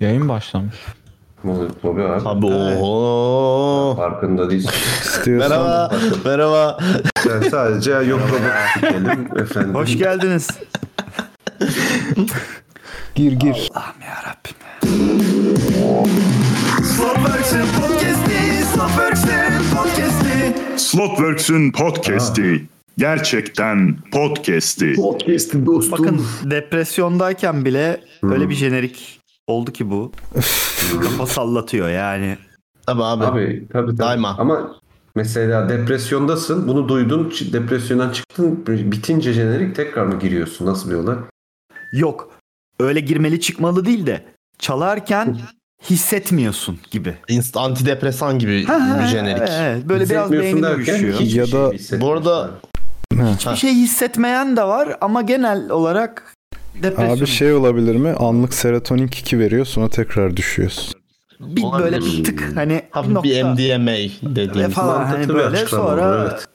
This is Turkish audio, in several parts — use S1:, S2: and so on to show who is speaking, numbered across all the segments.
S1: Yayın başlamış.
S2: Muhabbet Bobi abi.
S3: Abi oho.
S2: Farkında değilsin.
S4: İstiyorsan.
S3: Merhaba. Merhaba.
S2: Sen sadece yok robot diyelim efendim.
S5: Hoş geldiniz.
S4: Gir gir.
S5: Slotworks'ün podcast'i, Slotworks'ün podcast'i.
S6: Slotworks'ün podcast'i. Gerçekten podcast'i.
S5: Bakın depresyondayken bile
S2: Hmm.
S5: öyle
S3: Hmm.
S5: bir jenerik oldu ki bu. Kafa sallatıyor yani.
S3: Tabii abi.
S2: Abi tabii tabii.
S3: Daima.
S2: Ama mesela depresyondasın. Bunu duydun. ç- Depresyondan çıktın. Bitince jenerik tekrar mı giriyorsun? Nasıl bir olay?
S5: Yok. Öyle girmeli çıkmalı değil de çalarken hissetmiyorsun gibi.
S3: Inst- antidepresan gibi bir jenerik.
S5: Evet, böyle biraz beynin uyuşuyor.
S2: hiçbir
S4: Ya
S2: şey
S4: da-
S2: mi hissetmiyorsun?
S3: Bu arada-
S5: Bir şey hissetmeyen de var ama genel olarak depresyon.
S4: Abi şey olabilir mi? Anlık serotonin kiki veriyor sonra tekrar düşüyorsun.
S5: bir böyle bir tık hani
S3: Hafif bir MDMA
S5: ve
S3: dediğimiz.
S5: falan
S2: Mantıklı
S5: hani
S2: bir
S5: böyle
S2: açıklama
S5: sonra
S2: oldu, evet.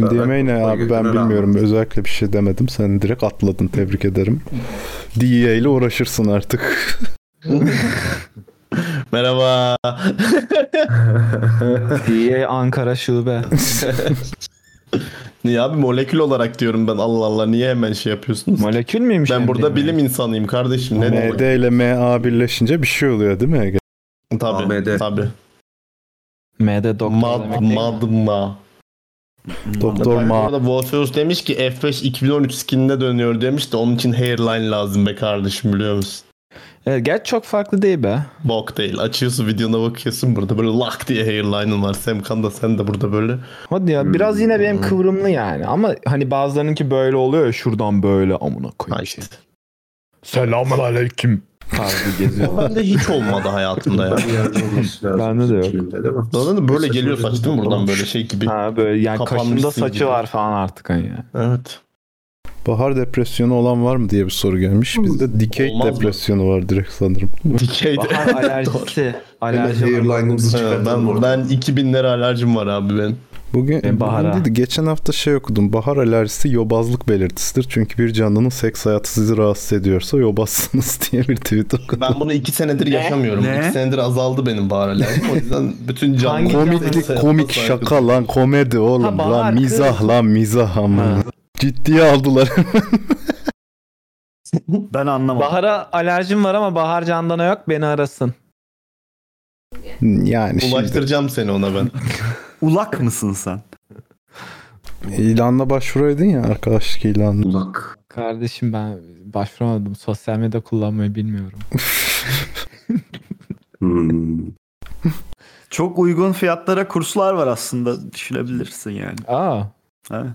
S4: MDMA ne
S2: Sonra
S4: abi ben
S2: götürür
S4: bilmiyorum. Özellikle bir şey demedim. Sen direkt atladın. Tebrik ederim. DEA ile uğraşırsın artık.
S3: Merhaba.
S1: DA Ankara şube.
S3: Niye abi molekül olarak diyorum ben Allah Allah niye hemen şey yapıyorsunuz?
S1: Molekül şey müymüş?
S3: ben burada
S1: MDMA?
S3: bilim insanıyım kardeşim. Ne
S4: MD
S3: demek?
S4: ile MA birleşince bir şey oluyor değil mi? Ege?
S3: Hmm, Tabii.
S2: AMD.
S3: Tabii.
S1: M'de doktor
S3: Mad,
S1: demek değil mi?
S3: madma.
S4: Doktor Ma.
S3: Orada Wolfeus demiş ki F5 2013 skinine dönüyor demiş de onun için hairline lazım be kardeşim biliyor musun?
S1: Evet, gerçi çok farklı değil be.
S3: Bok değil. Açıyorsun videona bakıyorsun burada böyle lak diye hairline'ın var. Semkan da sen de burada böyle.
S1: Hadi ya biraz yine benim
S3: Hmm.
S1: kıvrımlı yani. Ama hani bazılarınınki böyle oluyor ya şuradan böyle amına
S3: Ha
S1: koyayım.
S2: şey.
S3: işte.
S1: Selamun aleyküm. Tarzı geziyor.
S3: Ben de hiç olmadı hayatımda ya.
S2: Bir yerde olması lazım.
S1: Bende de yok.
S2: Kimde, değil mi?
S3: Anladın mı? Böyle geliyor saç değil mi buradan böyle şey gibi.
S1: ha böyle yani
S3: Kapanmışsın
S1: kaşında saçı
S3: gibi.
S1: var falan artık hani. ya.
S3: Evet.
S4: Bahar depresyonu olan var mı diye bir soru gelmiş. Bizde dikey
S3: Hmm. Olmaz mı?
S4: depresyonu var direkt sanırım.
S3: Dikeyde.
S1: Bahar
S3: Doğru.
S1: alerjisi.
S2: Hemen
S1: Alerji var.
S2: hairline'ımızı
S3: Evet,
S2: çıkartalım
S3: ben,
S2: oradan.
S3: ben 2000'lere alerjim var abi benim.
S4: Bugün
S1: Ben bahara.
S4: bugün değil de geçen hafta şey okudum. Bahar alerjisi yobazlık belirtisidir. Çünkü bir canlının seks hayatı sizi rahatsız ediyorsa yobazsınız diye bir tweet okudum.
S3: Ben bunu 2 senedir yaşamıyorum.
S5: Ne?
S3: 2 senedir azaldı benim bahar alerjim. O yüzden bütün canlı...
S1: Hangi
S4: Komiklik, komik şaka lan, komedi
S1: Ha,
S4: oğlum
S1: bahar
S4: lan,
S1: kız.
S4: mizah lan, mizah ama.
S1: Ha.
S4: Ciddiye aldılar.
S5: ben anlamadım.
S1: Bahar'a alerjim var ama Bahar Candan'a yok beni arasın.
S4: yani şimdi
S3: Ulaştıracağım seni ona ben.
S5: Ulak mısın sen?
S4: ilanla başvuraydın ya arkadaşlık ilanına.
S2: Ulak.
S1: Kardeşim ben başvuramadım. Sosyal medya kullanmayı bilmiyorum.
S2: Hmm.
S5: Çok uygun fiyatlara kurslar var aslında düşünebilirsin yani.
S1: Aa.
S5: Ha?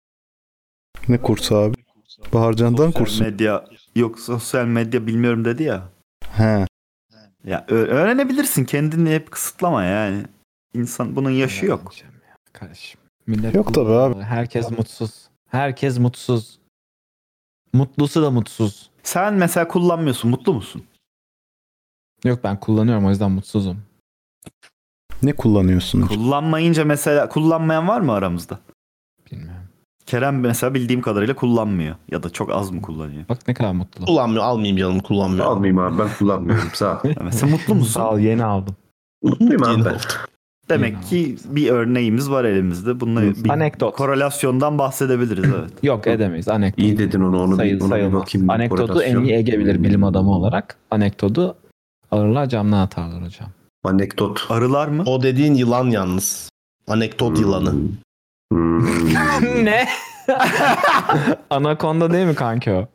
S4: ne kursu abi? Baharcan'dan kursu.
S5: Medya yok sosyal medya bilmiyorum dedi ya.
S4: He.
S5: Ya ö- öğrenebilirsin kendini hep kısıtlama yani. İnsan bunun yaşı yok.
S1: Öğreneceğim ya Kardeşim. Millet
S4: Yok tabii abi.
S1: Herkes mutsuz. Herkes mutsuz. Mutlusu da mutsuz.
S5: Sen mesela kullanmıyorsun mutlu musun?
S1: Yok ben kullanıyorum o yüzden mutsuzum.
S4: Ne kullanıyorsun?
S5: Kullanmayınca mesela kullanmayan var mı aramızda?
S1: Bilmiyorum.
S5: Kerem mesela bildiğim kadarıyla kullanmıyor ya da çok az mı kullanıyor?
S1: Bak ne kadar mutlu.
S3: Kullanmıyor. Almayayım canım kullanmıyor.
S2: Almayayım abi ben kullanmıyorum sağ ol.
S5: Ya Mesela mutlu
S1: Sağ
S5: musun?
S1: ol yeni aldım.
S2: Mutluyum abi ben.
S5: Demek ki bir örneğimiz var elimizde. Bununla bir
S3: Hani-
S1: Anekdot.
S5: korelasyondan bahsedebiliriz evet.
S1: Yok edemeyiz anekdot.
S2: İyi dedin onu onu
S1: Sayıl-
S2: bir, ona bir
S1: sayılmaz.
S2: bakayım. bir
S1: Anekdotu en
S2: korelasyon. Hmm.
S1: iyi Ege bilir bilim adamı olarak. Anekdotu alırlar camdan atarlar hocam.
S2: Anekdot.
S5: Arılar mı?
S3: O dediğin yılan yalnız. Anekdot yılanı.
S2: Hmm.
S1: ne? Anakonda değil mi kanki o?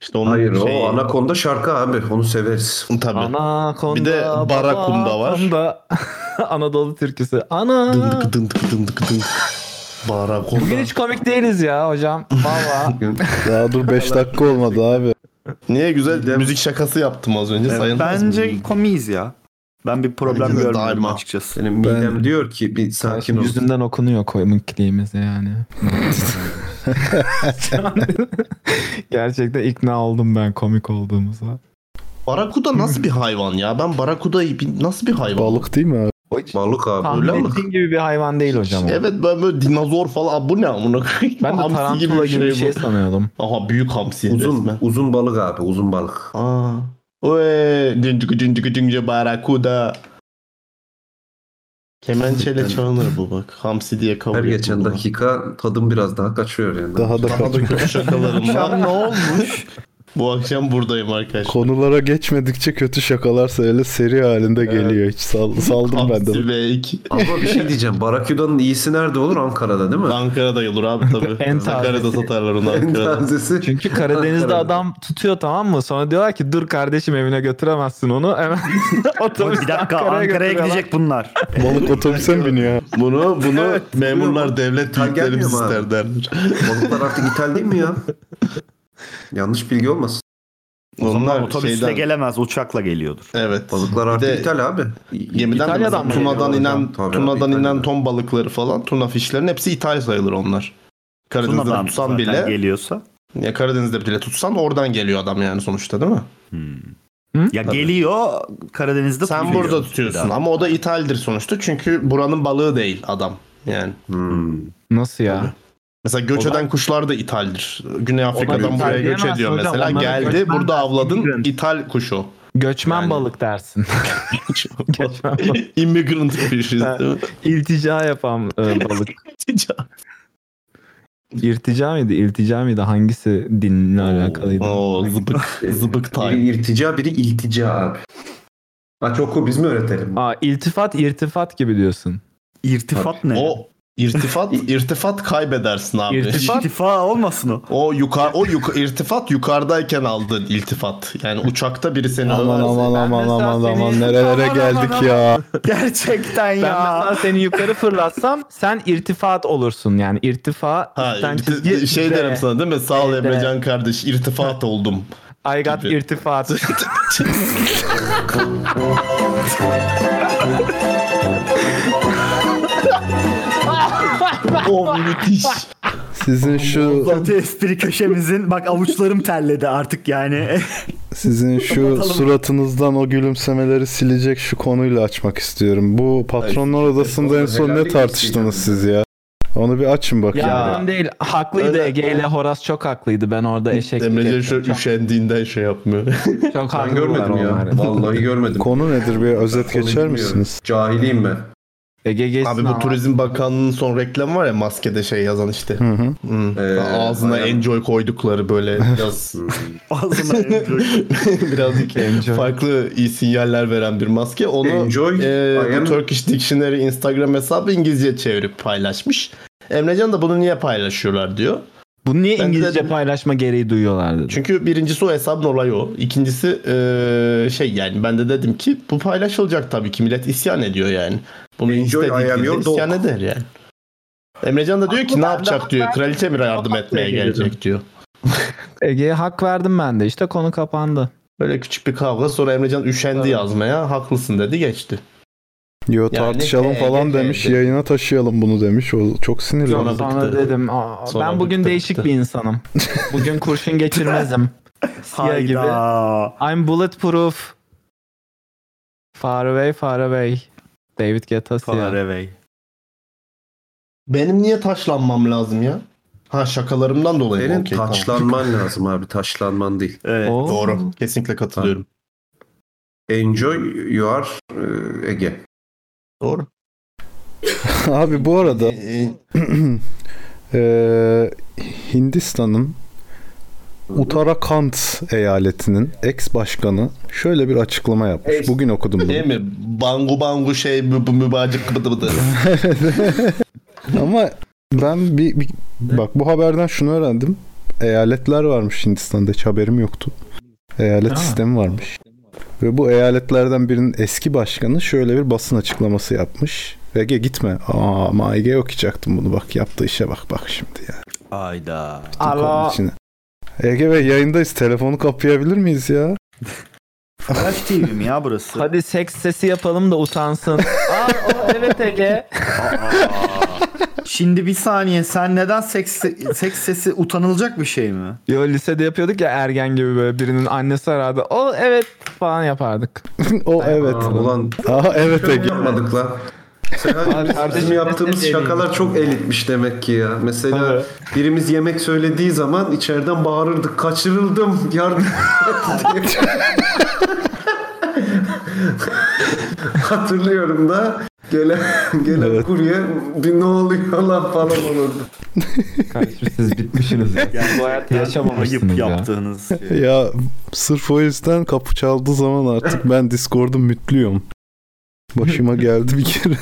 S3: İşte onun
S2: Hayır
S3: şeyi-
S2: o Anakonda şarkı abi onu severiz.
S3: Tabii.
S1: Anakonda.
S3: Bir de Barakunda var.
S1: Barakonda. Anadolu türküsü. Ana.
S3: Dındık dındık dındık dındık. Barakonda.
S1: Bugün hiç komik değiliz ya hocam. Valla.
S4: Daha dur 5 dakika olmadı abi.
S3: Niye güzel müzik şakası yaptım az önce
S5: Evet,
S3: sayılmaz mı?
S5: bence komiyiz ya. Ben bir problem
S3: Bence de
S5: görmüyorum
S3: daima.
S5: açıkçası.
S2: Senin
S4: Ben-
S2: midem diyor ki bir sakin ol.
S1: Yüzünden okunuyor komikliğimiz yani. Gerçekten ikna oldum ben komik olduğumuza.
S3: Barakuda nasıl bir hayvan ya? Ben barakudayı bi- nasıl bir hayvan?
S4: Balık değil mi abi?
S2: Balık abi
S1: Tahmin
S2: öyle ama.
S1: ettiğin gibi bir hayvan değil hocam. o.
S3: Evet ben böyle dinozor falan. Aa, Bu ne amına koyayım?
S1: Ben de
S3: Hamsi şey
S1: tarantula gibi bir şey sanıyordum.
S3: bu. Aha büyük hamsi.
S2: şey- Uzun
S3: resmen.
S2: uzun balık abi uzun balık.
S3: Aa, Oy, cıncıkı cıncıkı cıncı barakuda. Kemençeyle çalınır bu bak. Hamsi diye kabul
S2: Her
S3: ettim
S2: geçen
S3: bunu.
S2: dakika tadım biraz daha kaçıyor yani.
S4: Daha da
S3: Daha da kötü
S5: Akşam
S3: şakalarımla
S5: ne olmuş?
S3: bu akşam buradayım arkadaşlar.
S4: Konulara geçmedikçe kötü şakalar öyle seri halinde geliyor. Hiç sal- saldım ben de.
S3: Hamsi Bey.
S2: Ama bir şey diyeceğim. Barakuda'nın iyisi nerede olur? Ankara'da değil mi?
S3: Ankara'da yılır abi
S1: En
S3: tabii.
S1: tazesi.
S3: Ankara'da satarlar onu
S2: En
S3: Ankara'da.
S2: tazesi.
S1: Çünkü Karadeniz'de
S2: Ankara'da.
S1: adam tutuyor tamam mı? Sonra diyorlar ki dur kardeşim evine götüremezsin onu. Hemen otobüs
S5: Bir dakika Ankara'ya gidecek bunlar.
S4: Balık otobüse mi biniyor?
S3: Bunu bunu memurlar devlet
S2: Tam gelmiyor
S3: büyüklerimiz
S2: mu abi?
S3: ister derler.
S2: Balıklar artık ithal değil mi ya? Yanlış bilgi olmasın.
S5: O zaman
S3: Onlar
S5: otobüsle
S3: şeyden
S5: gelemez uçakla geliyordur.
S3: evet.
S2: Balıklar
S3: Bir
S2: artık
S3: de
S2: ithal abi.
S3: Gemiden
S1: İtalya'dan mı
S3: Tuna'dan
S2: geliyor
S3: inen
S2: hocam? Tabii,
S3: Tuna'dan
S2: İtalya'dan.
S3: inen ton balıkları falan, tuna fişlerin hepsi ithal sayılır onlar. Karadeniz'de
S5: Tuna'dan
S3: tutsan
S5: zaten
S3: bile
S5: geliyorsa.
S3: ya Karadeniz'de bile tutsan oradan geliyor adam yani sonuçta değil mi?
S5: Ya geliyor Karadeniz'de
S3: Sen
S5: tutuyor.
S3: burada tutuyorsun ama o da ithaldir sonuçta çünkü buranın balığı değil adam. Yani
S2: Hmm.
S1: Nasıl ya?
S3: mesela göç
S1: O da-
S3: eden kuşlar da ithaldir. Güney Afrika'dan
S1: ithal
S3: buraya göç
S1: diyemezsin
S3: ediyor
S1: hocam,
S3: mesela.
S1: onlara
S3: Geldi
S1: göçmen
S3: burada avladın
S1: immigrant.
S3: ithal kuşu.
S1: Göçmen
S3: Yani-
S1: balık dersin. Göçmen balık.
S3: Immigrant fishes değil mi?
S1: İltica yapan e, balık. İrtica mıydı? İltica mıydı? Hangisi dinle alakalıydı?
S3: Oo zıbık zıbık
S2: Biri
S3: time.
S2: irtica biri iltica abi. Aç oku biz mi öğretelim?
S1: Aa, iltifat irtifat gibi diyorsun.
S5: İrtifat ne? O
S3: O irtifat irtifat kaybedersin abi.
S1: İrtifat-
S5: İrtifa olmasın o.
S3: O yukarı o yuka, irtifat yukarıdayken aldığın iltifat. Yani uçakta biri seni
S4: Aman
S3: överse-
S4: aman
S1: ben
S4: aman
S1: mesela
S4: aman
S1: seni-
S4: aman nerelere
S1: Aman,
S4: geldik
S1: aman,
S4: ya.
S5: Gerçekten
S1: Ben mesela seni yukarı fırlatsam sen irtifat olursun yani irtifa.
S3: Ha,
S1: sen
S3: irti-
S1: çizgi-
S3: şey
S1: de.
S3: derim sana değil mi? Sağ ol
S1: De.
S3: Emrecan kardeş. irtifat oldum.
S1: I got
S3: gibi.
S1: irtifat.
S3: oh müthiş.
S4: Sizin şu
S5: Kötü espri köşemizin bak avuçlarım terledi artık yani.
S4: sizin şu suratınızdan o gülümsemeleri silecek şu konuyla açmak istiyorum. Bu patronlar odasında en son ne
S2: helallik
S4: tartıştınız siz ya? Onu bir açın bakayım.
S1: ya adam değil haklıydı
S3: Öyle-
S1: Ege ile Horas çok haklıydı ben orada eşek.
S3: Emrecan şu üşendiğinden şey yapmıyor.
S1: Çok
S2: Ben
S1: haklılar
S2: görmedim ya.
S1: onlar.
S2: Vallahi görmedim.
S4: Konu nedir bir özet
S2: Konuyu
S4: geçer
S2: bilmiyorum.
S4: misiniz?
S2: Cahiliyim ben.
S1: Ege geçsin
S3: Abi bu
S1: ama.
S3: Turizm Bakanlığı'nın son reklamı var ya maskede şey yazan işte.
S4: Hı hı.
S3: Hmm.
S2: Ee,
S3: Ağzına
S2: aynen.
S3: enjoy koydukları böyle yaz.
S5: Ağzına enjoy.
S3: Birazcık
S1: Enjoy.
S3: farklı iyi sinyaller veren bir maske. Onu
S2: Enjoy,
S3: e,
S2: I am-
S3: Turkish Dictionary Instagram hesabı İngilizce çevirip paylaşmış. Emrecan da bunu niye paylaşıyorlar diyor.
S1: Bunu niye
S3: Ben de
S1: İngilizce
S3: dedim-
S1: paylaşma gereği duyuyorlar dedi.
S3: Çünkü birincisi o hesabın olayı o. İkincisi e, şey yani ben de dedim ki bu paylaşılacak tabii ki millet isyan ediyor yani. Bunu
S2: Enjoy,
S3: istediği
S2: I am
S3: dilde
S2: your dog.
S3: isyan eder yani. Emrecan da diyor ki
S1: Haklı,
S3: ne yapacak
S1: haklı.
S3: diyor. Kraliçe mi yardım
S1: Haklı
S3: etmeye
S1: geliyorum.
S3: gelecek diyor.
S1: Ege'ye hak verdim ben de işte konu kapandı.
S3: Böyle küçük bir kavga sonra Emrecan üşendi
S1: Evet.
S3: yazmaya. Haklısın dedi geçti.
S4: Yo
S3: Yani
S4: tartışalım
S3: e,
S4: falan
S3: e,
S4: demiş.
S3: e.
S4: Yayına taşıyalım bunu demiş. O çok sinirli.
S1: Sonra,
S3: bıktı.
S1: dedim "Aa,
S3: Sonra
S1: ben bugün
S3: bıktı,
S1: değişik
S3: bıktı."
S1: bir insanım. Bugün kurşun geçirmezim. Siyah gibi.
S5: Hayda.
S1: I'm bulletproof. Far away, far away. David Guetta siyah.
S5: Farevey.
S3: Benim niye taşlanmam lazım ya? Ha şakalarımdan dolayı.
S2: Senin
S3: Okey, tamam.
S2: taçlanman lazım abi. Taçlanman değil.
S5: Evet.
S1: Oo.
S3: Doğru. Kesinlikle katılıyorum.
S2: Enjoy you are e, Ege.
S3: Doğru.
S4: Abi bu arada
S3: Ee,
S4: Ee, Hindistan'ın Uttarakhand eyaletinin ex başkanı şöyle bir açıklama yapmış. Bugün okudum bunu.
S3: Değil mi? Bangu bangu şey bu bu mübacık bıdı bıdı.
S4: Ama ben bir, bir- bak bu haberden şunu öğrendim. Eyaletler varmış Hindistan'da hiç haberim yoktu. Eyalet
S1: Ha.
S4: sistemi varmış. Ve bu eyaletlerden birinin eski başkanı şöyle bir basın açıklaması yapmış. Ege gitme. Aa, ama Ege okuyacaktım bunu bak yaptığı işe bak bak şimdi ya.
S5: Hayda.
S4: Tık onun
S1: Alo.
S4: içine. Ege Bey yayındayız. Telefonu kapayabilir miyiz ya?
S5: Flash TV mi ya burası?
S1: Hadi seks sesi yapalım da utansın. Aa, o, evet Ege.
S5: Şimdi bir saniye sen neden seks, seks sesi utanılacak bir şey mi?
S1: Yo lisede yapıyorduk ya ergen gibi böyle birinin annesi arardı. O evet falan yapardık.
S4: o evet.
S2: Aa, ulan
S4: Aa evet Ege.
S2: yapmadık la.
S1: Abi
S2: Seher,
S1: kardeşim,
S2: bizim yaptığımız
S1: mesele
S2: şakalar çok elitmiş demek ki ya. Mesela birimiz yemek söylediği zaman içeriden bağırırdık. Kaçırıldım. Yardım. Hatırlıyorum da gelen gelen
S4: Evet.
S2: kurye bir ne oluyor lan falan olurdu.
S1: Kardeşim siz bitmişsiniz. ya.
S5: Yani bu hayatta
S1: Yaşamamışsınız
S5: ayıp
S1: ya.
S5: yaptığınız şey.
S4: Ya sırf o yüzden kapı çaldığı zaman artık ben Discord'u mütlüyorum. Başıma geldi bir kere.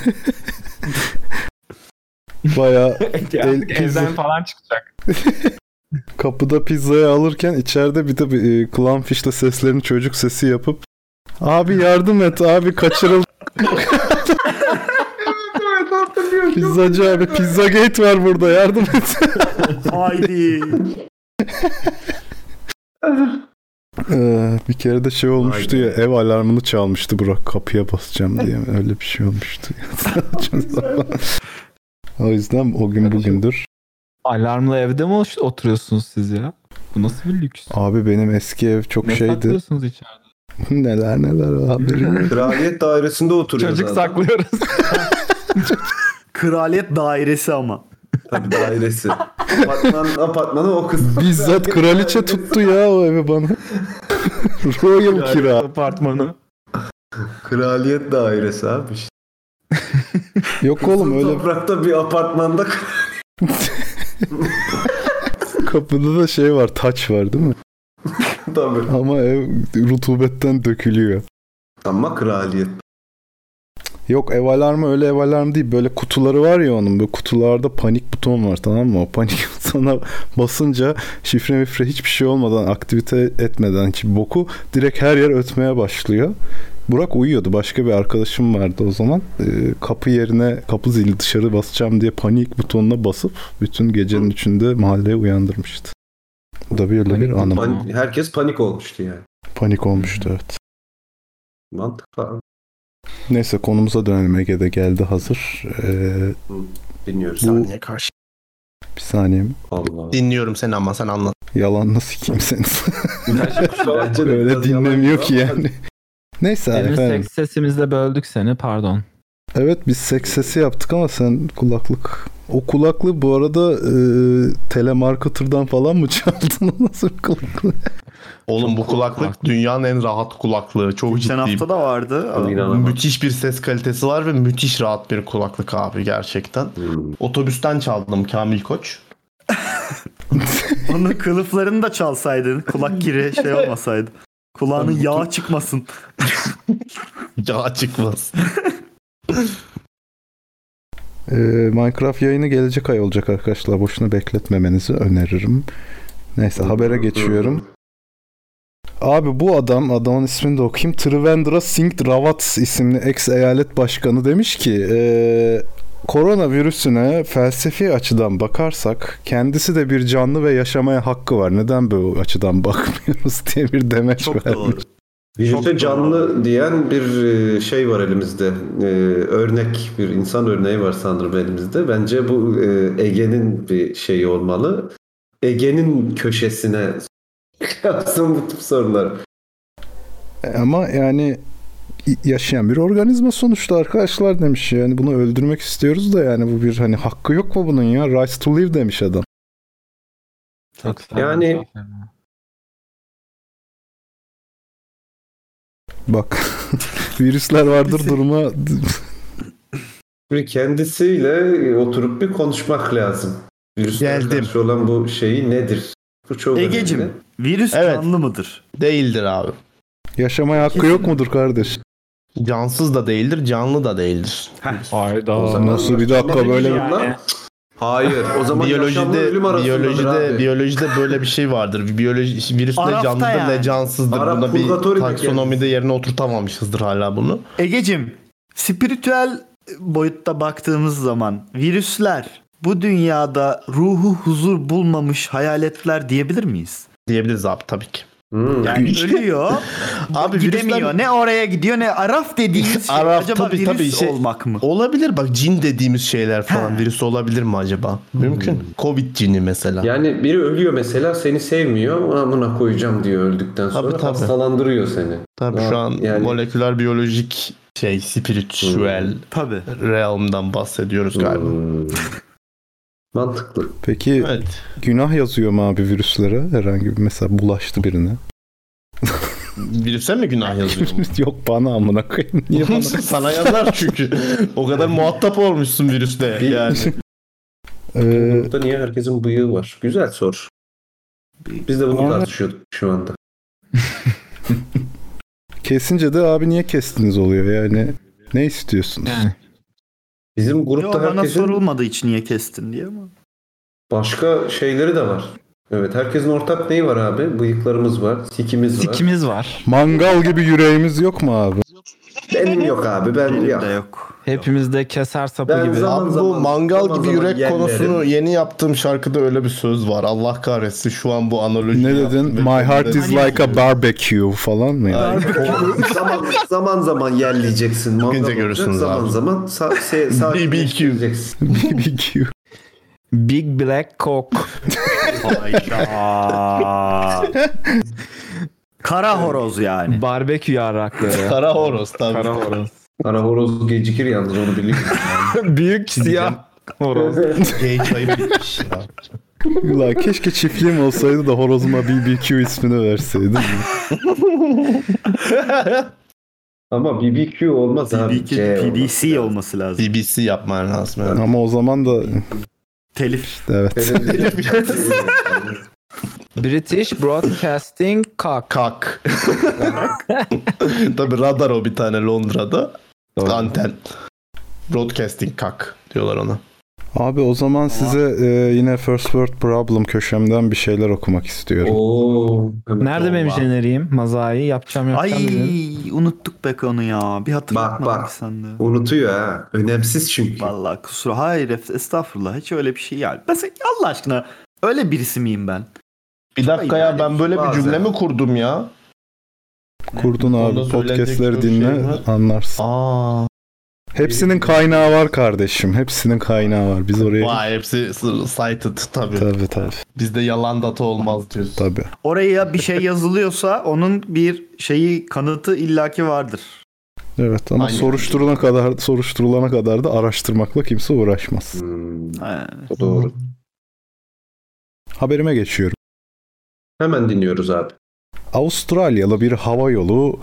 S4: Baya
S1: Artık
S4: Pizza.
S1: evden falan çıkacak.
S4: kapıda pizzayı alırken içeride bir de bir e, Clownfish'le seslerini çocuk sesi yapıp Abi yardım et abi kaçırıl. Pizzacı abi pizza gate var burada yardım et.
S5: Haydi.
S4: Ee, bir kere de şey olmuştu ya ev alarmını çalmıştı Burak kapıya basacağım diye öyle bir şey olmuştu. o yüzden o gün bugündür.
S1: Alarmla evde mi oturuyorsunuz siz ya? Bu nasıl bir lüks?
S4: Abi benim eski ev çok
S1: Ne
S4: şeydi.
S1: saklıyorsunuz içeride?
S4: neler neler haberim. yok.
S2: Kraliyet dairesinde oturuyor
S1: Çocuk
S2: zaten.
S1: saklıyoruz.
S5: Kraliyet dairesi ama.
S2: Tabii dairesi. Apartman, apartmanı o kız.
S4: Bizzat kraliçe tuttu ya o evi bana. Royal kira.
S1: Apartmanı.
S2: Kraliyet dairesi abi. işte.
S4: Yok oğlum öyle
S2: Toprakta bir apartmanda
S4: kapıda da şey var taç var değil mi?
S2: tabii.
S4: Ama ev rutubetten dökülüyor.
S2: Ama kraliyet.
S4: Yok ev alarmı öyle ev alarmı değil. Böyle kutuları var ya onun. Böyle kutularda panik buton var tamam mı? O panik butona basınca şifre mifre hiçbir şey olmadan aktivite etmeden ki boku direkt her yer ötmeye başlıyor. Burak uyuyordu. Başka bir arkadaşım vardı o zaman. Ee, kapı yerine kapı zili dışarı basacağım diye panik butonuna basıp bütün gecenin içinde mahalleyi uyandırmıştı. Bu da böyle bir
S1: Panik
S4: anım.
S1: buton.
S2: Pan- herkes panik olmuştu yani.
S4: Panik olmuştu evet.
S2: Mantıklı abi.
S4: Neyse konumuza dönelim. Ege'de geldi hazır. Ee,
S2: Dinliyoruz.
S4: bu
S3: Saniye karşı.
S4: bir saniye
S2: Allah.
S3: Dinliyorum seni ama sen anlat.
S4: Yalan nasıl kimsenin
S2: Bence de
S4: öyle
S2: biraz
S4: dinlemiyor
S2: yalan
S4: ki
S2: var ama
S4: yani. Neyse
S1: Senin
S4: efendim.
S1: seks sesimizle böldük seni pardon.
S4: Evet biz seks sesi yaptık ama sen kulaklık. O kulaklığı bu arada e, telemarketer'dan falan mı çaldın? O nasıl bir kulaklık?
S3: Oğlum bu kulaklık dünyanın en rahat kulaklığı. Çok
S5: Geçen
S3: ciddiyim.
S5: hafta da vardı.
S2: Abi inanamam.
S3: Müthiş bir ses kalitesi var ve müthiş rahat bir kulaklık abi gerçekten.
S2: Hmm.
S3: Otobüsten çaldım Kamil Koç.
S5: Onun kılıflarını da çalsaydın. Kulak kiri şey olmasaydı. Kulağının yağ çıkmasın.
S3: Ya çıkmaz.
S4: E, Minecraft yayını gelecek ay olacak arkadaşlar. Boşuna bekletmemenizi öneririm. Neyse habere geçiyorum. Abi bu adam, adamın ismini de okuyayım. Trivendra Singh Rawat isimli ex eyalet başkanı demiş ki eee koronavirüsüne felsefi açıdan bakarsak kendisi de bir canlı ve yaşamaya hakkı var. Neden böyle açıdan bakmıyoruz diye bir demeç
S5: Çok
S4: vermiş.
S5: doğru.
S2: Vücutta canlı diyen bir e, şey var elimizde. E, örnek, bir insan örneği var sanırım elimizde. Bence bu e, Ege'nin bir şeyi olmalı. Ege'nin köşesine yazsın bu tip sorular.
S4: E, Ama yani i- yaşayan bir organizma sonuçta arkadaşlar demiş yani bunu öldürmek istiyoruz da yani bu bir hani hakkı yok mu bunun ya rights to live demiş adam.
S1: Çok sağ ol.
S2: Yani-
S4: Bak virüsler vardır duruma
S2: Bir kendisiyle e, oturup bir konuşmak lazım. Virüslere
S3: Geldim.
S2: karşı olan bu şeyi nedir? Bu çok önemli.
S5: Egecim virüs
S3: Evet.
S5: canlı mıdır?
S3: Değildir abi.
S4: yaşamaya hakkı yok mudur kardeş?
S3: Cansız da değildir, canlı da değildir.
S2: O
S1: Hayda.
S2: zaman-
S4: Nasıl bir dakika böyle
S2: Yani.
S1: Yani.
S2: Hayır. O zaman yaşamla
S3: biyolojide
S2: ölüm arasındadır
S3: biyolojide
S2: abi.
S3: biyolojide böyle bir şey vardır. Biyoloji virüs ne
S5: Arafta
S3: canlıdır ne
S5: yani.
S3: cansızdır.
S2: Arap
S3: Buna bir
S2: purgatori de
S3: taksonomide yerine oturtamamışızdır hala bunu.
S5: Egecim spiritüel boyutta baktığımız zaman virüsler bu dünyada ruhu huzur bulmamış hayaletler diyebilir miyiz?
S3: Diyebiliriz abi tabii ki.
S2: Hmm.
S5: Yani ölüyor,
S3: Abi
S5: gidemiyor.
S3: virüsler
S5: Ne oraya gidiyor ne Araf dediğiniz şey
S3: Araf,
S5: acaba
S3: tabii,
S5: virüs
S3: tabii, şey-
S5: olmak mı?
S3: olabilir bak cin dediğimiz şeyler falan virüs olabilir mi acaba? Mümkün. Covid cini mesela.
S2: Yani biri ölüyor mesela seni sevmiyor. Amına koyacağım diyor öldükten sonra
S3: Tabii, tabii.
S2: hastalandırıyor seni.
S3: Tabii
S2: Ya,
S3: şu an
S2: yani-
S3: moleküler biyolojik şey spiritüel
S5: Tabii.
S3: realmdan bahsediyoruz galiba.
S2: Hmm. Mantıklı.
S4: peki
S3: Evet.
S4: günah yazıyor mu abi virüslere herhangi bir mesela bulaştı birine?
S3: Virüse mi günah yazıyor?
S4: Yok bana amına koyayım. Niye
S3: bu?
S4: bana?
S3: Sana yazar çünkü. O kadar muhatap olmuşsun virüsle yani.
S4: Ee,
S2: Burada niye herkesin bıyığı var? Güzel soru. Biz de bunu
S4: Ama-
S2: tartışıyorduk şu anda.
S4: kesince de abi niye kestiniz oluyor yani. Ne istiyorsunuz?
S1: Yani.
S2: Bizim
S5: Yo,
S2: grupta
S5: bana
S2: herkesin
S5: sorulmadığı için niye kestin diye ama.
S2: başka şeyleri de var. Evet herkesin ortak neyi var abi? Bıyıklarımız var, sikimiz var.
S1: Sikimiz var.
S4: Mangal gibi yüreğimiz yok mu abi?
S2: Benim yok abi ben
S5: Benim
S2: yok.
S5: de yok.
S1: Hepimizde keser sapı
S2: Ben
S1: gibi.
S2: zaman
S3: Abi bu
S2: zaman-
S3: mangal
S2: zaman
S3: gibi
S2: zaman
S3: yürek
S2: yerlerim.
S3: konusunu yeni yaptığım şarkıda öyle bir söz var. Allah kahretsin şu an bu analoji.
S4: Ne dedin?
S3: yaptım.
S4: My heart is
S3: Hani-
S4: like a barbecue falan mı yani?
S3: Aynen.
S2: zaman zaman zaman yerleyeceksin. Mangal
S3: Bakınca
S2: olacak.
S3: görürsünüz
S2: Zaman
S3: abi.
S2: zaman sa- se- sa-
S3: BBQ.
S2: yiyeceksin.
S4: barbecue.
S1: Big Black Cock.
S5: Hayda. Kara horoz yani.
S1: Barbekü yarrakları.
S3: Kara horoz tabii. Kara horoz.
S2: Kara horoz gecikir yalnız onu biliyorum.
S1: Büyük siyah horoz.
S3: Gay çayı bitmiş ya.
S4: Ulan keşke çiftliğim olsaydı da horozuma BBQ ismini verseydim.
S2: Ama BBQ olmaz abi. C
S5: PDC, PDC
S2: olmaz.
S5: olması lazım.
S3: BBC yapman lazım. Yani.
S4: Ama o zaman da
S5: Telif.
S4: evet.
S1: British Broadcasting Cock.
S3: Kak. Tabii radar o bir tane Londra'da. Anten. Broadcasting kak diyorlar ona.
S4: Abi o zaman size e, yine First World Problem köşemden bir şeyler okumak istiyorum.
S2: Oo.
S1: Nerede benim jeneriğim? Mazayı yapacağım
S5: Ay
S1: yapacağım. dedim.
S5: unuttuk be onu ya. Bir
S2: Bak,
S5: hatırlatmadık
S2: bak.
S5: sandı.
S2: Unutuyor ha. Önemsiz çünkü.
S5: Vallahi kusura. Hayır ef- estağfurullah. Hiç öyle bir şey yani. Ben sen- Allah aşkına öyle birisi miyim ben?
S3: Bir dakika ya ben böyle bir
S2: Bazen.
S3: cümle mi kurdum ya?
S4: Kurdun
S3: Onda
S4: abi
S3: söylenecek
S4: podcastleri
S3: çok şey
S4: dinle
S3: var.
S4: anlarsın.
S3: Aa.
S4: Hepsinin kaynağı var kardeşim. Hepsinin kaynağı var. Biz oraya...
S3: Vay hepsi cited tabii.
S4: Tabii tabii
S3: Bizde yalan data olmaz diyorsun.
S4: tabii.
S5: Oraya bir şey yazılıyorsa onun bir şeyi kanıtı illaki vardır.
S4: Evet ama
S3: Aynen.
S4: soruşturulana kadar soruşturulana kadar da araştırmakla kimse uğraşmaz.
S2: Hmm,
S5: Ha.
S2: bu doğru.
S4: Haberime geçiyorum.
S2: Hemen dinliyoruz abi.
S4: Avustralyalı bir hava yolu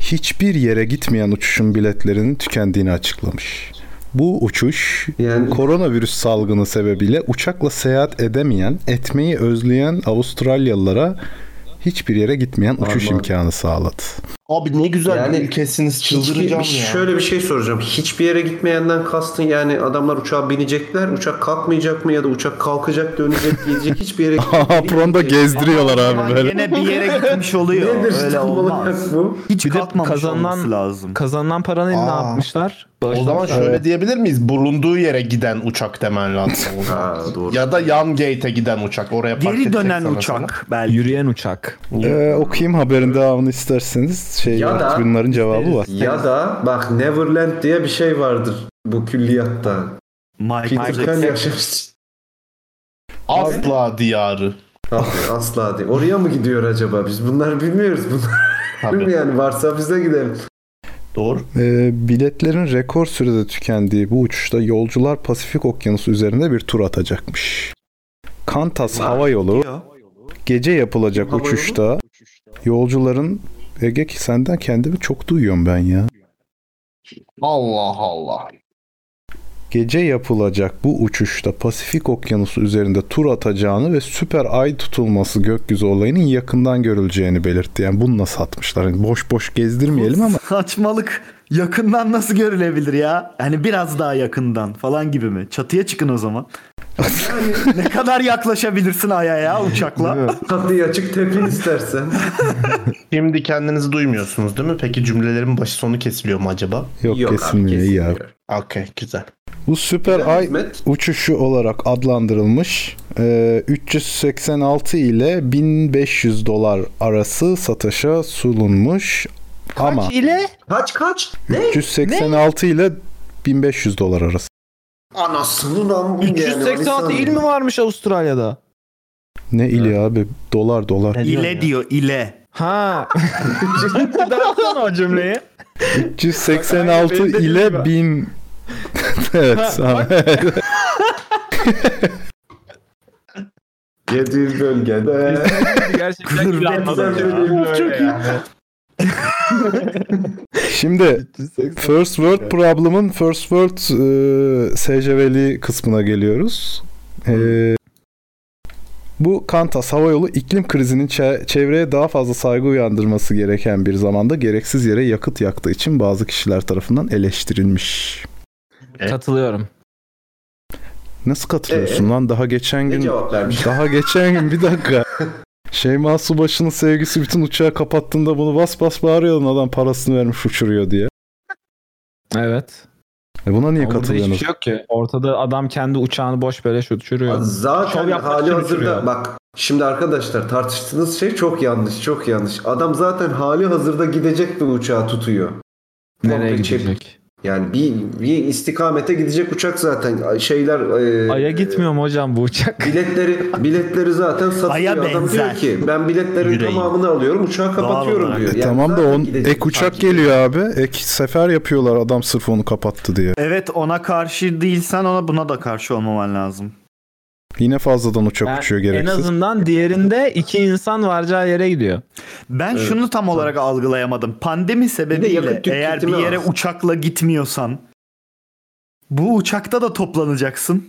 S4: hiçbir yere gitmeyen uçuşun biletlerinin tükendiğini açıklamış. Bu uçuş
S2: Yani
S4: koronavirüs salgını sebebiyle uçakla seyahat edemeyen, etmeyi özleyen Avustralyalılara hiçbir yere gitmeyen uçuş
S2: Aman.
S4: imkanı sağladı.
S3: Abi ne güzel
S2: Yani
S3: bir ülkesiniz çıldıracağım
S2: Hiçbir-
S3: ya.
S2: Şöyle bir şey soracağım. Hiçbir yere gitmeyenden kastın yani adamlar uçağa binecekler. Uçak kalkmayacak mı ya da uçak kalkacak dönecek diyecek. Hiçbir yere
S4: Apronda gezdiriyorlar abi böyle.
S5: Yine Ee, bir yere gitmiş oluyor.
S2: Nedir
S5: öyle
S2: tam olarak
S5: olmaz.
S2: bu?
S5: Hiç
S1: Bir de
S5: katmamış
S1: kazanılan-
S5: olması lazım.
S1: Kazanılan paranın ne
S3: Aa.
S1: yapmışlar?
S3: O zaman şöyle diyebilir miyiz? Bulunduğu yere giden uçak demen lazım. o zaman.
S2: Ha, doğru.
S3: ya da yan gate'e giden uçak. Oraya park
S5: Geri
S3: edecek
S5: dönen
S3: sana
S5: uçak
S3: sana.
S5: belki.
S1: Yürüyen uçak.
S4: Ee, okuyayım haberin devamını isterseniz. Şey,
S2: Ya da-
S4: bunların cevabı var.
S2: Ya da bak Neverland diye bir şey vardır bu külliyatta.
S5: Michael
S2: Peter Pan
S5: Jackson.
S2: yaşamış.
S3: Asla diyarı.
S2: Tabii, Asla değil. Oraya mı gidiyor acaba? Biz bunları bilmiyoruz. Bunlar
S3: Tabii.
S2: yani varsa bize gidelim.
S3: Doğru.
S4: Ee, biletlerin rekor sürede tükendiği bu uçuşta yolcular Pasifik Okyanusu üzerinde bir tur atacakmış. Kantas Hava Yolu gece yapılacak
S2: Hava yolu?
S4: uçuşta yolcuların Ege ki senden kendimi çok duyuyorum ben ya.
S3: Allah Allah.
S4: Gece yapılacak bu uçuşta Pasifik Okyanusu üzerinde tur atacağını ve süper ay tutulması gökyüzü olayının yakından görüleceğini belirtti. Yani bunu nasıl atmışlar? Yani boş boş gezdirmeyelim ama
S5: Saçmalık. Yakından nasıl görülebilir ya? Hani biraz daha yakından falan gibi mi? Çatıya çıkın o zaman. Yani ne kadar yaklaşabilirsin aya ya uçakla?
S2: Tatlıyı açık tepin istersen.
S3: Şimdi kendinizi duymuyorsunuz değil mi? Peki cümlelerin başı sonu kesiliyor mu acaba?
S4: yok,
S2: abi,
S4: kesinlikle iyi abi.
S2: kesilmiyor.
S3: Okey güzel.
S4: Bu süper
S2: Güzel
S4: ay
S2: hizmet.
S4: uçuşu olarak adlandırılmış e, 386 ile 1500 dolar arası satışa sunulmuş ama
S1: ile
S2: Kaç kaç?
S4: 386 ile 1500 dolar arası.
S2: Anasını lan bu yani.
S1: 386 il mi varmış Avustralya'da?
S4: Ne ili abi dolar dolar.
S5: ile diyor ile.
S1: Ha. Bir daha okusana o cümleyi.
S4: 386
S1: Bak, benim dediğim
S4: ile
S1: gibi.
S4: 1000 Evet. abi.
S2: 700 bölgede.
S1: Gerçekten
S2: Güzel bölüm böyle yani.
S4: Şimdi First World Problem'ın First World e, SCV'li kısmına geliyoruz. E, bu Kantas Havayolu iklim krizinin çe- çevreye daha fazla saygı uyandırması gereken bir zamanda gereksiz yere yakıt yaktığı için bazı kişiler tarafından eleştirilmiş.
S1: Katılıyorum. Ee,
S4: Nasıl katılıyorsun lan? Daha geçen
S2: Ne
S4: gün
S2: cevap vermiş?
S4: daha geçen gün bir dakika. Şeyma Subaşı'nın sevgisi bütün uçağı kapattığında bunu bas bas bağırıyordun adam parasını vermiş uçuruyor diye.
S1: Evet.
S4: E buna niye
S1: Ama burada hiçbir
S4: katılıyorsunuz?
S1: şey yok ki. Ortada adam kendi uçağını boş böyle şu- uçuruyor.
S2: Zaten
S1: Şov
S4: şey
S1: yapmak
S2: hali
S1: için
S2: hazırda
S1: uçuruyor.
S2: bak şimdi arkadaşlar tartıştığınız şey çok yanlış çok yanlış. Adam zaten hali hazırda gidecek bir uçağı tutuyor.
S1: Nereye
S2: Muhabbet çek-
S1: gidecek?
S2: Yani bir, bir istikamete gidecek uçak zaten. Şeyler
S3: Ee,
S2: e,
S1: Ay'a gitmiyor mu hocam bu uçak?
S2: Biletleri biletleri zaten
S5: Aya
S2: satılıyor. Adam diyor
S5: benzer.
S2: ki ben biletlerin
S3: Yüreğim.
S2: tamamını alıyorum uçağı kapatıyorum
S5: olarak.
S2: diyor.
S4: E
S2: Yani
S4: tamam da
S2: zaten
S4: on
S2: gidecek
S4: ek uçak
S2: sanki.
S4: geliyor abi. Ek sefer yapıyorlar adam sırf onu kapattı diye.
S5: Evet ona karşı değilsen ona buna da karşı olmaman lazım.
S4: Yine fazladan uçak
S1: Ben-
S4: uçuyor
S1: en
S4: gereksiz.
S1: azından diğerinde iki insan varacağı yere gidiyor.
S5: Ben
S2: Evet.
S5: şunu tam olarak algılayamadım. Pandemi sebebiyle
S2: yakıt
S5: eğer bir
S2: tüketimi
S5: yere
S2: az.
S5: uçakla gitmiyorsan bu uçakta da toplanacaksın.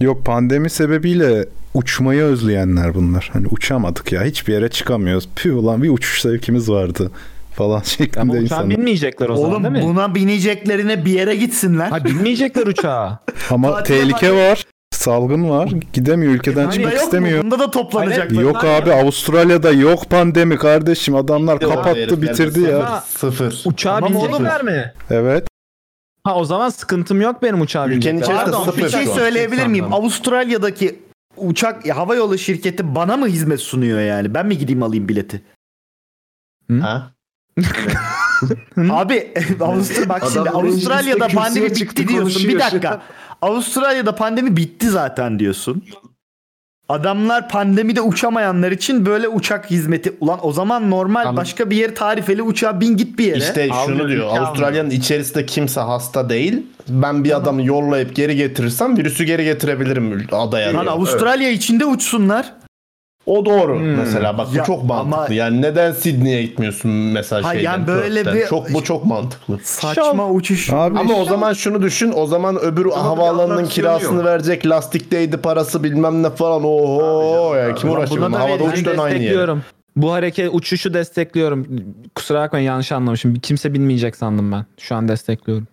S4: Yok pandemi sebebiyle uçmayı özleyenler bunlar. Hani uçamadık ya hiçbir yere çıkamıyoruz. Püh ulan bir uçuş zevkimiz vardı falan şeklinde
S1: Ama uçağa
S4: insanlar.
S1: binmeyecekler o zaman
S5: Oğlum
S1: değil mi?
S5: buna bineceklerine bir yere gitsinler.
S1: Ha binmeyecekler uçağa.
S4: Ama
S5: Tatile
S4: tehlike var. Salgın var. Gidemiyor ülkeden
S1: Hani
S4: çıkmak
S5: Bunda yok mu?
S4: istemiyor.
S5: Bunda da toplanacaklar.
S4: Yok abi Avustralya'da yok pandemi kardeşim. Adamlar
S3: Yok, herifler
S4: kapattı bitirdi ya.
S3: Sıfır.
S1: Uçağa
S5: Tamam oğlum.
S1: binecekler mi?
S4: Evet.
S1: Ha o zaman sıkıntım yok benim uçağa
S3: Ülkenin
S1: binecekler.
S3: içerisinde
S5: Pardon
S3: Sıfır
S5: bir
S3: şu
S5: şey
S3: an.
S5: söyleyebilir miyim?
S1: Tamam.
S5: Avustralya'daki uçak ya, hava yolu şirketi bana mı hizmet sunuyor yani? Ben mi gideyim alayım bileti?
S3: Ha?
S5: Abi Avustra bak
S2: Adam
S5: şimdi Avustralya'da
S2: mecliste
S5: pandemi
S2: kürsüye
S5: bitti
S2: çıktı,
S5: diyorsun. Bir
S2: konuşuyor.
S5: dakika. Avustralya'da pandemi bitti zaten diyorsun. Adamlar pandemide uçamayanlar için böyle uçak hizmeti. Ulan o zaman normal
S1: Tamam.
S5: başka bir yer tarifeli uçağa bin git bir yere.
S3: İşte şunu
S1: Almıyor,
S3: diyor.
S1: ülke
S3: Avustralya'nın içerisinde kimse hasta değil. Ben bir adamı yollayıp geri getirirsem virüsü geri getirebilirim adaya.
S5: Lan
S3: diyor.
S5: Avustralya içinde uçsunlar.
S3: O doğru
S1: Hmm.
S3: mesela bak
S5: Ya
S3: bu çok mantıklı.
S5: ama-
S3: Yani neden Sydney'e gitmiyorsun mesela
S5: Ha,
S3: şeyden?
S5: yani böyle
S3: Perth'ten?
S5: bir- şey
S3: Çok bu çok mantıklı.
S5: Saçma uçuş.
S4: Abi
S3: Ama o zaman şunu düşün. O zaman öbür
S2: Ama bir
S3: havaalanının
S2: atraksiyonu
S3: kirasını
S2: yok.
S3: verecek. Lastikteydi parası bilmem ne falan. Oho ya kim
S5: Ulan
S3: uğraşıyor?
S5: buna da
S3: bununla? Havada
S5: verin,
S1: Ben
S3: uçtan aynı yere.
S1: destekliyorum. Bu hareket uçuşu destekliyorum. Kusura bakmayın yanlış anlamışım. Kimse binmeyecek sandım ben. Şu an destekliyorum.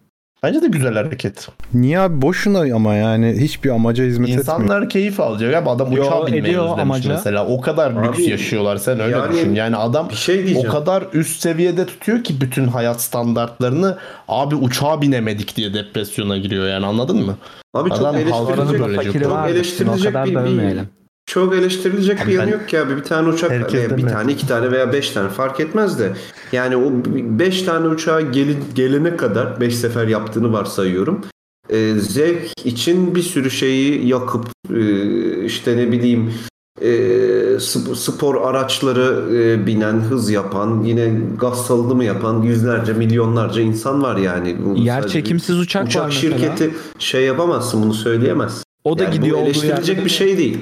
S3: Bence de güzel hareket.
S4: Niye abi boşuna ama yani hiçbir amaca hizmet etmiyor.
S3: İnsanlar keyif alacak. Abi adam
S1: Yo,
S3: uçağa binmeyi
S1: ediyor
S3: özlemiş
S1: amaca.
S3: mesela. O kadar lüks
S2: Abi,
S3: yaşıyorlar. Sen öyle
S2: yani-
S3: düşün. Yani adam
S2: Bir şey diyeceğim.
S3: o kadar üst seviyede tutuyor ki bütün hayat standartlarını abi uçağa binemedik diye depresyona giriyor yani anladın mı?
S2: Abi çok
S3: Adam
S2: eleştirilecek,
S3: havlarını
S1: Paranın da
S3: bölecek.
S1: fakiri
S2: Çok
S1: vardır. Şimdi o
S2: eleştirilecek
S1: kadar Hani
S2: bir-
S1: da
S2: bir-
S1: övmeyelim.
S2: çok eleştirilecek bir
S3: Abi
S2: yanı
S3: ben-
S2: yok ki abi. Bir tane uçak
S3: Herkes
S2: yani bir
S3: demiyor.
S2: tane, iki tane veya beş tane fark etmez de. Yani o beş tane uçağa gelin, gelene kadar beş sefer yaptığını varsayıyorum. Ee, zevk için bir sürü şeyi yakıp e, işte ne bileyim e, sp- spor araçları e, binen, hız yapan, yine gaz salınımı yapan yüzlerce, milyonlarca insan var yani. Bunu
S1: Yer
S2: sadece-
S1: çekimsiz uçak, var
S2: Uçak
S1: mesela.
S2: şirketi şey yapamazsın bunu söyleyemezsin.
S1: O da
S2: Yani
S1: gidiyor
S2: bu
S1: olduğu
S2: eleştirilecek
S1: yerde.
S2: bir şey değil.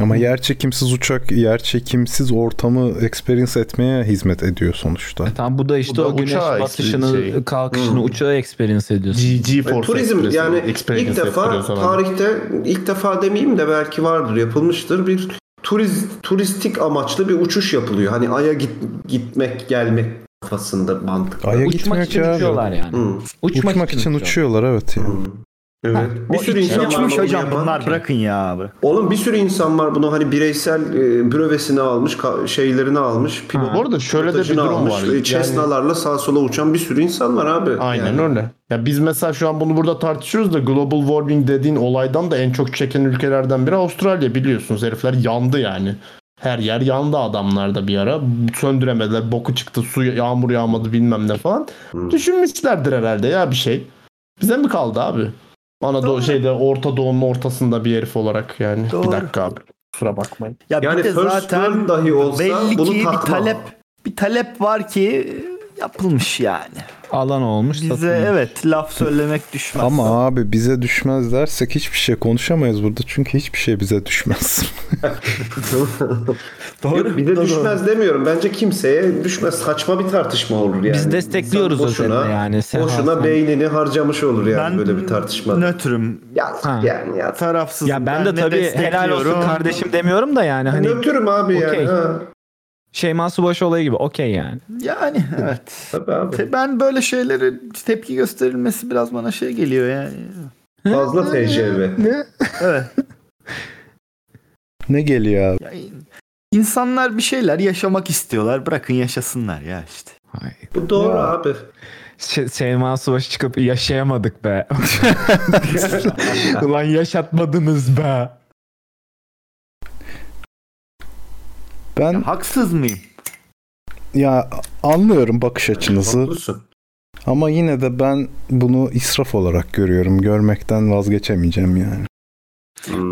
S4: Ama yer çekimsiz uçak, yer çekimsiz ortamı experience etmeye hizmet ediyor sonuçta.
S1: E, Tamam bu da işte
S3: Bu da
S1: o güneş
S3: uçağa
S1: batışını,
S3: şey.
S1: kalkışını,
S2: Hmm.
S1: uçağı experience ediyorsun.
S3: GG
S2: Ve
S3: Force
S2: Hani turizm
S3: Express
S2: yani
S3: Experience
S2: ilk defa
S3: yaptırıyor sana.
S2: tarihte ilk defa demeyeyim de belki vardır yapılmıştır bir turiz, turistik amaçlı bir uçuş yapılıyor. Hani Ay'a git- gitmek gelmek kafasında mantık.
S4: Ay'a
S1: Uçmak
S4: gitmiyor
S1: için
S4: ki abi.
S1: uçuyorlar yani.
S2: Hı,
S4: Uçmak, için
S1: uçuyorlar.
S4: uçuyorlar evet ya.
S2: hı. Evet. bir
S1: o
S2: sürü
S1: içine
S2: insan var
S5: Uçmuş
S2: bunu
S5: hocam
S2: yapan.
S5: bunlar bırakın ya abi.
S2: Oğlum bir sürü insan var bunu hani bireysel e, bürövesini almış, ka- şeylerini almış, pilot
S3: Bu arada şöyle de bir
S2: pilotajını
S3: durum
S2: almış.
S3: var.
S2: e, Cessna'larla sağa sola uçan bir sürü insan var abi.
S3: Aynen
S2: Yani.
S3: öyle. Ya biz mesela şu an bunu burada tartışıyoruz da global warming dediğin olaydan da en çok çeken ülkelerden biri Avustralya biliyorsunuz. Herifler yandı yani. Her yer yandı adamlarda bir ara. Söndüremediler. Boku çıktı. Su yağmur yağmadı bilmem ne falan.
S2: Hı.
S3: Düşünmüşlerdir herhalde ya bir şey. Bize mi kaldı abi? Anadolu şeyde Orta Doğu'nun ortasında bir herif olarak yani.
S5: Doğru.
S3: Bir dakika abi. Kusura bakmayın.
S5: Ya
S2: Yani
S5: bir de
S2: first
S5: zaten
S2: world dahi olsa
S5: belli
S2: bunu
S5: ki bir
S2: takma.
S5: talep bir talep var ki yapılmış yani.
S1: alan olmuş.
S5: Bize
S1: satılmış.
S5: evet laf söylemek düşmez.
S4: Ama abi bize düşmez dersek hiçbir şey konuşamayız burada. Çünkü hiçbir şey bize düşmez.
S2: Yok, bir de düşmez demiyorum. Bence kimseye düşmez. Saçma bir tartışma olur yani.
S1: Biz destekliyoruz
S2: İnsan
S1: özetle yani. Sen
S2: boşuna
S1: Hasan.
S2: beynini harcamış olur yani
S5: Ben
S2: böyle bir tartışma.
S5: Nötrüm.
S2: Yazık
S1: Ha.
S2: yani yazık.
S5: Tarafsız.
S1: Ya ben de tabii helal olsun kardeşim demiyorum da yani hani
S2: Nötrüm abi
S1: Okey.
S2: yani. Ha.
S1: Şeyma Subaşı olayı gibi okey yani.
S5: Yani evet.
S2: Tabii abi.
S5: Te- Ben böyle şeylere tepki gösterilmesi biraz bana şey geliyor yani.
S2: Fazla tecrübe.
S5: Evet.
S4: ne geliyor abi?
S5: Ya, in- insanlar bir şeyler yaşamak istiyorlar. Bırakın yaşasınlar ya işte.
S1: Hayır.
S2: Bu doğru
S4: Ya.
S2: abi.
S1: Şey, Şeyma Subaşı çıkıp yaşayamadık be. Ulan yaşatmadınız be.
S4: Ben
S5: Ya, haksız mıyım?
S4: ya anlıyorum bakış açınızı
S2: Haklısın.
S4: ama yine de ben bunu israf olarak görüyorum. Görmekten vazgeçemeyeceğim yani.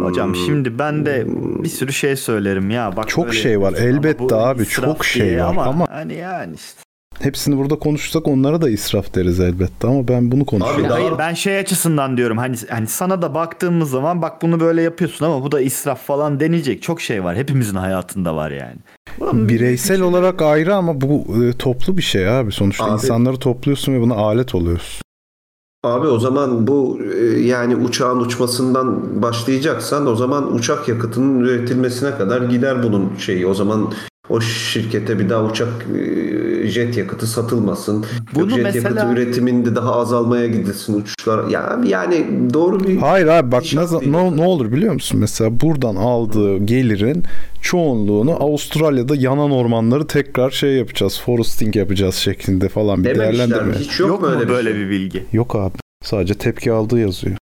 S5: Hocam
S2: Hmm.
S5: şimdi ben de bir sürü şey söylerim ya. Bak
S4: Çok
S5: böyle
S4: şey var,
S5: yapıyorsun ama
S4: elbette
S5: bu
S4: abi,
S5: israf
S4: çok şey
S5: diye
S4: var ama-
S5: hani yani işte.
S4: Hepsini burada konuşsak onlara da israf deriz elbette ama ben bunu konuşuyorum.
S2: Abi daha-
S5: Hayır ben şey açısından diyorum hani hani sana da baktığımız zaman bak bunu böyle yapıyorsun ama bu da israf falan denilecek çok şey var. Hepimizin hayatında var yani. Ulan bir-
S4: Bireysel olarak ayrı ama bu e, toplu bir şey abi. Sonuçta
S2: şey Abi-
S4: insanları topluyorsun ve buna alet oluyorsun.
S2: Abi o zaman bu e, yani uçağın uçmasından başlayacaksan o zaman uçak yakıtının üretilmesine kadar gider bunun şeyi. O zaman o şirkete bir daha uçak e, jet yakıtı satılmasın.
S5: Bunu
S2: Yok, jet
S5: mesela-
S2: yakıtı üretiminde daha azalmaya gidilsin uçuşlar. Ya yani doğru bir
S4: Hayır abi bak
S2: İnşaat
S4: ne,
S2: değil.
S4: ne, ne olur biliyor musun? Mesela buradan aldığı gelirin çoğunluğunu Avustralya'da yanan ormanları tekrar şey yapacağız. Foresting yapacağız şeklinde falan bir
S2: dememişler.
S4: değerlendirme.
S2: mi? Hiç
S5: yok,
S2: yok,
S5: mu böyle,
S2: bir şey?
S5: bir bilgi?
S4: Yok abi. Sadece tepki aldığı yazıyor.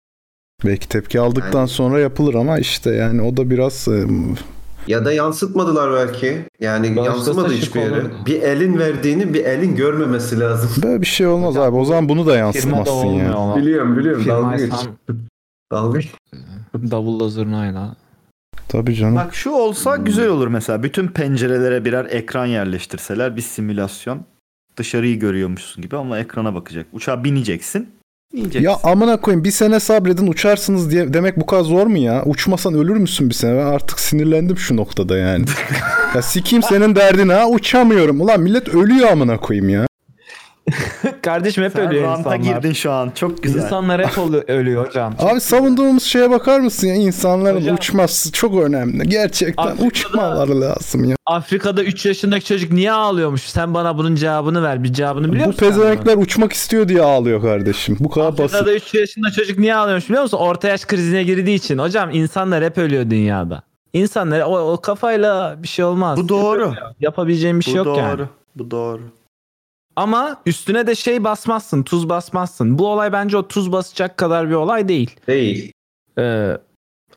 S4: Belki tepki aldıktan
S2: Yani-
S4: sonra yapılır ama işte yani o da biraz e,
S2: Ya da yansıtmadılar belki. Yani
S1: Başta
S2: yansımadı
S1: saçık
S2: hiçbir yere.
S1: olmadı.
S2: Bir elin verdiğini bir elin görmemesi lazım.
S4: böyle bir şey olmaz abi. O zaman bunu da
S1: Firma da
S4: yansıtmazsın
S1: olmuyor
S4: yani.
S1: ama.
S2: Biliyorum biliyorum. Dalga
S1: Firma
S2: geç.
S1: Hasan
S2: Dalga geç.
S1: davulla zurnayla.
S4: Tabii canım.
S5: Bak şu olsa
S4: Hmm.
S5: güzel olur mesela. Bütün pencerelere birer ekran yerleştirseler bir simülasyon. Dışarıyı görüyormuşsun gibi ama ekrana bakacak. Uçağa bineceksin. ineceksin.
S4: Ya amına koyayım bir sene sabredin uçarsınız diye demek bu kadar zor mu ya? Uçmasan ölür müsün bir sene? Ben artık sinirlendim şu noktada yani. ya sikeyim senin derdin ha uçamıyorum. Ulan millet ölüyor amına koyayım ya.
S1: Kardeşim hep
S5: Sen
S1: ölüyor
S5: ranta
S1: insanlar.
S5: girdin şu an. Çok güzel.
S1: İnsanlar hep olu- ölüyor hocam.
S4: Abi savunduğumuz şeye bakar mısın ya? İnsanların
S1: Hocam-
S4: uçması çok önemli. Gerçekten
S1: Afrika'da-
S4: uçmaları lazım ya.
S1: Afrika'da 3 yaşındaki çocuk niye ağlıyormuş? Sen bana bunun cevabını ver. Bir cevabını biliyor
S4: Bu
S1: musun? sen bunun?
S4: pezevenkler uçmak istiyor diye ağlıyor kardeşim. Bu kadar basit.
S1: Afrika'da 3 yaşında çocuk niye ağlıyormuş biliyor musun? Orta yaş krizine girdiği için. Hocam insanlar hep ölüyor dünyada. İnsanlar o, o kafayla bir şey olmaz.
S5: Bu doğru.
S1: Yapabileceğim bir şey
S5: Bu
S1: yok
S5: doğru.
S1: yani.
S5: Bu doğru.
S1: Ama üstüne de şey basmazsın, tuz basmazsın. Bu olay bence o tuz basacak kadar bir olay değil.
S2: Değil.
S1: Ee,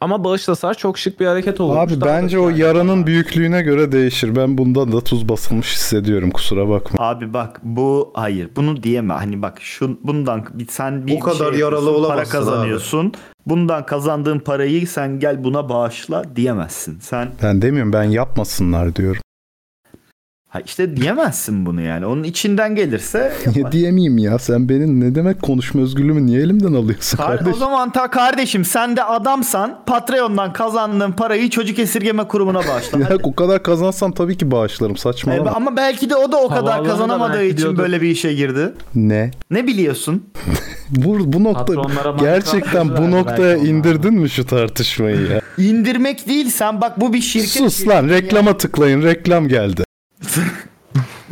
S1: ama bağışlasalar çok şık bir hareket olur.
S4: Abi bence o yaranın büyüklüğüne göre değişir. Ben bundan da tuz basılmış hissediyorum kusura bakma.
S5: Abi bak bu hayır bunu diyeme. Hani bak şu bundan bir sen bir
S2: O kadar yaralı
S5: şey yapıyorsun, para
S2: olamazsın abi.
S5: kazanıyorsun. Bundan kazandığın parayı sen gel buna bağışla diyemezsin. Sen
S4: Ben demiyorum ben yapmasınlar diyorum.
S5: ha işte diyemezsin bunu yani. Onun içinden gelirse
S4: Ya diyemeyeyim ya sen benim ne demek konuşma özgürlüğümü niye elimden alıyorsun
S5: Kar- o
S4: kardeşim?
S5: zaman ta kardeşim sen de adamsan Patreon'dan kazandığın parayı çocuk esirgeme kurumuna bağışla.
S4: Ya
S5: Hadi.
S4: o kadar kazansam tabii ki bağışlarım
S5: E,
S4: saçmalama.
S5: ama belki de o da o kadar
S1: Havaalanı da
S5: kazanamadığı
S1: belki
S5: için
S1: diyordur.
S5: böyle bir işe girdi.
S4: Ne?
S5: Ne biliyorsun?
S4: Bu, bu nokta
S1: Patronlara banka
S4: gerçekten
S1: verdi
S4: bu
S1: belki
S4: noktaya
S1: onlar.
S4: indirdin mi şu tartışmayı ya?
S5: İndirmek değil sen bak bu bir şirket.
S4: Sus lan reklama tıklayın reklam geldi.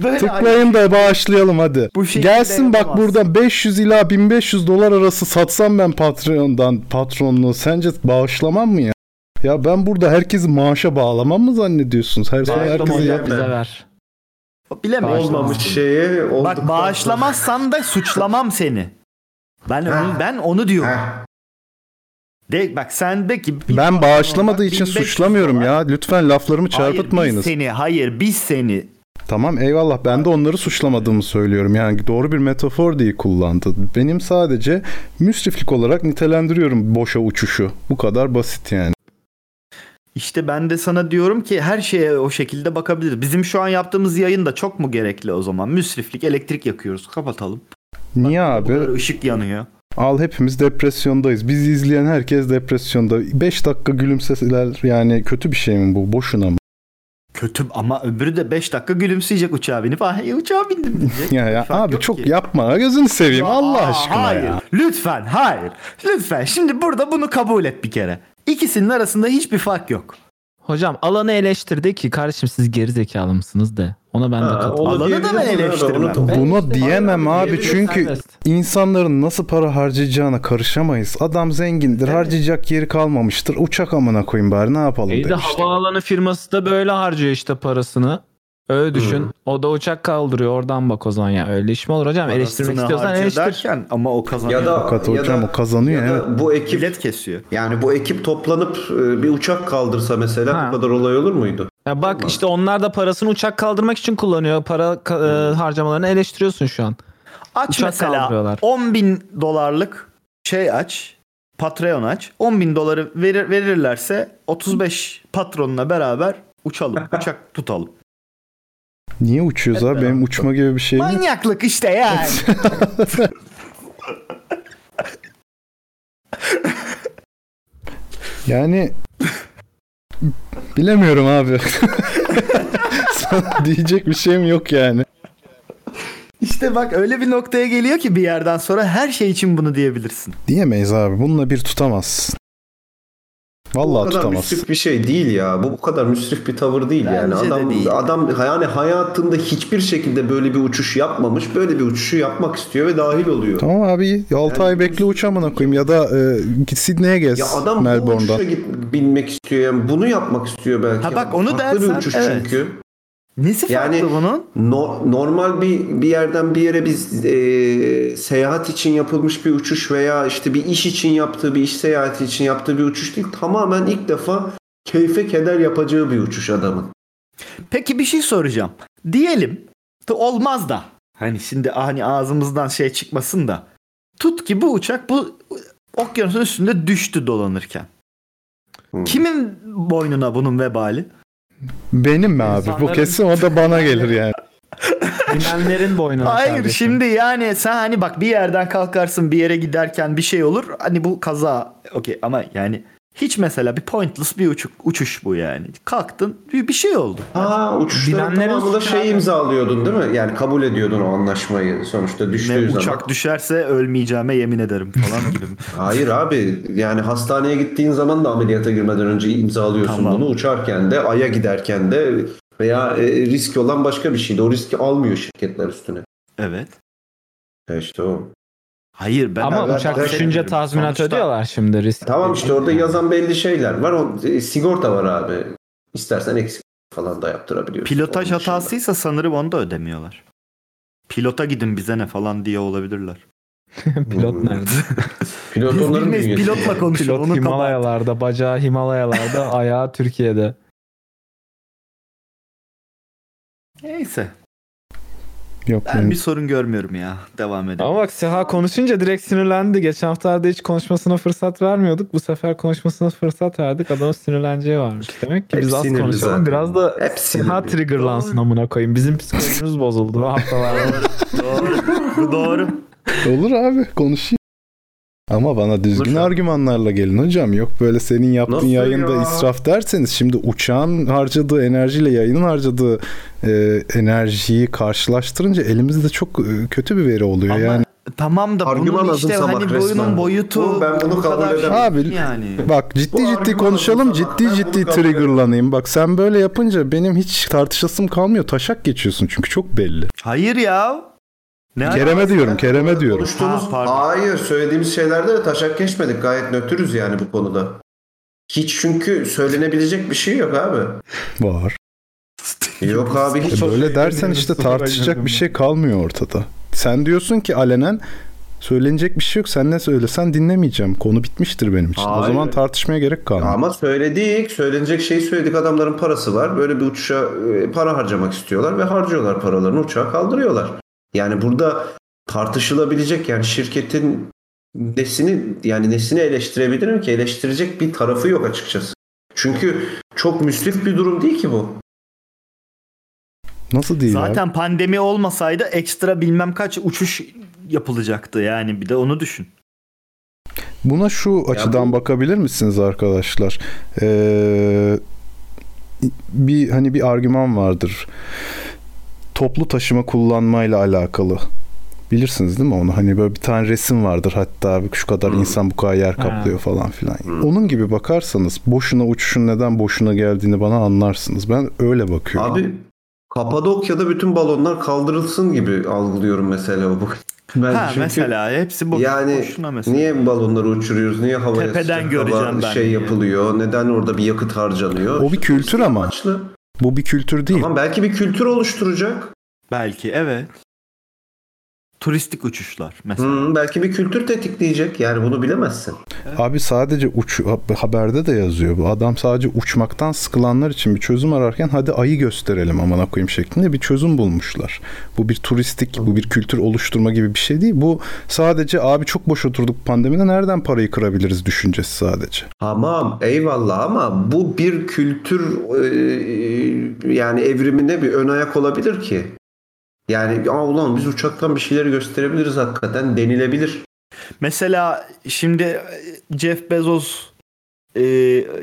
S5: Böyle
S4: Tıklayın da bağışlayalım hadi.
S5: Bu şekilde
S4: Gelsin bak
S5: yapamazsın.
S4: burada 500 ila 1500 dolar arası satsam ben Patreon'dan patronluğu sence bağışlamam mı ya? Ya ben burada herkesi maaşa bağlamam mı zannediyorsunuz? Her sene herkese
S2: hocam.
S4: yap-
S1: bize ver.
S5: Bilemem.
S1: Bağışlamam.
S2: Olmamış şeye olduktan
S5: Bak
S2: sonra-
S5: bağışlamazsan da suçlamam seni. Ben onu, ben onu diyorum.
S2: Heh.
S5: De, bak sendeki
S4: Ben bağışlamadığı için
S5: 1500
S4: suçlamıyorum
S5: dolar.
S4: ya. Lütfen laflarımı
S5: Hayır, biz
S4: çarpıtmayınız.
S5: seni hayır biz seni
S4: Tamam eyvallah ben de onları suçlamadığımı söylüyorum. Yani doğru bir metafor diye kullandı. Benim sadece müsriflik olarak nitelendiriyorum boşa uçuşu. Bu kadar basit yani.
S5: İşte ben de sana diyorum ki her şeye o şekilde bakabiliriz. Bizim şu an yaptığımız yayın da çok mu gerekli o zaman? Müsriflik, elektrik yakıyoruz. Kapatalım.
S4: Niye abi?
S5: Böyle ışık yanıyor.
S4: Al hepimiz depresyondayız. Bizi izleyen herkes depresyonda. 5 dakika gülümseseler yani kötü bir şey mi bu? Boşuna mı?
S5: Kötü ama öbürü de 5 dakika gülümseyecek uçağa binip ah iyi uçağa bindim diyecek.
S4: Ya, ya
S5: Bir fark
S4: abi
S5: yok
S4: çok
S5: ki.
S4: yapma. Gözünü seveyim Allah
S5: Aa,
S4: aşkına
S5: hayır.
S4: ya.
S5: Lütfen hayır. Lütfen şimdi burada bunu kabul et bir kere. İkisinin arasında hiçbir fark yok.
S1: Hocam alanı eleştirdi ki kardeşim siz geri zekalı mısınız de. Ona ben de
S2: Ha,
S1: katılıyorum.
S2: onu
S5: Alanı da
S2: diyebiliriz
S5: ben
S2: ona da,
S5: eleştirmem.
S2: onu da-
S4: Buna
S1: işte-
S4: diyemem
S1: Hayır
S4: abi,
S1: diyebiliriz,
S4: çünkü-
S1: serbest.
S4: İnsanların nasıl para harcayacağına karışamayız. Adam zengindir. Harcayacak yeri kalmamıştır. Uçak amına koyayım bari ne yapalım
S1: İyi de
S4: demiştim.
S1: havaalanı firması da böyle harcıyor işte parasını. Öyle düşün. O da uçak kaldırıyor. Oradan bak o zaman ya. Öyle iş mi olur hocam? Eleştirmek
S5: Parasını
S1: istiyorsan
S5: harcıyor
S1: eleştir.
S5: derken ama o kazanıyor.
S2: Ya da
S4: Fakat
S2: ya
S4: hocam
S2: da-
S4: o kazanıyor,
S2: ya da Bu ekip
S5: bilet kesiyor.
S2: yani bu ekip toplanıp e, bir uçak kaldırsa mesela
S1: Ha.
S2: bu kadar olay olur muydu?
S1: Ya bak işte onlar da parasını uçak kaldırmak için kullanıyor. Para ka- e, harcamalarını eleştiriyorsun şu an.
S5: Aç
S1: Uçak
S5: mesela
S1: kaldırıyorlar.
S5: 10 bin dolarlık şey aç. Patreon aç. 10 bin doları verir, verirlerse 35 patronla beraber uçalım. Uçak tutalım.
S4: Niye uçuyoruz abi? Benim uçma gibi bir şeyim yok.
S5: Manyaklık işte yani.
S4: Yani bilemiyorum abi. Sana diyecek bir şeyim yok yani.
S5: işte bak öyle bir noktaya geliyor ki bir yerden sonra her şey için bunu diyebilirsin.
S4: Diyemeyiz abi. Bununla bir tutamazsın.
S2: Bu
S4: Vallahi
S2: kadar
S4: tutamazsın.
S2: müsrif bir şey değil ya. Bu bu kadar müsrif bir tavır değil yani.
S5: Bence de
S2: Adam
S5: değil.
S2: adam yani hayatında hiçbir şekilde böyle bir uçuş yapmamış. Böyle bir uçuşu yapmak istiyor ve dahil oluyor.
S4: Tamam abi 6 ay bekle uç amına koyayım ya da e, git Sydney'e gez
S2: Ya adam bu
S4: Melbourne'dan.
S2: uçuşa git, binmek istiyor. Yani bunu yapmak istiyor belki.
S5: Ha bak onu
S2: Farklı bir
S5: dersen,
S2: uçuş
S5: evet.
S2: çünkü.
S5: Nesi
S2: Yani-
S5: farklı bunun?
S2: No- normal bir bir yerden bir yere biz e, seyahat için yapılmış bir uçuş veya işte bir iş için yaptığı bir iş seyahati için yaptığı bir uçuş değil. Tamamen ilk defa keyfe keder yapacağı bir uçuş adamın.
S5: Peki bir şey soracağım. Diyelim da olmaz da. Hani şimdi hani ağzımızdan şey çıkmasın da. Tut ki bu uçak bu okyanusun üstünde düştü dolanırken.
S2: Hmm.
S5: Kimin boynuna bunun vebali?
S4: Benim mi abi? Bu
S1: İnsanların-
S4: kesin o da bana gelir yani.
S1: Bilenlerin boynuna
S5: Hayır
S1: kardeşim.
S5: şimdi yani sen hani bak bir yerden kalkarsın bir yere giderken bir şey olur. Hani bu kaza okey ama yani hiç mesela bir pointless bir uçuk, uçuş bu yani. Kalktın bir bir şey oldu.
S2: Ha uçuşların
S1: Bilenlerin
S2: tamamında
S1: suçu
S2: şey
S1: abi.
S2: imzalıyordun değil mi? Yani kabul ediyordun o anlaşmayı sonuçta
S5: Ne
S2: düştüğü zaman.
S5: uçak düşerse ölmeyeceğime yemin ederim falan gibi.
S2: Hayır abi yani hastaneye gittiğin zaman da ameliyata girmeden önce imzalıyorsun
S5: Tamam.
S2: bunu. Uçarken de aya giderken de veya e, riski olan başka bir şey de o riski almıyor şirketler üstüne.
S5: evet.
S2: E işte o.
S5: Hayır ben
S1: Ama
S2: ben
S1: uçak
S2: bahsetmiyorum.
S1: düşünce tazminat
S5: Sonuçta-
S1: ödüyorlar şimdi risk.
S2: Tamam işte orada yazan belli şeyler var. O e, sigorta var abi. İstersen eksik falan da yaptırabiliyorsun.
S5: Pilotaj
S2: Onun dışında.
S5: hatasıysa sanırım onu da ödemiyorlar. Pilota gidin bize ne falan diye olabilirler.
S1: Pilot nerede?
S2: Pilot
S5: Biz
S2: onların
S5: bilmeyiz
S2: bünyesinde.
S5: pilotla konuşalım.
S1: Pilot
S5: onu kapat.
S1: Himalayalarda, bacağı Himalayalarda, ayağı Türkiye'de.
S5: Neyse.
S4: Yok
S5: Ben
S4: benim.
S5: bir sorun görmüyorum ya. Devam edelim.
S1: Ama bak Seha konuşunca direkt sinirlendi. Geçen haftalarda hiç konuşmasına fırsat vermiyorduk. Bu sefer konuşmasına fırsat verdik. Adamın sinirleneceği varmış. Demek ki
S2: Hep
S1: biz az
S2: sinirli
S1: konuşalım.
S2: zaten.
S1: Biraz da
S2: Hep
S1: Seha
S2: sinirli.
S1: triggerlansın amına koyayım. Bizim psikolojimiz bozuldu bu haftalarda.
S5: Doğru. Bu doğru.
S4: Olur abi konuşayım. Ama bana düzgün
S2: Konuşalım.
S4: argümanlarla gelin hocam. Yok böyle senin yaptığın
S2: Nasıl
S4: yayında
S2: ya?
S4: israf derseniz şimdi uçağın harcadığı enerjiyle yayının harcadığı e, enerjiyi karşılaştırınca elimizde çok e, kötü bir veri oluyor
S5: Ama
S4: yani.
S5: tamam da
S2: Argüman
S5: bunun
S2: azın
S5: işte
S2: sabah
S5: hani
S2: resmen.
S5: boyunun boyutu
S2: Bu- ben bunu
S5: bu
S2: kabul
S5: kadar şey
S2: edemem.
S4: Abi-
S5: yani.
S4: Bak ciddi
S2: Bu
S4: ciddi
S2: argüman
S4: konuşalım
S2: olsun
S4: ciddi
S2: sana. Ben
S4: ciddi
S2: bunu kabul ediyorum.
S4: triggerlanayım. Bak sen böyle yapınca benim hiç tartışasım kalmıyor. Taşak geçiyorsun çünkü çok belli.
S5: Hayır ya. Ne
S4: Kerem'e diyorum Kerem'e diyorum.
S2: Konuştuğumuz,
S5: Ha, pardon.
S2: hayır söylediğimiz şeylerde de taşak geçmedik. Gayet nötrüz yani bu konuda. Hiç çünkü söylenebilecek bir şey yok abi.
S4: Var.
S2: Yok abi hiç.
S4: E böyle dersen işte tartışacak bir şey kalmıyor ortada. Sen diyorsun ki alenen söylenecek bir şey yok. Sen ne söylesen dinlemeyeceğim. Konu bitmiştir benim için. O
S2: Hayır.
S4: zaman tartışmaya gerek kalmıyor.
S2: Ama söyledik, söylenecek şeyi söyledik. Adamların parası var. Böyle bir uçuşa e, para harcamak istiyorlar ve harcıyorlar paralarını uçağa kaldırıyorlar. Yani burada tartışılabilecek yani şirketin nesini yani nesini eleştirebilirim ki eleştirecek bir tarafı yok açıkçası. Çünkü çok müsrif bir durum değil ki bu.
S4: Nasıl değil abi?
S5: Zaten pandemi olmasaydı ekstra bilmem kaç uçuş yapılacaktı yani bir de onu düşün.
S4: Buna şu açıdan
S2: bu-
S4: bakabilir misiniz arkadaşlar? Ee, bir hani bir argüman vardır. Toplu taşıma kullanmayla alakalı. Bilirsiniz değil mi onu? Hani böyle bir tane resim vardır hatta şu kadar insan bu kadar yer kaplıyor falan filan. Onun gibi bakarsanız boşuna uçuşun neden boşuna geldiğini bana anlarsınız. Ben öyle bakıyorum.
S2: Abi Kapadokya'da bütün balonlar kaldırılsın gibi algılıyorum mesela bu. Ben
S5: ha
S2: çünkü
S5: mesela hepsi bu.
S2: yani
S5: boşuna mesela.
S2: niye balonları uçuruyoruz? Niye havaya
S5: Tepeden
S2: sıcak hava
S5: göreceğim ben
S2: şey
S5: diye.
S2: yapılıyor? Neden orada bir yakıt harcanıyor?
S4: O bir kültür ama.
S2: Amaçlı.
S4: Bu bir kültür değil.
S2: Tamam belki bir kültür oluşturacak.
S5: Belki evet. Turistik uçuşlar mesela.
S2: Hmm, belki bir kültür tetikleyecek. Yani bunu bilemezsin.
S4: Abi sadece uç haberde de yazıyor bu. Adam sadece uçmaktan sıkılanlar için bir çözüm ararken hadi ayı gösterelim amına koyayım şeklinde bir çözüm bulmuşlar. Bu bir turistik, bu bir kültür oluşturma gibi bir şey değil. Bu sadece abi çok boş oturduk pandemide nereden parayı kırabiliriz düşüncesi sadece.
S2: Tamam eyvallah ama bu bir kültür e, yani evrimine bir ön ayak olabilir ki. Yani Aa, ulan biz uçaktan bir şeyleri gösterebiliriz hakikaten denilebilir.
S5: Mesela şimdi e, Jeff Bezos e,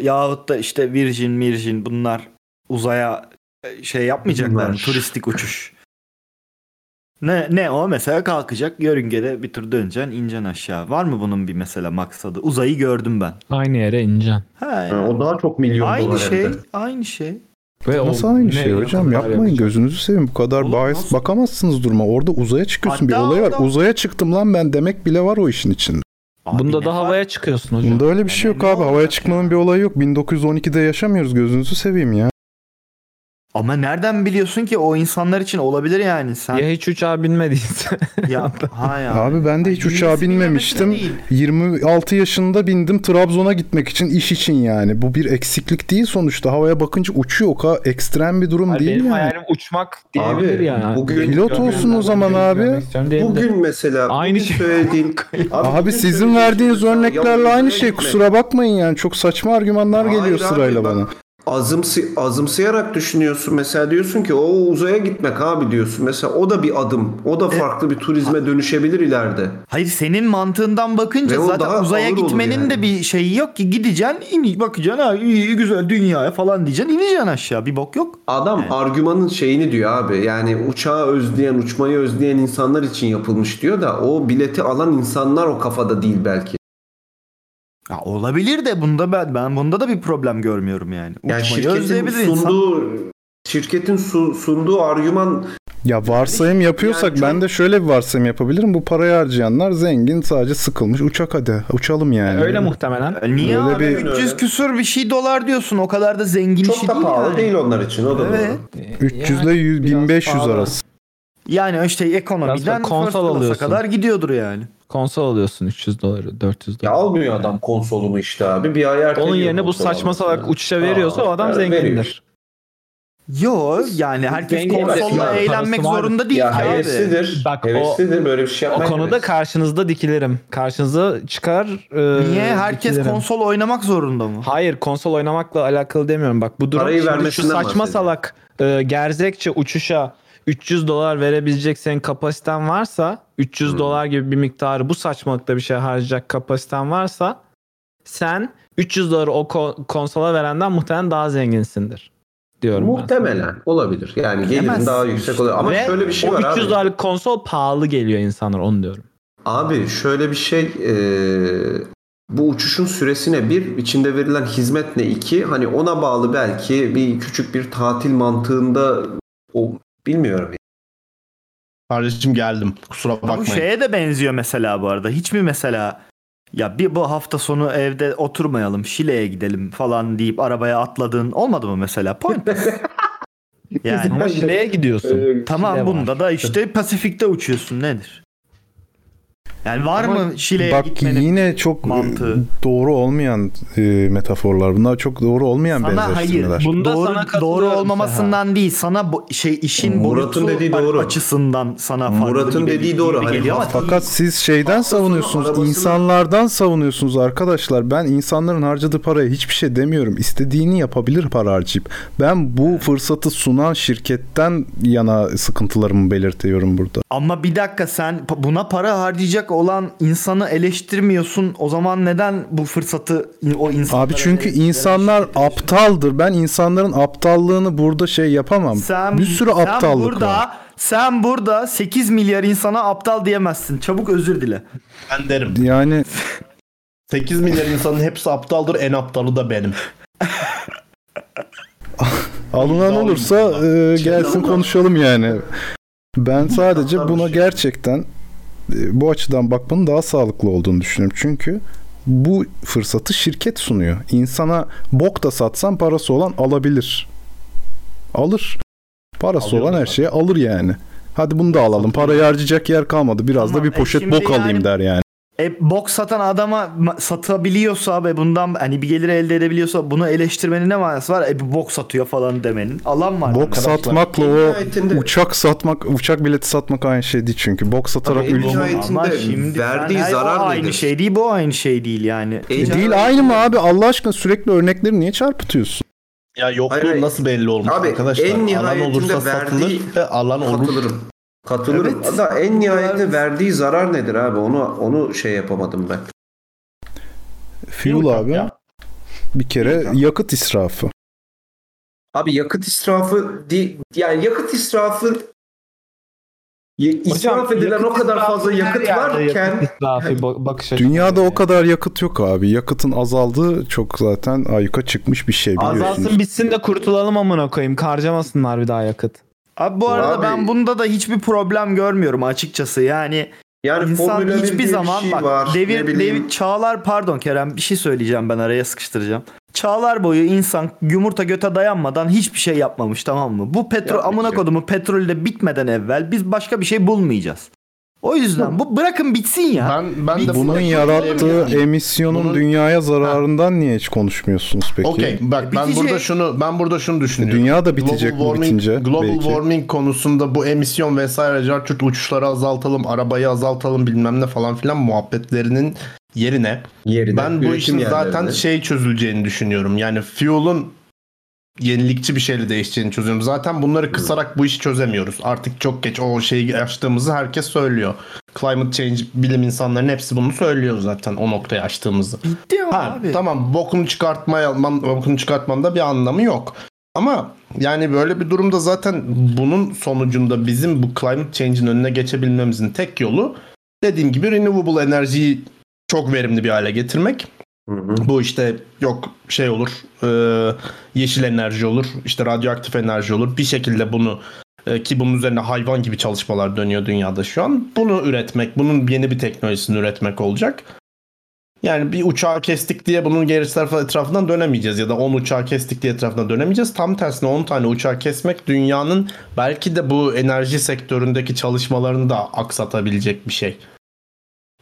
S5: yahut da işte Virgin Virgin bunlar uzaya e, şey yapmayacaklar mı?
S2: Bunlar.
S5: Turistik uçuş. Ne, ne o mesela kalkacak yörüngede bir tur döneceksin ineceksin aşağı. Var mı bunun bir mesela maksadı? Uzayı gördüm ben.
S1: Aynı yere ineceksin.
S5: Ha,
S2: Ha, o daha çok milyon
S5: aynı
S2: dolar hem de.
S5: şey, aynı şey.
S1: Ve
S4: Nasıl
S1: o
S4: aynı
S1: ne-
S4: şey hocam
S1: kadar
S4: yapmayın
S1: yakacak?
S4: gözünüzü seveyim bu kadar
S5: Oğlum
S4: bahis
S5: nasıl-
S4: bakamazsınız duruma orada uzaya çıkıyorsun
S5: Hatta
S4: bir olay var
S5: orada-
S4: uzaya çıktım lan ben demek bile var o işin içinde.
S5: Abi
S1: Bunda
S5: ne
S1: da
S5: fark-
S1: havaya çıkıyorsun hocam.
S4: Bunda öyle bir şey
S5: Yani
S4: yok
S5: ne
S4: abi havaya
S5: olacak
S4: çıkmanın bir olayı yok 1912'de yaşamıyoruz gözünüzü seveyim ya.
S5: Ama nereden biliyorsun ki o insanlar için olabilir yani sen
S1: Ya hiç uçağa binmediyse.
S5: ya ha ya.
S4: Abi ben de hiç uçağa binmemiştim. 26 yaşında bindim Trabzon'a gitmek için iş için yani. Bu bir eksiklik değil sonuçta. Havaya bakınca uçuyor. O kadar ekstrem bir durum
S1: Abi
S4: değil
S1: benim
S4: yani.
S1: hayalim uçmak diyebilir
S2: Abi,
S1: yani.
S2: bugün-
S4: Pilot olsun o zaman abi.
S1: Bugün
S2: Bugün mesela
S1: Aynı
S2: aynı
S1: şey.
S2: söylediğin
S4: Abi
S2: bugün
S4: sizin
S2: söylediğin
S4: verdiğiniz
S2: mesela
S4: örneklerle
S2: yalan
S4: aynı
S2: dünyaya
S4: şey.
S2: gitme.
S4: Kusura bakmayın yani. Çok saçma argümanlar
S2: Hayır
S4: geliyor
S2: abi,
S4: sırayla
S2: bak-
S4: bana.
S2: Azımsı, azımsayarak düşünüyorsun mesela diyorsun ki o uzaya gitmek abi diyorsun mesela o da bir adım o
S5: E,
S2: da farklı bir turizme dönüşebilir ileride.
S5: Hayır senin mantığından bakınca
S2: Ve o
S5: zaten
S2: daha
S5: uzaya
S2: ağır olur
S5: gitmenin
S2: yani.
S5: de bir şeyi yok ki gideceksin in bakacaksın ha iyi güzel dünyaya falan diyeceksin ineceksin aşağı bir bok yok.
S2: Adam argümanın şeyini diyor abi yani uçağı özleyen uçmayı özleyen insanlar için yapılmış diyor da o bileti alan insanlar o kafada değil belki.
S5: Ya olabilir de bunda ben ben bunda da bir problem görmüyorum yani.
S2: Yani
S5: Uçmayı
S2: şirketin
S5: özleyebilir insan.
S2: sunduğu şirketin su- sunduğu argüman
S4: Ya varsayım yapıyorsak
S2: yani çok-
S4: ben de şöyle bir varsayım yapabilirim. Bu parayı harcayanlar zengin sadece sıkılmış. Uçak hadi. Uçalım yani.
S1: öyle muhtemelen.
S5: E, Niye
S4: Böyle
S5: abi
S4: bir-
S5: 300 küsür bir şey dolar diyorsun o kadar da zengin
S2: çok
S5: işi
S2: da
S5: şey değil
S2: pahalı
S5: yani.
S2: değil onlar için o da doğru.
S5: Evet.
S4: 300 ile 100,
S1: biraz
S4: 1500
S1: pahalı.
S4: arası.
S5: Yani işte
S1: Biraz da
S5: ekonomiden
S1: konsol
S5: first class'a
S1: alıyorsun.
S5: kadar gidiyordur yani.
S1: Konsol alıyorsun 300 doları 400
S2: Ya
S1: dolar.
S2: almıyor adam konsolunu işte abi bir ay erteliyor
S1: Onun yerine bu
S2: konsol
S1: saçma
S2: almasını.
S1: salak uçuşa veriyorsa o adam
S2: Aa, veriyor.
S1: zengindir.
S5: Yo yani herkes
S1: Zengin
S5: konsolla
S2: evet.
S5: eğlenmek
S1: Parası var.
S5: zorunda değil
S2: Ya
S5: ki abi.
S2: heveslidir.
S1: Bak,
S2: heveslidir böyle bir şey
S1: O
S2: yapmak.
S1: konuda karşınızda dikilirim. Karşınıza çıkar. e,
S5: Niye herkes
S1: dikilirim.
S5: konsol oynamak zorunda mı?
S1: Hayır konsol oynamakla alakalı demiyorum. Bak bu durum
S2: Parayı
S1: şimdi şu
S2: vermesinden
S1: saçma
S2: bahsediyor.
S1: salak e, gerzekçe uçuşa 300 dolar verebilecek senin kapasiten varsa 300
S2: Hmm.
S1: dolar gibi bir miktarı bu saçmalıkta bir şey harcayacak kapasiten varsa sen 300 doları o ko- konsola verenden muhtemelen daha zenginsindir diyorum ben.
S2: Muhtemelen olabilir. Yani gelirin
S5: Bilemezsin
S2: daha yüksek olur. Ama
S1: Ve
S2: şöyle bir şey
S1: o
S2: var
S1: 300
S2: abi.
S1: dolarlık konsol pahalı geliyor insanlar onu diyorum.
S2: Abi şöyle bir şey eee, bu uçuşun süresine bir içinde verilen hizmetle iki hani ona bağlı belki bir küçük bir tatil mantığında o bilmiyorum.
S3: Kardeşim geldim. Kusura
S5: Bu şey-
S3: bakmayın.
S5: şeye de benziyor mesela bu arada. Hiç mi mesela ya bir bu hafta sonu evde oturmayalım Şile'ye gidelim falan deyip arabaya atladın olmadı mı mesela? Point. yani
S1: Ama Şile'ye gidiyorsun.
S2: Eee,
S5: tamam
S1: Şile var.
S5: bunda da işte Pasifik'te uçuyorsun nedir? Yani var
S4: Ama
S5: mı Şile'ye
S4: Bak
S5: gitmenin?
S4: yine çok e,
S5: mantığı?
S4: doğru olmayan e, metaforlar. Bunlar çok doğru olmayan
S5: Sana hayır.
S4: benzeştirmeler.
S1: Bunda
S5: doğru,
S1: sana katılıyorum
S5: doğru olmamasından değil. Sana bu, şey işin
S2: Murat'ın
S5: boyutu
S2: dediği doğru.
S5: açısından sana farklı
S2: Murat'ın
S5: gibi-
S2: dediği doğru.
S5: gibi
S2: Hani
S5: geliyor ama
S4: Fakat siz şeyden savunuyorsunuz,
S2: arabasını-
S4: insanlardan savunuyorsunuz arkadaşlar. Ben insanların harcadığı paraya hiçbir şey demiyorum. İstediğini yapabilir para harcayıp. Ben bu fırsatı sunan şirketten yana sıkıntılarımı belirtiyorum burada.
S5: Ama bir dakika sen pa- buna para harcayacak olan insanı eleştirmiyorsun. O zaman neden bu fırsatı o insanlara
S4: Abi çünkü
S5: eleştiren-
S4: insanlar aptaldır. Ben insanların aptallığını burada şey yapamam.
S5: sen,
S4: bir sürü
S5: sen
S4: aptallık
S5: burada,
S4: var.
S5: Sen burada 8 milyar insana aptal diyemezsin. Çabuk özür dile.
S3: Ben derim.
S4: Yani
S3: 8 milyar insanın hepsi aptaldır. En aptalı da benim.
S4: Alınan
S3: Daha
S4: olursa
S3: uygun.
S4: e, gelsin konuşalım yani. Ben sadece
S3: şey-
S4: buna gerçekten e, bu açıdan bakmanın daha sağlıklı olduğunu düşünüyorum. Çünkü bu fırsatı şirket sunuyor. İnsana bok da satsan parası olan alabilir. Alır. Parası
S3: Alıyor
S4: olan her
S3: zaten.
S4: şeyi alır yani. Hadi bunu da alalım. Parayı harcayacak yer kalmadı. Biraz
S5: Tamam,
S4: da bir
S5: e
S4: poşet
S5: şimdi
S4: bok alayım
S5: yani-
S4: der yani.
S5: E, bok satan adama ma- satabiliyorsa ve bundan hani bir gelir elde edebiliyorsa bunu eleştirmenin ne manası var? E bu bok satıyor falan demenin. Alan var.
S4: Bok
S3: arkadaşlar.
S4: satmakla o
S2: Nihayetinde-
S4: uçak satmak, uçak bileti satmak aynı şey değil çünkü. Bok satarak
S2: Tabii,
S4: ülke
S5: Ama
S2: Nihayetinde
S5: şimdi
S2: verdiği
S5: sen-
S2: zarar
S5: o aynı
S2: nedir?
S5: şey değil bu aynı şey değil yani.
S2: E,
S4: E değil aynı mı abi? Allah aşkına sürekli örnekleri niye çarpıtıyorsun?
S3: Ya yokluğun
S2: Hayır, hayır.
S3: nasıl belli olmuş
S2: Abi,
S3: arkadaşlar?
S2: en
S3: alan
S2: nihayetinde
S3: olursa
S2: verdiği-
S3: satılır ve alan olur.
S2: Katılırım. Katılırım.
S5: Evet.
S2: Da en nihayetinde verdiği zarar nedir abi? Onu onu şey yapamadım ben.
S4: Fuel abi
S3: Ya.
S4: bir kere yakıt israfı.
S2: Abi yakıt israfı değil. Yani yakıt israfı y- israf edilen o
S1: yakıt
S2: kadar
S1: israfı
S2: fazla
S1: her
S2: yakıt
S1: yerde
S2: varken
S1: yakıt israfı ba- bakış açısı.
S4: Dünyada o kadar yakıt yok abi. Yakıtın azaldığı çok zaten ayyuka çıkmış bir şey biliyorsunuz.
S1: Azalsın bitsin de kurtulalım amına koyayım. Karcamasınlar bir daha yakıt.
S5: Abi bu arada
S2: Abi-
S5: ben bunda da hiçbir problem görmüyorum açıkçası. Yani
S2: yani
S5: insan
S2: Formula 1 diye
S5: hiçbir
S2: bir
S5: zaman
S2: şey
S5: bak
S2: var. ne
S5: devir
S2: bileyim.
S5: devir çağlar pardon Kerem bir şey söyleyeceğim ben araya sıkıştıracağım. Çağlar boyu insan yumurta göte dayanmadan hiçbir şey yapmamış tamam mı? Bu petrol
S2: Yapmayacak.
S5: amına kodumu petrol de bitmeden evvel biz başka bir şey bulmayacağız. O yüzden bu bırakın bitsin ya.
S3: Ben, ben de
S4: Bunun yarattığı emisyonun
S3: Bunun-
S4: dünyaya zararından niye hiç konuşmuyorsunuz peki?
S3: Okey bak ben
S5: Bitecek.
S3: burada şunu ben burada şunu düşünüyorum.
S4: Dünya da bitecek bu
S3: warming,
S4: bitince
S3: Global
S4: belki.
S3: warming konusunda bu emisyon vesaire cartürt uçuşları azaltalım, arabayı azaltalım bilmem ne falan filan muhabbetlerinin yerine
S2: Yerine,
S3: ben bu
S2: üretim
S3: işin zaten
S2: yerlerine.
S3: şey çözüleceğini düşünüyorum. Yani fuel'un yenilikçi bir şeyle değişeceğini çözüyorum. Zaten bunları kısarak bu işi çözemiyoruz. Artık çok geç o şeyi açtığımızı herkes söylüyor. Climate change bilim insanların hepsi bunu söylüyor zaten o noktayı açtığımızı.
S5: Bitti ama
S3: Ha,
S5: abi.
S3: tamam bokunu çıkartmaya bokunu çıkartmanda bir anlamı yok. Ama yani böyle bir durumda zaten bunun sonucunda bizim bu climate change'in önüne geçebilmemizin tek yolu dediğim gibi renewable enerjiyi çok verimli bir hale getirmek.
S2: Hı hı.
S3: Bu işte yok şey olur, e, yeşil enerji olur, işte radyoaktif enerji olur. Bir şekilde bunu e, ki bunun üzerine hayvan gibi çalışmalar dönüyor dünyada şu an. Bunu üretmek, bunun yeni bir teknolojisini üretmek olacak. Yani bir uçağı kestik diye bunun geri tarafa etrafından dönemeyeceğiz ya da 10 uçağı kestik diye etrafından dönemeyeceğiz. Tam tersine 10 tane uçağı kesmek dünyanın belki de bu enerji sektöründeki çalışmalarını da aksatabilecek bir şey.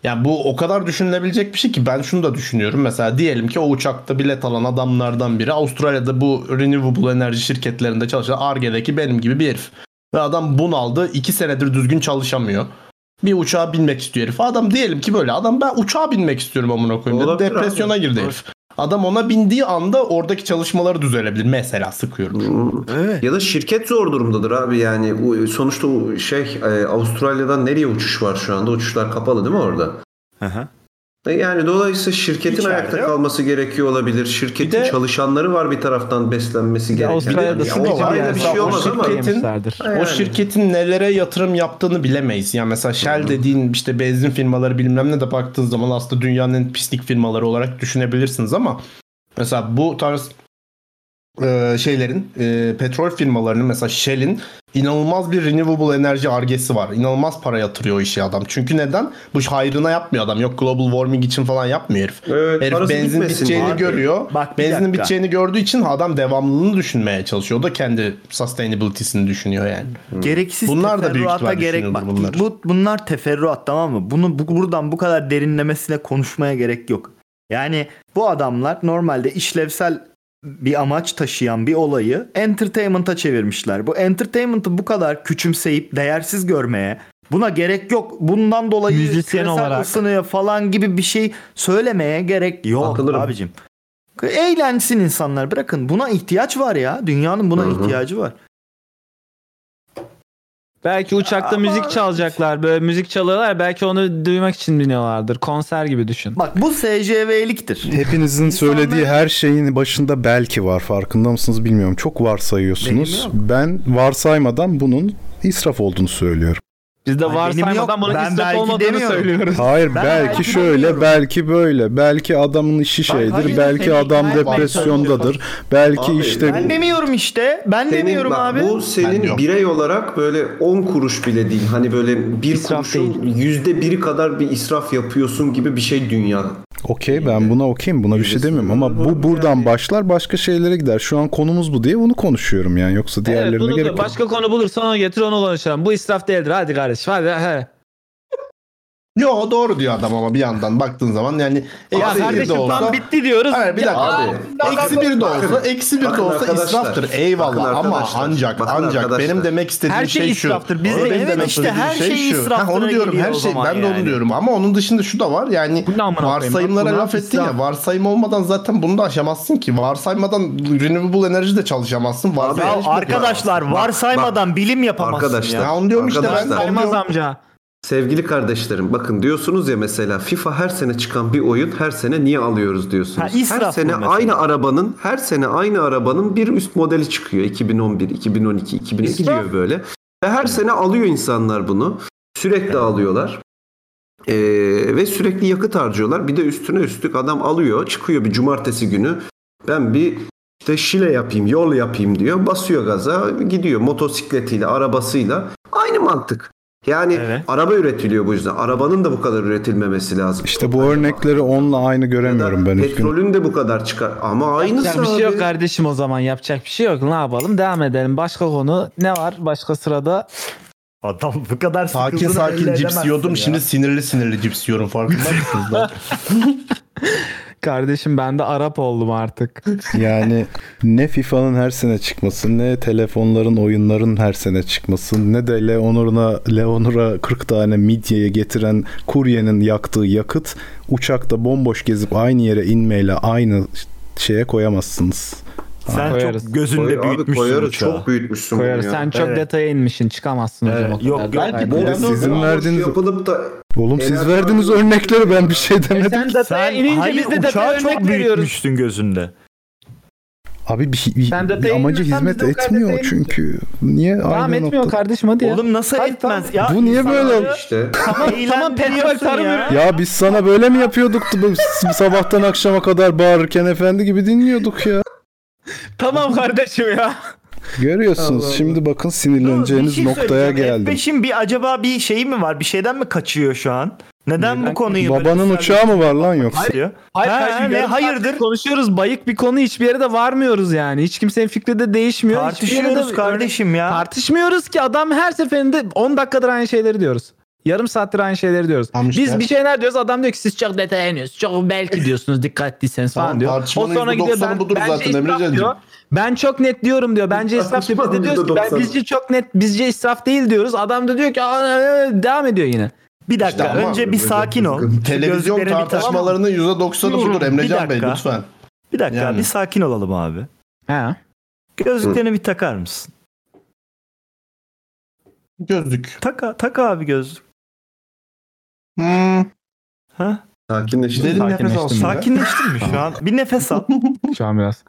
S3: Yani bu o kadar düşünülebilecek bir şey ki ben şunu da düşünüyorum. Mesela diyelim ki o uçakta bilet alan adamlardan biri Avustralya'da bu renewable enerji şirketlerinde çalışan Arge'deki benim gibi bir herif. Ve adam bunaldı. iki senedir düzgün çalışamıyor. Bir uçağa binmek istiyor herif. Adam diyelim ki böyle adam ben uçağa binmek istiyorum amına koyayım dedi.
S2: Olabilir abi.
S3: Depresyona girdi herif. Adam ona bindiği anda oradaki çalışmaları düzelebilir. Mesela sıkıyorum.
S5: Evet.
S2: Ya da şirket zor durumdadır abi yani U- sonuçta u- şey e, Avustralya'dan nereye uçuş var şu anda? Uçuşlar kapalı değil mi orada?
S5: Aha.
S2: E, Yani dolayısıyla şirketin
S5: İçeride.
S2: ayakta kalması gerekiyor olabilir. Şirketin
S3: Bir de-
S2: çalışanları var bir taraftan beslenmesi gereken.
S1: Avustralya'da
S2: Ya
S1: şu da var
S2: Avustralya'da
S1: yani.
S2: bir şey
S3: O
S2: olmaz ama.
S3: şirket-
S1: Yemişlerdir.
S2: Yani.
S3: O şirketin nelere yatırım yaptığını bilemeyiz. Yani mesela Shell dediğin işte benzin firmaları bilmem ne de baktığın zaman aslında dünyanın en pislik firmaları olarak düşünebilirsiniz ama mesela bu tarz e, şeylerin e, petrol firmalarının mesela Shell'in inanılmaz bir renewable enerji argesi var. İnanılmaz para yatırıyor o işe adam. Çünkü neden? Bu iş hayrına yapmıyor adam. Yok global warming için falan yapmıyor herif.
S2: Evet,
S3: Herif
S2: parası
S3: benzin
S2: bitmesin
S3: biteceğini
S2: abi.
S3: görüyor.
S5: Bak bir
S3: Benzinin
S5: dakika.
S3: biteceğini gördüğü için adam devamlılığını düşünmeye çalışıyor. O da kendi sustainability'sini düşünüyor yani.
S5: Gereksiz
S3: Bunlar da büyük
S5: teferruata
S3: ihtimal
S5: gerek bak.
S3: düşünüyordur bunlar.
S5: Bu, bunlar teferruat tamam mı? Bunu bu- buradan bu kadar derinlemesine konuşmaya gerek yok. Yani bu adamlar normalde işlevsel bir amaç taşıyan bir olayı entertainment'a çevirmişler. Bu entertainment'ı bu kadar küçümseyip değersiz görmeye buna gerek yok. Bundan dolayı
S1: Müzisyen
S5: küresel
S1: olarak.
S5: ısınıyor falan gibi bir şey söylemeye gerek yok
S2: Katılırım.
S5: abicim. Eğlensin insanlar bırakın. Buna ihtiyaç var ya. Dünyanın buna
S2: Hı hı.
S5: ihtiyacı var.
S1: Belki uçakta
S5: Ama-
S1: müzik çalacaklar. Böyle müzik çalıyorlar. Belki onu duymak için biniyorlardır. Konser gibi düşün.
S5: Bak bu SCV'liktir.
S4: Hepinizin
S5: İnsanlar-
S4: söylediği her şeyin başında belki var. Farkında mısınız bilmiyorum. Çok varsayıyorsunuz.
S5: Benim
S4: Ben varsaymadan bunun israf olduğunu söylüyorum.
S1: Biz de
S5: Ay, benim yok.
S1: varsaymadan bunun
S5: Ben
S1: israf
S5: belki
S1: olmadığını
S5: demiyorum.
S1: söylüyoruz.
S4: Hayır
S5: Ben
S4: belki
S5: belki
S4: şöyle,
S5: bilmiyorum.
S4: belki böyle. Belki adamın işi
S1: Ben-
S4: şeydir.
S1: hayır,
S4: belki
S1: seni ikna
S4: adam
S1: etmeye
S4: depresyondadır. Belki
S2: Abi,
S4: işte
S5: Ben demiyorum işte. Ben
S2: Senin-
S5: demiyorum
S2: bak,
S5: abi.
S2: Bu
S3: Ben
S2: senin
S3: yok.
S2: birey olarak böyle 10 kuruş bile değil. Hani böyle bir
S1: İsraf
S2: kuruşun yüzde biri kadar bir israf yapıyorsun gibi bir şey dünya.
S4: Okey ben buna okeyim buna bir şey
S2: Yüzdesi
S4: demiyorum ama bu buradan başlar başka şeylere gider. Şu an konumuz bu diye bunu konuşuyorum yani yoksa diğerlerine
S1: Evet, bunu
S4: gerek
S1: da
S4: yok.
S1: başka konu bulursan onu getir onu konuşalım. Bu israf değildir. Hadi kardeşim hadi. hadi.
S3: Yo doğru diyor adam ama bir yandan baktığın zaman yani
S1: Ya
S3: eksi bir de
S1: kardeşim
S3: olsa.
S1: tam bitti diyoruz.
S3: Hayır bir dakika.
S2: Abi,
S3: eksi bir de olsa, eksi bir de
S2: bakın
S3: olsa
S2: arkadaşlar,
S3: israftır. Eyvallah
S2: bakın
S3: ama
S2: arkadaşlar,
S3: ancak
S2: bakın
S3: ancak
S2: arkadaşlar.
S3: benim demek istediğim
S1: Her şey
S3: şey, şu.
S1: israftır. Biz de-
S3: Benim
S5: evet
S3: demek
S5: işte
S3: istediğim
S5: her
S3: şey
S5: şey
S3: şu.
S5: israftır
S3: Ha, onu diyorum
S5: geliyor
S3: her
S5: o
S3: şey.
S5: zaman
S3: Ben de onu
S5: yani.
S3: diyorum ama onun dışında şu da var yani
S1: Bunu amına koyayım. Bak,
S3: varsayımlara
S1: bunu
S3: laf ettin
S1: israf.
S3: ya varsayım olmadan zaten bunu da aşamazsın ki. Varsaymadan renewable enerji de çalışamazsın. Varsayım şey
S5: Ya
S2: Abi,
S5: arkadaşlar
S2: bak,
S5: varsaymadan bilim yapamazsın
S2: Arkadaşlar.
S5: ya.
S3: Ya onu diyorum işte ben.
S2: Arkadaşlar.
S3: Onu
S1: Saymaz
S3: diyorum.
S1: amca.
S2: Sevgili kardeşlerim bakın diyorsunuz ya mesela FIFA her sene çıkan bir oyun her sene niye alıyoruz
S5: Ha,
S2: diyorsunuz.
S5: israf
S2: her
S5: bu
S2: sene
S5: mesela.
S2: aynı arabanın her sene aynı arabanın bir üst modeli çıkıyor. 2011, 2012, 2012
S1: İsraf.
S2: gidiyor böyle. Ve her sene alıyor insanlar bunu. Sürekli alıyorlar. Ee, ve sürekli yakıt harcıyorlar. Bir de üstüne üstlük adam alıyor, çıkıyor bir cumartesi günü. Ben bir işte şile yapayım, yol yapayım diyor. Basıyor gaza, gidiyor motosikletiyle, arabasıyla. Aynı mantık. Yani
S1: Evet.
S2: araba üretiliyor bu yüzden. Arabanın da bu kadar üretilmemesi lazım.
S4: İşte bu örnekleri onunla aynı göremiyorum ben üzgünüm.
S2: Petrolün de bu kadar çıkar. Ama aynısı
S1: Yapacak bir
S2: abi.
S1: şey yok kardeşim o zaman. Yapacak bir şey yok. Ne yapalım? Devam edelim. Başka konu ne var? Başka sırada
S5: Adam bu kadar
S3: Sakin
S5: sıkıldığını
S3: sakin
S5: belli
S3: cips
S5: edemezsin
S3: yiyordum
S5: ya.
S3: şimdi sinirli sinirli cips yiyorum farkında mısınız? lan?
S1: kardeşim ben de Arap oldum artık.
S4: Yani ne FIFA'nın her sene çıkması, ne telefonların, oyunların her sene çıkması, ne de Leonor'una Leonor'a 40 tane midyeye getiren kuryenin yaktığı yakıt uçakta bomboş gezip aynı yere inmeyle aynı şeye koyamazsınız.
S5: Sen
S1: Koyarız.
S5: çok
S2: Koy-
S5: gözünde
S2: abi
S5: büyütmüşsün
S2: koyarız.
S5: uçağı.
S2: Çok büyütmüşsün bunu
S1: Koyarız.
S2: ya.
S1: Sen çok
S5: Evet.
S1: detaya inmişsin. Çıkamazsın hocam.
S5: Evet,
S1: o
S5: yok,
S1: kadar.
S5: yok.
S1: Aynen.
S5: Bu-
S4: Oğlum sizin
S2: Leonor
S4: verdiğiniz-
S2: yapılıp da
S4: Oğlum siz
S2: Enerji
S4: verdiğiniz
S2: harcıyor.
S4: örnekleri ben bir şey demedim.
S1: E Sen detaya
S5: Sen
S1: inince
S5: hayır
S1: biz de detaya
S5: uçağı çok
S1: örnek veriyoruz.
S5: büyütmüşsün gözünde.
S4: Abi bir, bir,
S1: Sen
S4: bir
S1: detaya
S4: amaca
S1: inmesen
S4: hizmet
S1: biz de o kadar
S4: etmiyor
S1: detaya
S4: çünkü. Niye
S1: Devam
S4: aynı
S1: etmiyor
S4: nokta?
S1: kardeşim hadi ya.
S5: Oğlum nasıl
S1: Hayır, tamam.
S5: etmez ya?
S4: Bu niye böyle?
S5: insanları
S2: işte.
S1: Tamam petrol
S5: eğlendiriyorsun
S1: tarım
S5: ya.
S1: ürünü.
S4: Ya biz sana böyle mi yapıyorduk? Biz Sabahtan akşama kadar bağırırken efendi gibi dinliyorduk ya.
S1: Tamam kardeşim ya.
S4: Görüyorsunuz şimdi bakın sinirleneceğiniz
S5: Bir şey
S4: noktaya
S5: söyleyeceğim.
S4: geldim.
S5: F5'in bir acaba bir şeyi mi var? Bir şeyden mi kaçıyor şu an? Neden bu konuyu böyle
S4: Babanın
S5: ısrar
S4: uçağı mı var lan yoksa?
S5: ediyor?
S1: Hayır,
S5: Ha,
S1: kardeşim,
S5: ne,
S1: yarım
S5: hayırdır?
S1: saattir Konuşuyoruz bayık bir konu hiçbir yere de varmıyoruz yani. Hiç kimsenin fikri de değişmiyor. Hiçbir yere de-
S5: Tartışıyoruz kardeşim ya.
S1: Tartışmıyoruz ki adam her seferinde 10 dakikadır aynı şeyleri diyoruz. Yarım saattir aynı şeyleri diyoruz.
S3: Tamam işte.
S1: Biz bir şeyler diyoruz adam diyor ki siz çok detaya iniyorsunuz. Çok belki diyorsunuz dikkatliyseniz falan
S3: Tamam,
S1: diyor. O
S3: tartışmanın
S1: sonra gidiyor
S3: %90'ı
S1: ben,
S3: budur
S1: bence
S3: zaten
S1: israf
S3: Emrecan'cığım.
S1: diyor. Ben çok net diyorum diyor. Bence israf diyor. Biz de diyoruz ki ben,
S2: %90'ı.
S1: bizce çok net bizce israf değil diyoruz. Adam da diyor ki "Aa, ee, devam ediyor yine.
S5: Bir dakika
S3: İşte ama
S5: önce bir sakin ol. Şu
S3: Televizyon
S5: gözlerini bir tamam-
S3: tartışmalarının %90'ı budur
S5: Bir
S3: Emrecan Bey
S5: dakika.
S3: lütfen.
S5: Bir dakika
S3: Yani.
S5: bir sakin olalım abi.
S1: Ha.
S5: Gözlüklerini bir takar mısın?
S3: Gözlük.
S5: Tak, tak abi gözlük.
S3: Hmm.
S5: Ha?
S2: Sakinleştin.
S3: Derin nefes
S1: Sakinleştim
S3: alsın.
S5: Sakinleştin mi şu an? Bir nefes al.
S1: Şu an biraz.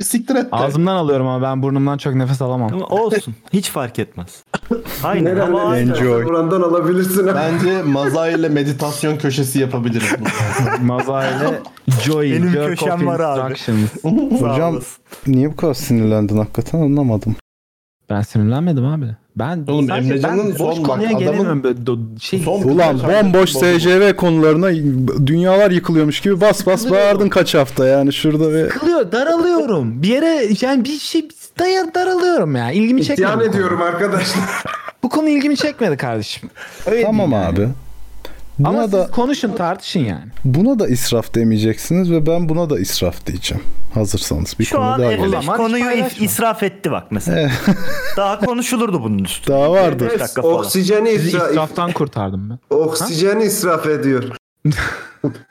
S3: Bir siktir et de.
S1: Ağzımdan alıyorum ama ben burnumdan çok nefes alamam.
S5: Ama olsun. Hiç fark etmez. Aynen.
S2: Nereden
S5: Hava aynı.
S4: Enjoy.
S2: Burandan alabilirsin.
S3: Bence Maza ile meditasyon köşesi yapabiliriz. bundan.
S1: Mazayla Joy.
S5: Benim
S1: Jerk
S5: köşem
S1: of
S5: var abi.
S1: Instructions.
S5: Sağ
S4: Hocam
S5: olasın.
S4: niye bu kadar sinirlendin hakikaten anlamadım.
S1: Ben sinirlenmedim abi. Ben
S3: Oğlum
S1: sadece
S3: Emrecan'ın
S1: ben boş
S3: son bak
S1: konuya
S3: adamın-
S1: gelemiyorum. Böyle do- Şey,
S3: Son-
S4: Ulan bomboş SCV konularına dünyalar yıkılıyormuş gibi bas bas bağırdın kaç hafta yani şurada ve
S1: sıkılıyor, daralıyorum. Bir yere yani bir şey dayan daralıyorum ya. İlgimi çekmedi.
S2: İsyan
S1: bu konu.
S2: ediyorum arkadaşlar.
S1: Bu konu ilgimi çekmedi kardeşim. Öyle
S4: tamam
S1: diyeyim yani.
S4: abi. Buna
S1: Ama
S4: da
S1: siz konuşun tartışın yani.
S4: buna da israf demeyeceksiniz ve ben buna da israf diyeceğim. Hazırsanız bir
S5: Şu
S4: konu
S5: an
S4: daha
S1: Efe-
S4: geldi.
S1: O
S5: F5
S1: zaman
S5: konuyu
S1: hiç
S5: if-
S1: paylaşma.
S5: israf etti bak mesela. Daha konuşulurdu bunun üstüne.
S4: Daha vardır.
S5: Beş dakika falan.
S2: Oksijeni
S1: Sizi
S2: israf,
S1: israftan kurtardım ben.
S2: oksijeni israf ediyor.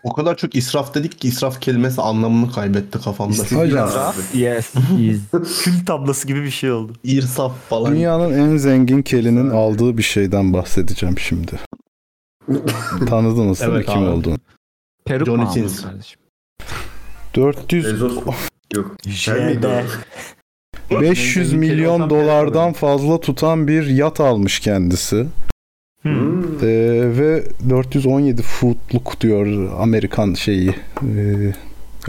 S3: O kadar çok israf dedik ki israf kelimesi anlamını kaybetti kafamda.
S2: İstif-
S4: Hocam
S2: Israf,
S1: Yes.
S5: Kül tablası gibi bir şey oldu.
S3: İrsaf falan.
S4: dünyanın en zengin kelinin aldığı bir şeyden bahsedeceğim şimdi. Tanıdınız değil mi
S3: Evet
S4: kim
S3: abi.
S4: olduğunu?
S1: Peruk
S3: Johnny
S1: mu aldın
S3: Sins.
S1: kardeşim?
S4: 400
S2: Bezos mu? Yok.
S1: Şey
S2: Sen miydin
S5: Jede.
S2: o?
S4: 500 milyon dolardan fazla tutan bir yat almış kendisi.
S5: Hmm.
S2: Hmm.
S4: Ee, ve 417 footluk diyor Amerikan şeyi ee,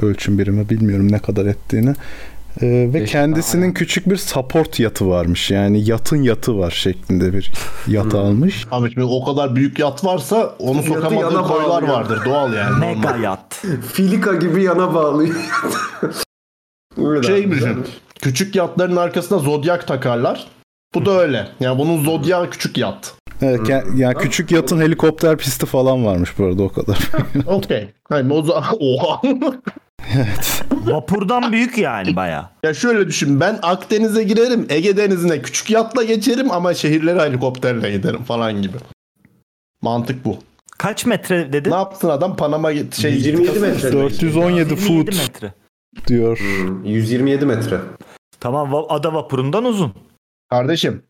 S4: ölçüm birimi bilmiyorum ne kadar ettiğini. Ee, ve
S1: Beş-
S4: kendisinin
S1: Aynen.
S4: küçük bir support yatı varmış. Yani yatın yatı var şeklinde bir yat
S2: Hı.
S4: almış.
S3: Abi şimdi o kadar büyük yat varsa onu
S2: Yatı
S3: sokamadığı
S2: yana
S3: koylar
S2: bağlı ya.
S3: vardır. Doğal yani.
S5: Mega
S3: normal.
S5: yat.
S2: Filika gibi yana bağlıyor. Öyle
S3: Şey mi?
S2: güzelmiş.
S3: Küçük yatların arkasına zodyak takarlar. Bu da öyle. Yani bunun zodyağı küçük yat.
S4: Evet, ke- yani küçük yatın helikopter pisti falan varmış bu arada o kadar.
S3: Okey. Hayır, o zaman... Oha.
S4: evet.
S5: Vapurdan büyük yani baya.
S3: ya şöyle düşün. Ben Akdeniz'e girerim. Ege Denizi'ne küçük yatla geçerim ama şehirlere helikopterle giderim falan gibi. Mantık bu.
S5: Kaç metre dedin?
S3: Ne yaptın adam Panama git- şey
S2: 127 metre.
S4: 417
S5: 27
S4: foot
S5: metre.
S4: diyor.
S2: Hmm, 127 metre.
S5: Tamam va- ada vapurundan uzun.
S3: Kardeşim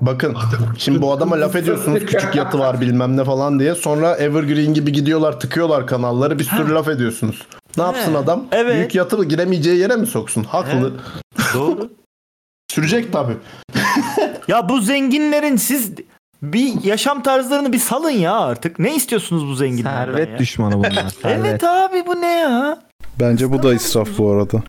S3: bakın şimdi bu adama laf ediyorsunuz küçük yatı var bilmem ne falan diye sonra Evergreen gibi gidiyorlar tıkıyorlar kanalları bir sürü laf ediyorsunuz. Ne
S5: He,
S3: yapsın adam?
S5: evet.
S3: Büyük yatı giremeyeceği yere mi soksun? Haklı.
S5: Doğru.
S3: Sürecek tabii.
S5: ya bu zenginlerin siz bir yaşam tarzlarını bir salın ya artık. Ne istiyorsunuz bu zenginlerden
S1: Servet
S5: ya?
S1: düşmanı bunlar. Servet.
S5: Evet abi bu ne ya?
S4: Bence bu da israf bu arada.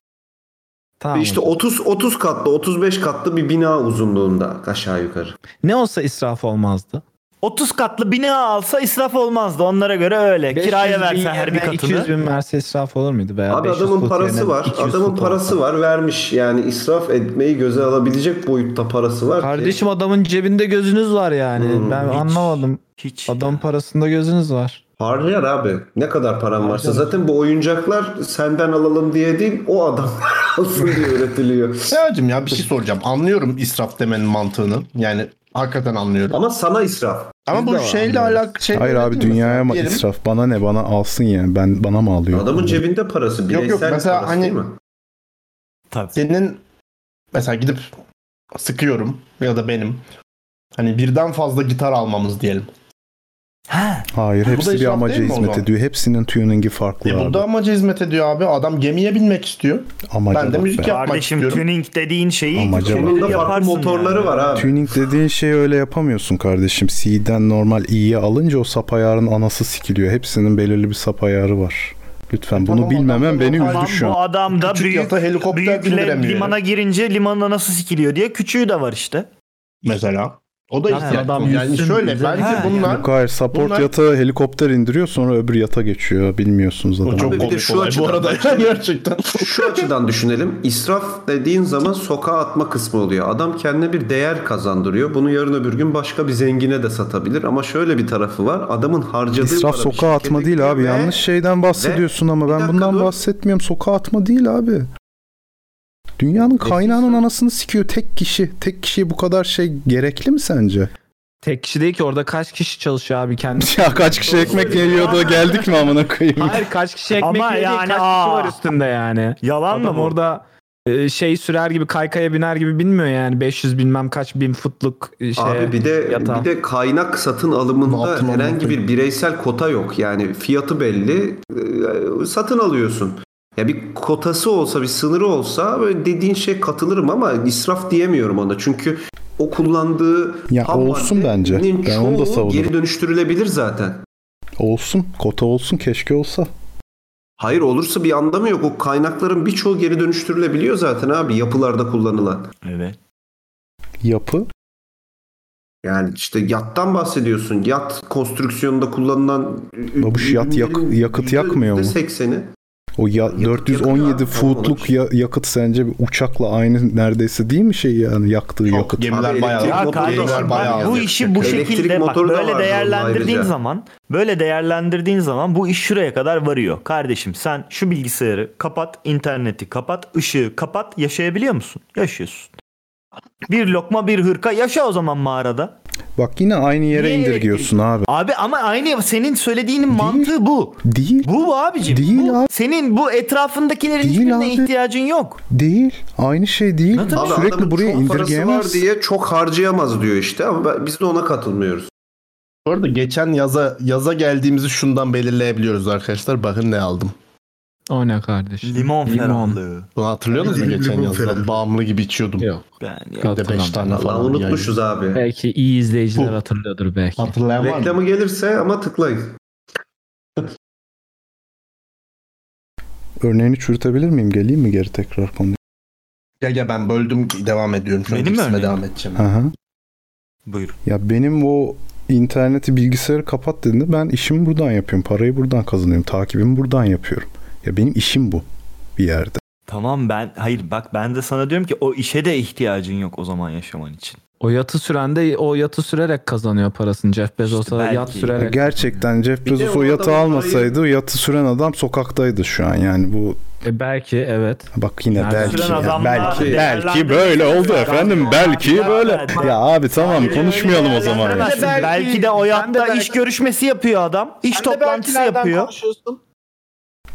S1: Tamam.
S2: İşte 30 30 katlı, 35 katlı bir bina uzunluğunda aşağı yukarı.
S1: ne olsa israf olmazdı.
S5: 30 katlı bina alsa israf olmazdı onlara göre öyle.
S1: 500
S5: E, Kiraya
S1: bin
S5: versen her bir
S1: yerine
S5: katını.
S1: 200 bin verse israf olur muydu? Veya
S2: Abi
S1: 500
S2: adamın
S1: fut
S2: parası
S1: yerine
S2: var.
S1: 200
S2: Adamın
S1: fut
S2: parası
S1: olsa.
S2: var, vermiş. Yani israf etmeyi göze alabilecek boyutta parası var. ki.
S1: Kardeşim adamın cebinde gözünüz var yani.
S2: Hmm,
S1: ben
S5: hiç.
S1: anlamadım.
S5: Hiç.
S1: Adamın parasında gözünüz var.
S2: Harcar abi. Ne kadar paran varsa. Zaten bu oyuncaklar senden alalım diye değil, o adamlar alsın diye üretiliyor.
S3: Seyacım ya bir şey soracağım. Anlıyorum israf demenin mantığını. Yani hakikaten anlıyorum.
S2: Ama sana israf.
S3: Ama bu şeyle alakalı şey
S4: Hayır abi dünyaya mı
S3: Diyelim-
S4: israf? Bana ne bana alsın yani. Ben bana mı alıyor?
S2: Adamın cebinde parası.
S3: yok.
S2: Bireysel
S3: Mesela
S2: parası
S3: hani-
S2: değil mi?
S5: Tabii.
S3: senin mesela gidip sıkıyorum ya da benim hani birden fazla gitar almamız diyelim.
S5: Ha,
S4: Hayır
S3: da
S4: hepsi bir
S3: israf
S4: amaca
S3: değil mi o
S4: hizmet
S3: zaman?
S4: ediyor. Hepsinin tuning'i farklı
S3: E
S4: abi.
S3: bu da amaca hizmet ediyor abi. Adam gemiye binmek istiyor.
S4: Amaca
S3: ben de
S4: bak
S3: müzik
S4: be.
S3: yapmak
S5: kardeşim
S3: istiyorum.
S5: tuning dediğin şeyi
S4: Ama acaba-
S5: kendin
S2: Sonunda farklı
S5: yaparsın
S2: motorları
S5: yani.
S2: var abi.
S4: Tuning dediğin şeyi öyle yapamıyorsun kardeşim. C'den normal i'ye alınca o sap ayarının anası sikiliyor. Hepsinin belirli bir sap ayarı var. Lütfen bunu
S3: E tamam,
S4: bilmemem
S3: adam-
S4: beni
S3: adam-
S4: üzdü
S5: Lan
S4: şu
S5: bu
S4: an.
S5: adam da
S3: Küçük
S5: büyük,
S3: yata helikopter
S5: büyükle
S3: bindiremiyor.
S5: limana girince limanda nasıl sikiliyor diye küçüğü de var işte.
S3: Mesela. O da
S1: Yani
S3: israf.
S1: adam
S3: yani
S1: yüzsün
S3: şöyle
S1: üzerine.
S3: bence
S5: Ha,
S3: bunlar
S4: Yok hayır Hani support
S3: Bunlar-
S4: yatağı helikopter indiriyor sonra öbür yata geçiyor. Bilmiyorsunuz
S3: Bu
S4: adamı.
S3: çok
S2: Bir de
S3: komik
S2: şu
S3: olay bu
S2: açıdan-
S3: arada yani gerçekten.
S2: Şu açıdan düşünelim. İsraf dediğin zaman sokağa atma kısmı oluyor. Adam kendine bir değer kazandırıyor. Bunu yarın öbür gün başka bir zengine de satabilir. Ama şöyle bir tarafı var. Adamın harcadığı
S4: İsraf
S2: para
S4: sokağa
S2: bir
S4: atma
S2: şirkete
S4: değil
S2: gidiyor
S4: abi.
S2: ve
S4: Yanlış şeyden bahsediyorsun ama
S2: Bir
S4: ben
S2: dakika
S4: bundan
S2: dur.
S4: bahsetmiyorum. Sokağa atma değil abi. Dünyanın kaynağının anasını sikiyor tek kişi. Tek kişiye bu kadar şey gerekli mi sence?
S1: Tek kişi değil ki orada kaç kişi çalışıyor abi kendisi.
S4: Ya kaç kişi ekmek geliyordu
S2: şey
S4: geldik mi amına koyayım?
S1: Hayır kaç kişi
S5: Ama
S1: ekmek yedi,
S5: yani,
S1: kaç kişi
S5: aa.
S1: var üstünde yani.
S5: Yalan mı
S1: Adam
S5: bu?
S1: orada e, şey sürer gibi kaykaya biner gibi bilmiyor yani 500 bilmem kaç bin footluk e, şey.
S2: Abi bir de
S1: yatağı.
S2: bir de kaynak satın
S3: Ne
S2: alımında
S3: yaptın
S2: herhangi
S3: anlatayım.
S2: bir bireysel kota yok. Yani fiyatı belli. e, satın alıyorsun. Ya bir kotası olsa, bir sınırı olsa böyle dediğin şey katılırım ama israf diyemiyorum ona. Çünkü o kullandığı
S4: Ya
S2: ham
S4: olsun
S2: maddenin
S4: bence. Ben onu da
S2: çoğu
S4: savunurum.
S2: Geri dönüştürülebilir zaten.
S4: Olsun. Kota olsun. Keşke olsa.
S2: Hayır olursa bir anlamı yok. O kaynakların birçoğu geri dönüştürülebiliyor zaten abi yapılarda kullanılan.
S5: Evet.
S4: Yapı.
S2: Yani işte yattan bahsediyorsun. Yat konstrüksiyonunda kullanılan ü-
S4: Babuş, yat yak-
S2: ürünlerin
S4: yakıt
S2: yüzde-
S4: yakmıyor mu?
S2: yüzde %80'i.
S4: O ya-
S2: Yakıt-
S4: 417
S2: yakıt-
S4: footluk ya- yakıt sence bir uçakla aynı neredeyse değil mi şey yani yaktığı
S3: Yok,
S4: yakıt?
S3: Gemiler
S2: Abi,
S3: bayağı.
S2: elektrik
S5: Ya
S2: motoru
S5: kardeşim
S2: var
S5: bak
S3: bayağı
S5: bu
S3: az
S5: işi
S3: yapacak.
S5: bu şey-
S2: Elektrik
S5: şekilde bak
S2: motoru da
S5: böyle
S2: vardı
S5: değerlendirdiğin
S2: ayrıca.
S5: zaman böyle değerlendirdiğin zaman bu iş şuraya kadar varıyor. Kardeşim sen şu bilgisayarı kapat, interneti kapat, ışığı kapat yaşayabiliyor musun? Yaşıyorsun. Bir lokma bir hırka yaşa o zaman mağarada.
S4: Bak yine aynı yere
S5: Niye
S4: indirgiyorsun abi.
S5: Abi ama aynı senin söylediğinin mantığı bu.
S4: Değil.
S5: Bu abicim.
S4: Değil
S5: bu.
S4: abi.
S5: Senin bu etrafındakilerin
S4: Değil
S5: hiçbirine
S4: abi.
S5: ihtiyacın yok.
S4: Değil. Aynı şey değil.
S5: Lan tabii.
S2: Abi
S4: Sürekli
S2: adamın
S4: buraya
S2: çok parası var
S4: indirgeyemez.
S2: diye çok harcayamaz diyor işte ama ben- biz de ona katılmıyoruz.
S3: Bu arada geçen yaza yaza geldiğimizi şundan belirleyebiliyoruz arkadaşlar. Bakın ne aldım.
S1: O ne kardeşim?
S5: Limon
S1: Limon.
S5: ferahlığı.
S3: Bunu hatırlıyor musunuz
S2: Dilim
S3: geçen
S2: limon
S3: yazdan?
S2: falan.
S3: Bağımlı gibi içiyordum.
S1: Yok,
S5: Ben ya.
S3: Bir de 5 tane
S2: Allah
S3: falan.
S2: unutmuşuz abi.
S1: Belki iyi izleyiciler
S3: Bu.
S1: hatırlıyordur belki.
S3: Yani. Hatırlayan var mı?
S2: Reklamı gelirse ama tıklayın.
S4: Örneğini çürütebilir miyim? Geleyim mi geri tekrar konuya?
S3: Ya, ya ben böldüm devam ediyorum. Şu an
S5: Benim mi
S3: ikisine
S5: örneğim?
S3: devam edeceğim.
S4: Hı hı.
S5: Buyur.
S4: Ya benim o interneti bilgisayarı kapat dediğinde ben işimi buradan yapıyorum. Parayı buradan kazanıyorum. Takibimi buradan yapıyorum. Ya benim işim bu bir yerde.
S5: Tamam ben hayır bak ben de sana diyorum ki o işe de ihtiyacın yok o zaman yaşaman için.
S1: O yatı süren de o yatı sürerek kazanıyor parasını. Jeff Bezos'a
S5: İşte
S1: da
S5: belki.
S1: yat sürerek.
S4: Gerçekten Jeff
S2: Bir de
S4: Bezos
S2: o
S4: o yatı
S2: adamın
S4: almasaydı o yatı süren adam sokaktaydı şu an. Yani bu
S1: E, belki evet.
S4: bak yine
S1: Yani
S4: belki
S1: süren
S4: ya,
S5: adamla
S4: belki belki
S5: değerlendirmek
S4: böyle oldu
S5: istiyor.
S4: efendim
S5: Adam-
S4: belki
S5: Adam-
S4: böyle.
S5: Adam-
S4: Ya abi tamam konuşmayalım o zaman. ya.
S5: Belki, belki de o yatta iş görüşmesi yapıyor adam. İş toplantısı yapıyor.
S1: Konuşuyorsun.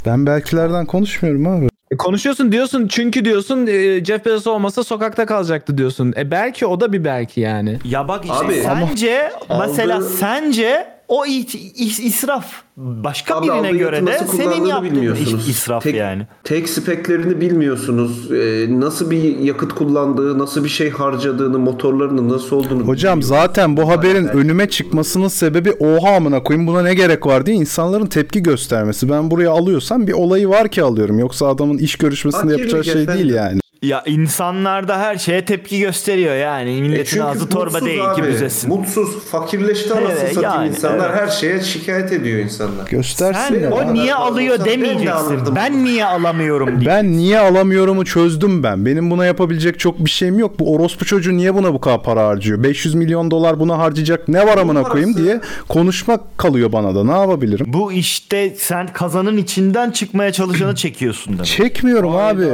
S4: Ben belkilerden konuşmuyorum abi.
S1: E, konuşuyorsun diyorsun çünkü diyorsun e, Jeff Bezos olmasa sokakta kalacaktı diyorsun. E belki o da bir belki yani.
S5: Ya bak işte
S2: Abi, ama-
S5: sence mesela
S2: Aldığı-
S5: sence o it- is- israf başka
S2: Abi
S5: birine
S2: aldığı
S5: göre de
S2: nasıl
S5: senin
S2: kullandığını
S5: yaptığın
S2: bilmiyorsunuz.
S5: iş- israf
S2: Tek-
S5: yani.
S2: Tek speklerini bilmiyorsunuz. Ee, nasıl bir yakıt kullandığı, nasıl bir şey harcadığını, motorlarının nasıl olduğunu
S4: Hocam
S2: bilmiyorsunuz.
S4: zaten bu haberin
S2: Aynen.
S4: önüme çıkmasının sebebi oha amına koyayım buna ne gerek var diye insanların tepki göstermesi. Ben buraya alıyorsam bir olayı var ki alıyorum. Yoksa adamın iş görüşmesinde
S2: Fakir
S4: yapacağı şey
S2: efendim.
S4: değil yani.
S5: Ya insanlar da her şeye tepki gösteriyor yani.
S2: E
S5: Milletin
S2: çünkü
S5: ağzı torba
S2: mutsuz
S5: değil ki
S2: abi.
S5: büzesin.
S2: Mutsuz, fakirleşti anasını
S5: Evet,
S2: satayım
S5: yani,
S2: insanlar.
S5: evet.
S2: Her şeye şikayet ediyor insanlar.
S4: Göstersin
S5: Sen
S4: ya.
S5: o niye
S2: Ben
S5: alıyor
S2: olsam ben de
S5: demeyeceksin.
S2: alırdım.
S5: Ben niye alamıyorum diye.
S4: Ben niye alamıyorumu çözdüm ben. Benim buna yapabilecek çok bir şeyim yok. Bu orospu çocuğu niye buna bu kadar para harcıyor? 500 milyon dolar buna harcayacak ne var amına koyayım
S2: parası-
S4: diye konuşmak kalıyor bana da. Ne yapabilirim?
S5: Bu işte sen kazanın içinden çıkmaya çalışanı çekiyorsun demek.
S4: Çekmiyorum abi.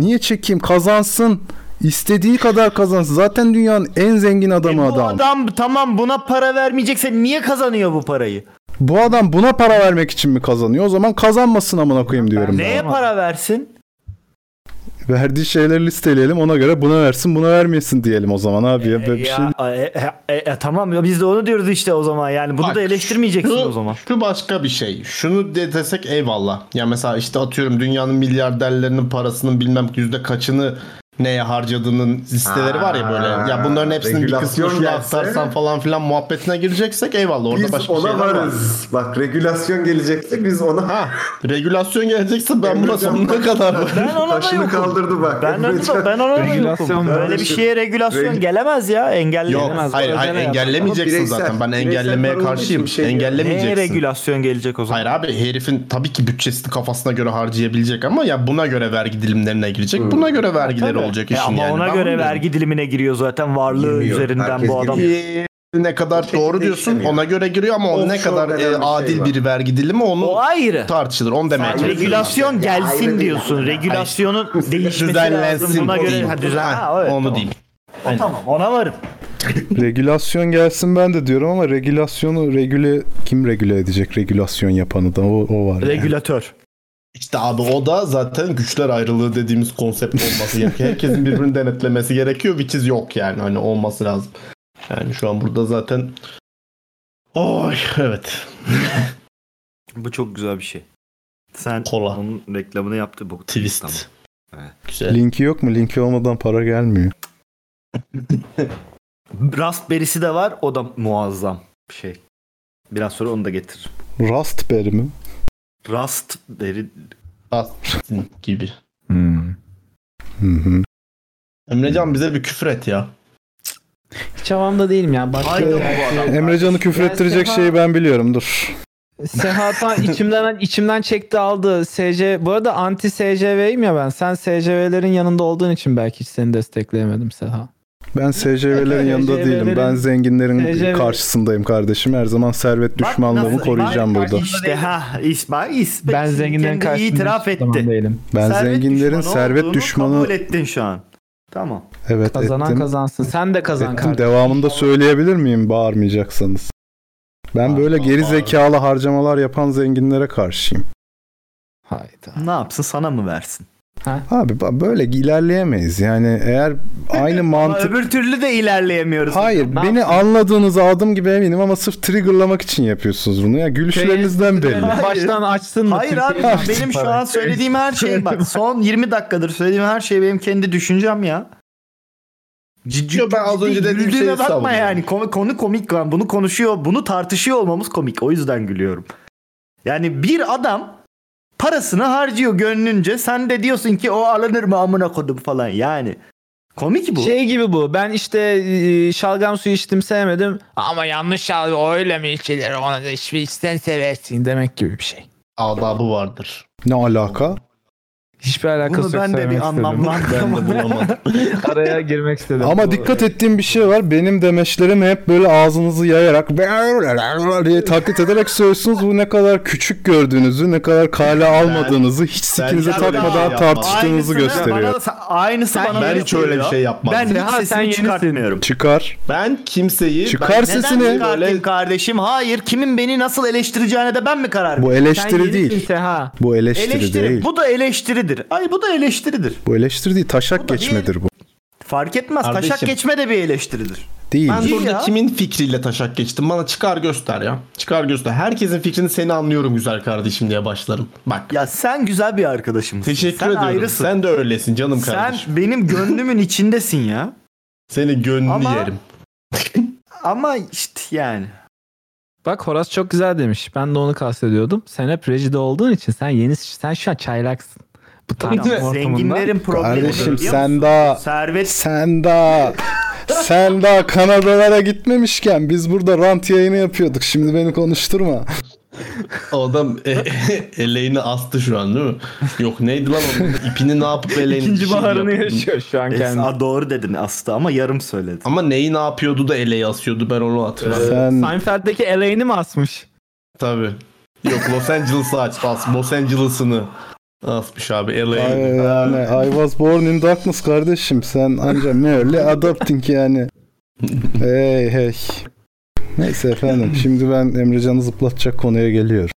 S4: Niye çekeyim? Kazansın. İstediği kadar kazansın. Zaten dünyanın en zengin adamı
S5: E Bu
S4: adam.
S5: adam tamam buna para vermeyecekse niye kazanıyor bu parayı?
S4: Bu adam buna para vermek için mi kazanıyor? O zaman kazanmasın amına koyayım diyorum ben.
S5: Neye para versin?
S4: Verdiği şeyleri listeleyelim ona göre buna versin buna vermeyesin diyelim o zaman abi. Ya, böyle bir
S5: Ya,
S4: şey...
S5: e, e, e, e, tamam ya biz de onu diyoruz işte o zaman yani bunu
S3: Bak,
S5: da eleştirmeyeceksin
S3: şu-
S5: o zaman.
S3: Şu başka bir şey. Şunu de desek eyvallah. Ya mesela işte atıyorum dünyanın milyarderlerinin parasının bilmem yüzde kaçını neye harcadığının listeleri var ya böyle. Ya bunların hepsinin bir kısmını
S2: Regülasyon
S3: şuna
S2: gelse-
S3: aktarsan falan filan muhabbetine gireceksek eyvallah. Orada
S2: Biz
S3: başka şey
S2: ona
S3: şeyler var.
S2: varız. Bak regülasyon gelecekse biz ona
S3: Ha, regülasyon gelecekse ben buna
S2: Emrecan-
S3: sonuna kadar varım.
S5: Ben ona da
S2: Taşını
S5: yokum.
S2: kaldırdı bak.
S5: Ben ona da, ben ona da yokum.
S1: Regülasyon
S5: Böyle bir
S4: şey-
S2: kardeşim.
S5: şeye regülasyon
S2: Regü-
S5: gelemez ya engellenemez.
S3: Yok
S1: Gelemez,
S3: hayır, hayır
S1: özel yapar.
S3: engellemeyeceksin
S2: Ama bireysel-
S3: zaten. Ben
S2: bireysel
S3: engellemeye
S2: para olduğu
S3: karşıyım.
S2: için şey-
S5: Neye
S3: Engellemeyeceksin.
S5: regülasyon gelecek o zaman?
S3: Hayır abi herifin tabii ki bütçesini kafasına göre harcayabilecek ama ya buna göre vergi dilimlerine girecek. Buna göre vergileri olacak
S5: Hmm. E
S3: işin
S5: ama
S3: yani.
S5: ona
S3: Ben
S5: göre
S3: bunu
S5: vergi dilimine giriyor zaten varlığı
S2: Girmiyor.
S5: üzerinden
S2: Herkes
S5: bu adam.
S2: girmiyor.
S3: diyorum. Ee, ne kadar
S2: Şekilde
S3: doğru diyorsun
S2: işlemiyor.
S3: ona göre giriyor ama o ne
S2: Offshore
S3: kadar
S2: denen
S3: e,
S2: bir şey
S3: adil
S2: var.
S3: bir vergi dilimi onu
S5: O ayrı.
S3: tartışılır. Onu demeye
S5: Yani
S3: çalışıyorum.
S5: regülasyon gelsin
S2: ayrı değil
S5: diyorsun.
S2: yani.
S5: Regülasyonun değişmesi lazım.
S3: Düzenlensin.
S5: Buna göre
S3: diyeyim.
S5: ha, düzen.
S3: Ha,
S5: Ha, evet,
S3: onu
S5: tamam.
S3: diyeyim.
S5: O tamam ona varım.
S4: Regülasyon gelsin ben de diyorum ama regülasyonu regüle kim regüle edecek regülasyon yapanı da o, o var. yani.
S5: Regülatör.
S3: İşte abi o da zaten güçler ayrılığı dediğimiz konsept olması gerekiyor. Herkesin birbirini denetlemesi gerekiyor. Which is yok yani. Hani olması lazım. Yani şu an burada zaten Oy evet.
S5: Bu çok güzel bir şey. Sen
S3: Kola.
S5: onun reklamını yaptı bu.
S3: Twist.
S5: Tamam.
S3: Güzel.
S4: Linki yok mu? Linki olmadan para gelmiyor.
S5: Raspberry'si de var. O da muazzam bir şey. Biraz sonra onu da getiririm.
S4: Raspberry mi?
S5: Raspberry
S3: gibi.
S1: Hmm.
S4: Hı hı.
S3: Emrecan bize bir küfür et ya.
S1: Hiç havamda değilim ya. Başka
S5: Hayda bu adam.
S4: Emrecan'ı küfür
S1: Ben
S4: ettirecek
S1: Sefa-
S4: şeyi ben biliyorum dur.
S1: Sehatan içimden içimden çekti aldı. SC bu arada anti SCV'yim ya ben. Sen SCV'lerin yanında olduğun için belki hiç seni destekleyemedim Seha.
S4: Ben SCV'lerin yanında değilim. Ben zenginlerin
S1: SCV
S4: karşısındayım kardeşim. Her zaman servet
S5: Bak
S4: düşmanlığımı
S5: nasıl-
S4: koruyacağım
S5: bak-
S4: burada.
S5: İşte ha is, bak, is,
S1: Ben zenginlerin
S5: kendi
S1: karşısında
S5: itiraf
S1: hiçbir zaman
S5: etti.
S1: değilim.
S4: Ben
S5: Servet
S4: zenginlerin
S5: düşmanı
S4: servet
S5: olduğunu
S4: düşmanı
S5: Kabul ettin şu an. Tamam.
S4: evet
S1: Kazanan
S4: ettim.
S1: kazansın. Sen de kazan
S4: ettim.
S1: kardeşim.
S4: Devamında söyleyebilir miyim bağırmayacaksanız? Ben böyle geri zekalı harcamalar yapan zenginlere karşıyım.
S1: Hayda.
S5: Ne yapsın sana mı versin?
S4: Abi ba- böyle ilerleyemeyiz. Yani eğer aynı
S5: Ama
S4: mantık
S5: öbür türlü de ilerleyemiyoruz.
S4: Hayır,
S1: Ne
S4: beni
S1: yapsın?
S4: anladığınızı adım gibi eminim ama sırf triggerlamak için yapıyorsunuz bunu ya. Gülüşlerinizden
S1: Şey-
S4: belli.
S1: Baştan açsın mı?
S5: Hayır abi
S1: Türkiye'yi?
S5: benim şu an söylediğim her şey bak son 20 dakikadır söylediğim her şey benim kendi düşüncem ya. Ciddi,
S3: Yo, ben az önce dediğim
S5: güldüğüme
S3: şeyi
S5: bakma
S3: savunuyorum.
S5: yani konu, konu komik lan bunu konuşuyor bunu tartışıyor olmamız komik o yüzden gülüyorum. Yani bir adam parasını harcıyor gönlünce sen de diyorsun ki o alınır mı amına kodum falan yani. Komik bu.
S1: Şey gibi bu. Ben işte e, şalgam suyu içtim sevmedim. Ama yanlış şalgam öyle mi içilir? Onu da hiçbir içten seversin demek gibi bir şey.
S3: Adabı vardır.
S4: Ne alaka?
S1: Hiçbir alakası
S5: bunu
S1: yok.
S5: ben de
S1: sevmek
S5: bir
S1: istedim.
S5: anlamlandıramadım.
S1: Araya girmek istedim.
S4: Ama dikkat ettiğim bir şey var. Benim demeçlerimi hep böyle ağzınızı yayarak diye taklit ederek söylüyorsunuz. Bu ne kadar küçük gördüğünüzü, ne kadar kale almadığınızı, hiç sikinize
S3: ben-
S4: takmadan
S3: ben-
S4: tartıştığınızı
S5: Aynısını
S4: gösteriyor.
S5: Bana, da- aynısı bana
S3: Ben
S5: da
S3: hiç öyle bir
S5: yapılıyor.
S3: şey yapmam.
S5: Ben hiç
S1: Seha, sen
S5: sesimi
S1: yenisin.
S5: çıkartmıyorum.
S4: Çıkar.
S3: Ben kimseyi
S4: Çıkar
S5: Neden
S4: sesini.
S5: çıkartayım kardeşim? Hayır. Kimin beni nasıl eleştireceğine de ben mi karar veririm?
S4: Bu eleştiri
S1: Sen
S4: değil.
S1: Seha.
S4: Bu eleştiri,
S5: Eleştiri.
S4: değil.
S5: Bu da eleştiridir. Ay bu da eleştiridir.
S4: Bu eleştiri değil. Taşak
S5: da bir-
S4: geçmedir bu.
S5: Fark etmez.
S3: Kardeşim.
S5: Taşak geçme de bir eleştiridir.
S4: Değil.
S3: Ben
S5: Değil
S3: burada
S5: ya.
S3: kimin fikriyle taşak geçtim? Bana çıkar göster ya. Çıkar göster. Herkesin fikrini seni anlıyorum güzel kardeşim diye başlarım. Bak.
S5: Ya sen güzel bir arkadaşımsın.
S3: teşekkür
S5: sen
S3: ediyorum.
S5: Ayrısın.
S3: Sen de öylesin canım
S5: Sen
S3: kardeşim.
S5: benim gönlümün içindesin ya.
S3: Seni gönlünü
S5: Ama-
S3: yerim.
S5: Ama işte yani.
S1: Bak Horas çok güzel demiş. Ben de onu kastediyordum. Sen hep rejide olduğun için sen yeni sen şu an çaylaksın. Bu tarz ortamında.
S5: Zenginlerin problemi.
S4: Kardeşim
S5: biliyor
S4: sen
S5: musun?
S4: daha
S5: Servet
S4: sen daha sen daha Kanadalara gitmemişken biz burada rant yayını yapıyorduk. Şimdi beni konuşturma.
S3: O adam e- eleğini astı şu an değil mi? Yok neydi lan onun ipini ne yapıp eleğini
S1: İkinci
S3: şey
S1: baharını
S3: yaptı.
S1: yaşıyor şu an
S5: Es-
S1: kendisi.
S5: Aa, doğru dedin aslında ama yarım söyledin.
S3: Ama neyi ne yapıyordu da eleği asıyordu ben onu
S5: Ee,
S3: hatırlamıyorum.
S4: Sen
S1: Seinfeld'deki Elaine'i mi asmış?
S3: Tabii. Yok Los Angeles'ı aç. As, Los Angeles'ını asmış abi.
S4: Ay,
S3: LA'yı.
S4: yani, I was born in darkness kardeşim. Sen anca merely adapting yani. hey hey. Neyse efendim. Şimdi ben Emrecan'ı zıplatacak konuya geliyorum.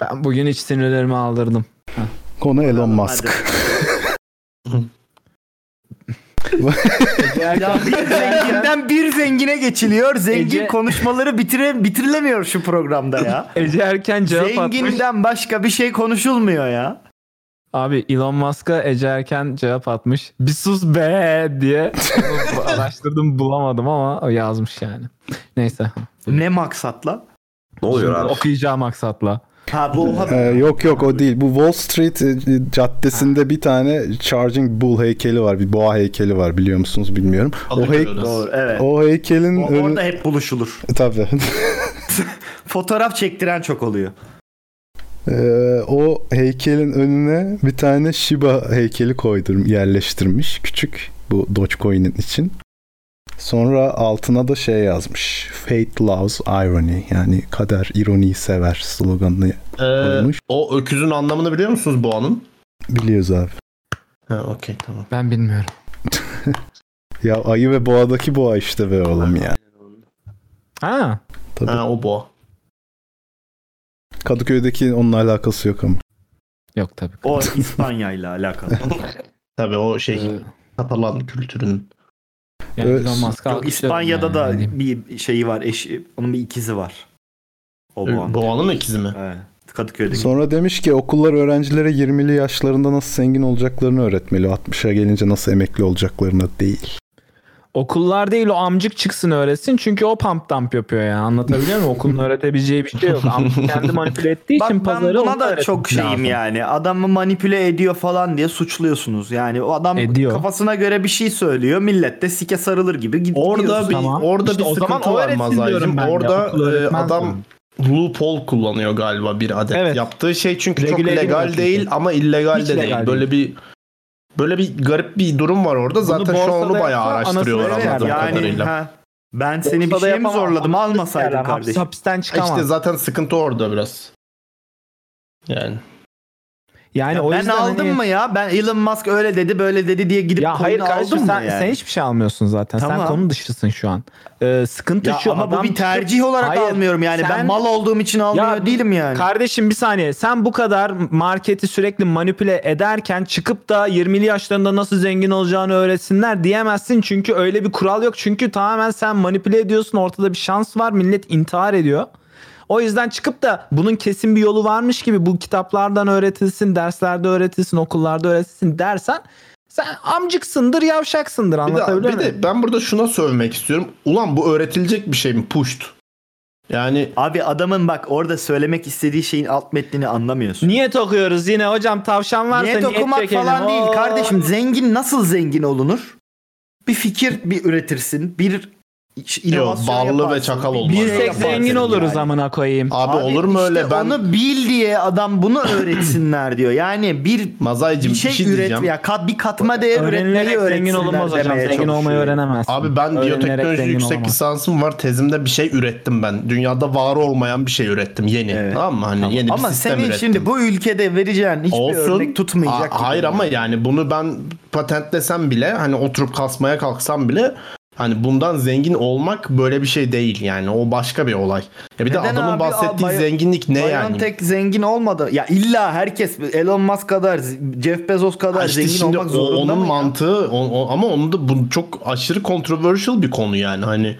S1: Ben bugün hiç sinirlerimi aldırdım.
S4: Konu Elon
S5: Hadi.
S4: Musk.
S5: Ya bir zenginden bir zengine geçiliyor. Zengin
S1: Ece-
S5: konuşmaları bitire, bitirilemiyor şu programda ya.
S1: Ece Erken cevap atmış.
S5: Zenginden başka bir şey konuşulmuyor ya.
S1: Abi Elon Musk'a Ece Erken cevap atmış. Bir sus be diye Onu araştırdım bulamadım ama o yazmış yani. Neyse.
S5: Ne maksatla?
S2: Ne oluyor abi?
S1: Okuyacağım maksatla.
S5: Ha bu oha.
S4: Ee, yok yok o değil. Bu Wall Street e, e, caddesinde bir tane Charging Bull heykeli var. Bir boğa heykeli var biliyor musunuz bilmiyorum. O, hey-
S5: Doğru evet.
S4: o heykelin
S5: O-
S4: önü-
S5: orada hep buluşulur.
S4: Tabii.
S5: Fotoğraf çektiren çok oluyor.
S4: Ee, o heykelin önüne bir tane Shiba heykeli koydurm yerleştirmiş küçük bu Dogecoin'in için. Sonra altına da şey yazmış. Fate loves irony yani kader ironiyi sever sloganını
S3: Ee,
S4: Olmuş.
S3: o öküzün anlamını biliyor musunuz boğanın?
S4: biliyoruz abi.
S3: Ha okey tamam.
S1: Ben bilmiyorum.
S4: Ya ayı ve boğadaki boğa işte be oğlum ya.
S1: Ha.
S4: Tabii.
S3: Ha o boğa.
S4: Kadıköy'deki onunla alakası yok ama.
S1: Yok tabii.
S5: O İspanya ile alakalı.
S3: Tabii o şey
S1: Ee,
S3: Katalan kültürünün.
S1: Yani
S4: Evet.
S1: Elon Musk'a alkışlıyorum
S5: Yok,
S1: yani, hani-
S5: İspanya'da da
S1: ne diyeyim.
S5: bir şeyi var eşi. Onun bir ikizi var. O bu an.
S3: e, Boğanın ikizi mi?
S5: Evet. Kadıköy'deki.
S4: Sonra demiş ki okullar öğrencilere 20'li yaşlarında nasıl zengin olacaklarını öğretmeli. 60'a gelince nasıl emekli olacaklarını değil.
S1: Okullar değil o amcık çıksın öğretsin çünkü o pump dump yapıyor ya. Anlatabiliyor muyum? Okulun öğretebileceği bir şey yok. Amcık kendi manipüle ettiği
S5: Bak
S1: için
S5: ben
S1: pazarı
S5: buna
S1: ona
S5: da
S1: öğretmesi
S5: çok şeyim
S1: lazım.
S5: yani. Adamı manipüle ediyor falan diye suçluyorsunuz. Yani o adam
S1: Ediyor.
S5: kafasına göre bir şey söylüyor. Millet de sike sarılır gibi gidiyor.
S3: Orada bir
S1: Tamam.
S3: orada
S1: İşte
S3: bir
S1: o zaman
S3: sıkıntı
S1: o
S3: var
S1: öğretsin diyorum
S3: Mazay'cım.
S1: ben de.
S3: Orada
S1: Okul
S3: e,
S1: öğretmez
S3: adam
S1: mi?
S3: loophole kullanıyor galiba bir adet.
S1: Evet.
S3: Yaptığı şey çünkü çok
S1: Regüle edilmiyor
S3: legal
S1: çünkü.
S3: değil ama illegal
S1: Hiç
S3: de
S1: legal
S3: değil. Böyle bir böyle bir garip bir durum var orada. Zaten şu an
S1: borsada
S3: onu bayağı
S1: yapsa
S3: araştırıyorlar
S1: anasını
S3: şey anladığım
S1: verirler.
S5: yani
S3: kadarıyla.
S5: ha, ben seni bir
S1: Borsada
S5: şey mi
S1: yapamam.
S5: zorladım almasaydın
S1: Yani haps-
S5: kardeşim.
S1: hapisten
S3: E
S1: çıkamaz.
S3: İşte zaten sıkıntı orada biraz. Yani
S1: yani o
S5: ben
S1: yüzden
S5: aldım
S1: hani-
S5: mı ya? Ben Elon Musk öyle dedi böyle dedi diye gidip
S1: Ya hayır
S5: koyunu
S1: kardeşim
S5: aldım
S1: sen,
S5: mı yani?
S1: sen hiçbir şey almıyorsun zaten. Sen
S5: Tamam.
S1: konu dışısın şu an. Ee, sıkıntı
S5: ya
S1: şu
S5: ama
S1: adam
S5: bu bir tercih olarak
S1: Hayır,
S5: almıyorum yani. ben
S1: sen-
S5: mal olduğum için almıyor
S1: Ya
S5: değilim yani.
S1: Kardeşim bir saniye sen bu kadar marketi sürekli manipüle ederken çıkıp da 20'li yaşlarında nasıl zengin olacağını öğretsinler diyemezsin çünkü öyle bir kural yok. Çünkü tamamen sen manipüle ediyorsun ortada bir şans var millet intihar ediyor. O yüzden çıkıp da bunun kesin bir yolu varmış gibi bu kitaplardan öğretilsin, derslerde öğretilsin, okullarda öğretilsin dersen sen amcıksındır, yavşaksındır
S3: Bir de,
S1: anlatabiliyor
S3: bir
S1: muyum?
S3: de ben burada şuna sövmek istiyorum. Ulan bu öğretilecek bir şey mi? Pusht. Yani
S5: Abi adamın bak orada söylemek istediği şeyin alt metnini anlamıyorsun.
S1: Niyet okuyoruz yine hocam tavşan varsa
S5: Niyet
S1: niyet,
S5: okumak
S1: çekelim.
S5: falan değil
S1: Oo.
S5: kardeşim. Zengin nasıl zengin olunur? Bir fikir bir üretirsin. Bir iş- inovasyon
S3: ballı ve
S5: yaparsın,
S3: çakal
S5: bir
S3: olmak
S5: şey
S1: Bilsek
S5: yaparsın
S1: zengin oluruz
S5: yani.
S1: amına koyayım.
S3: abi, olur mu
S5: işte
S3: öyle? Ben
S5: Onu bil diye adam bunu öğretsinler diyor. Yani bir
S3: Mazaycım bir
S5: bir şey,
S3: şey
S5: üret
S3: diyeceğim.
S5: ya kat, bir katma değer
S1: Öğrenilerek
S5: üretmeyi
S1: zengin olunmaz hocam.
S5: demeye
S1: Zengin
S5: çalışıyor.
S1: olmayı öğrenemezsin.
S3: Abi ben
S1: Öğrenilerek
S3: biyoteknoloji
S1: zengin
S3: yüksek
S1: olamaz.
S3: lisansım var. Tezimde bir şey ürettim ben. Dünyada var olmayan bir şey ürettim yeni.
S5: Evet.
S3: Tamam mı? Hani yeni
S5: Ama
S3: bir sistem
S5: senin
S3: ürettim.
S5: şimdi bu ülkede vereceğin hiçbir örnek tutmayacak.
S3: Aa,
S5: gibi.
S3: hayır ama yani bunu ben patentlesem bile hani oturup kasmaya kalksam bile hani bundan zengin olmak böyle bir şey değil yani. O başka bir olay. Ya bir de
S5: Neden
S3: adamın
S5: abi?
S3: bahsettiği
S5: Aa, Bio-
S3: zenginlik ne yani?
S5: Biontech zengin olmadı. Ya illa herkes Elon Musk kadar, Jeff Bezos kadar
S3: Ha işte
S5: zengin
S3: şimdi
S5: olmak
S3: o-
S5: zorunda
S3: onun
S5: mı ya?
S3: mantığı o- o- ama onun da bu çok aşırı controversial bir konu yani hani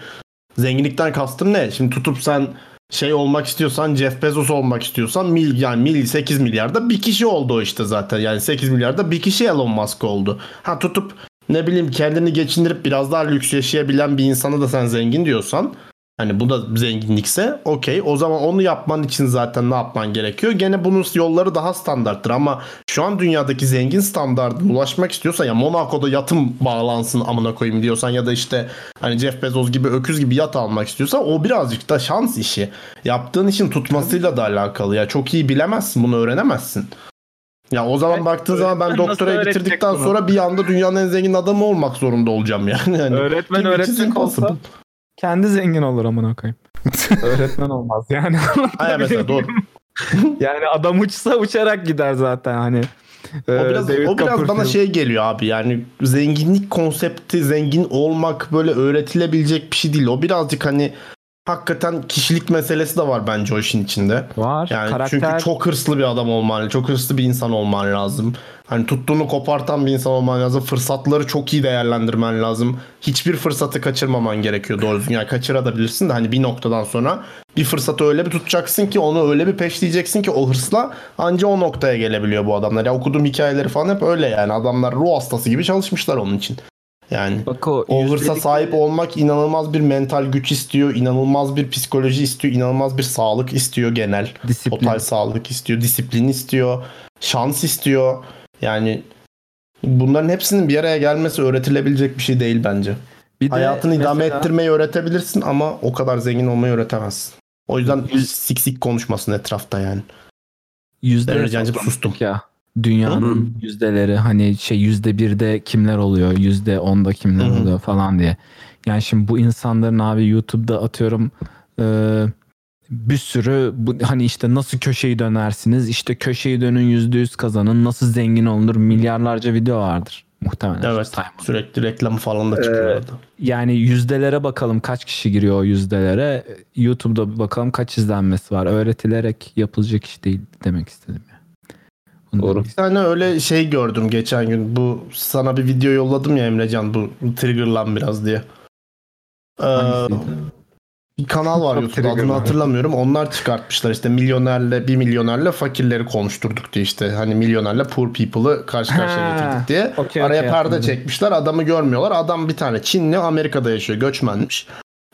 S3: zenginlikten kastım ne? Şimdi tutup sen şey olmak istiyorsan Jeff Bezos olmak istiyorsan mil yani mil 8 milyarda bir kişi oldu o işte zaten. Yani 8 milyarda bir kişi Elon Musk oldu. Ha tutup ne bileyim kendini geçindirip biraz daha lüks yaşayabilen bir insana da sen zengin diyorsan hani bu da zenginlikse okey o zaman onu yapman için zaten ne yapman gerekiyor? Gene bunun yolları daha standarttır ama şu an dünyadaki zengin standartına ulaşmak istiyorsan ya Monaco'da yatım bağlansın amına koyayım diyorsan ya da işte hani Jeff Bezos gibi öküz gibi yat almak istiyorsan o birazcık da şans işi. Yaptığın işin tutmasıyla da alakalı ya. Çok iyi bilemezsin bunu öğrenemezsin. Ya o zaman
S1: Evet,
S3: baktığın zaman ben
S1: öğretmen
S3: doktorayı
S1: nasıl öğretecek
S3: bitirdikten
S1: bunu?
S3: sonra bir anda dünyanın en zengin adamı olmak zorunda olacağım yani. yani
S1: Öğretmen
S3: kim-
S1: öğretecek
S3: kim-
S1: olsa kendi zengin olur amına koyayım. Öğretmen olmaz yani.
S3: Ha, mesela doğru.
S1: yani adam uçsa uçarak gider zaten hani.
S3: O biraz, o biraz bana şey geliyor abi yani zenginlik konsepti zengin olmak böyle öğretilebilecek bir şey değil. O birazcık hani hakikaten kişilik meselesi de var bence o işin içinde.
S1: var.
S3: şey- Yani
S1: karakter
S3: çünkü çok hırslı bir adam olman, çok hırslı bir insan olman lazım. Hani tuttuğunu kopartan bir insan olman lazım. Fırsatları çok iyi değerlendirmen lazım. Hiçbir fırsatı kaçırmaman gerekiyor doğru düzgün. Yani kaçırabilirsin de hani bir noktadan sonra bir fırsatı öyle bir tutacaksın ki onu öyle bir peşleyeceksin ki o hırsla anca o noktaya gelebiliyor bu adamlar. Ya okuduğum hikayeleri falan hep öyle yani. Adamlar ruh hastası gibi çalışmışlar onun için. Yani
S1: Bak o,
S3: o
S1: yüzdelik-
S3: hırsa sahip olmak inanılmaz bir mental güç istiyor, inanılmaz bir psikoloji istiyor, inanılmaz bir sağlık istiyor genel.
S1: disiplin.
S3: Total sağlık istiyor, disiplin istiyor, şans istiyor. Yani bunların hepsinin bir araya gelmesi öğretilebilecek bir şey değil bence.
S1: Bir de
S3: Hayatını idame
S1: mesela-
S3: ettirmeyi öğretebilirsin ama o kadar zengin olmayı öğretemezsin. O yüzden sik sik konuşmasın etrafta yani.
S1: Yüzde
S3: Emre Can'cığım sustum.
S1: ya. Dünyanın yüzdeleri hani şey yüzde birde kimler oluyor, yüzde onda kimler
S3: Hı hı.
S1: oluyor falan diye. Yani şimdi bu insanların abi YouTube'da atıyorum e, bir sürü bu, hani işte nasıl köşeyi dönersiniz, işte köşeyi dönün yüzde yüz kazanın, nasıl zengin olunur milyarlarca video vardır muhtemelen.
S3: Evet
S1: Saymadım.
S3: sürekli reklamı falan da çıkıyor
S1: Ee,
S3: orada.
S1: Yani yüzdelere bakalım kaç kişi giriyor o yüzdelere. YouTube'da bir bakalım kaç izlenmesi var. Öğretilerek yapılacak iş değil demek istedim. Yani. Bunu
S2: Doğru.
S1: demek
S3: Bir tane öyle şey gördüm geçen gün. Bu sana bir video yolladım ya Emrecan bu triggerlan biraz diye. Ee,
S1: Hangisiydi?
S3: bir kanal var YouTube'da adını hatırlamıyorum. Onlar çıkartmışlar işte milyonerle bir milyonerle fakirleri konuşturduk diye işte. Hani milyonerle poor people'ı karşı karşıya
S1: Ha,
S3: getirdik diye.
S1: okey,
S3: Araya
S1: okey,
S3: perde
S1: anladım.
S3: çekmişler adamı görmüyorlar. Adam bir tane Çinli Amerika'da yaşıyor göçmenmiş.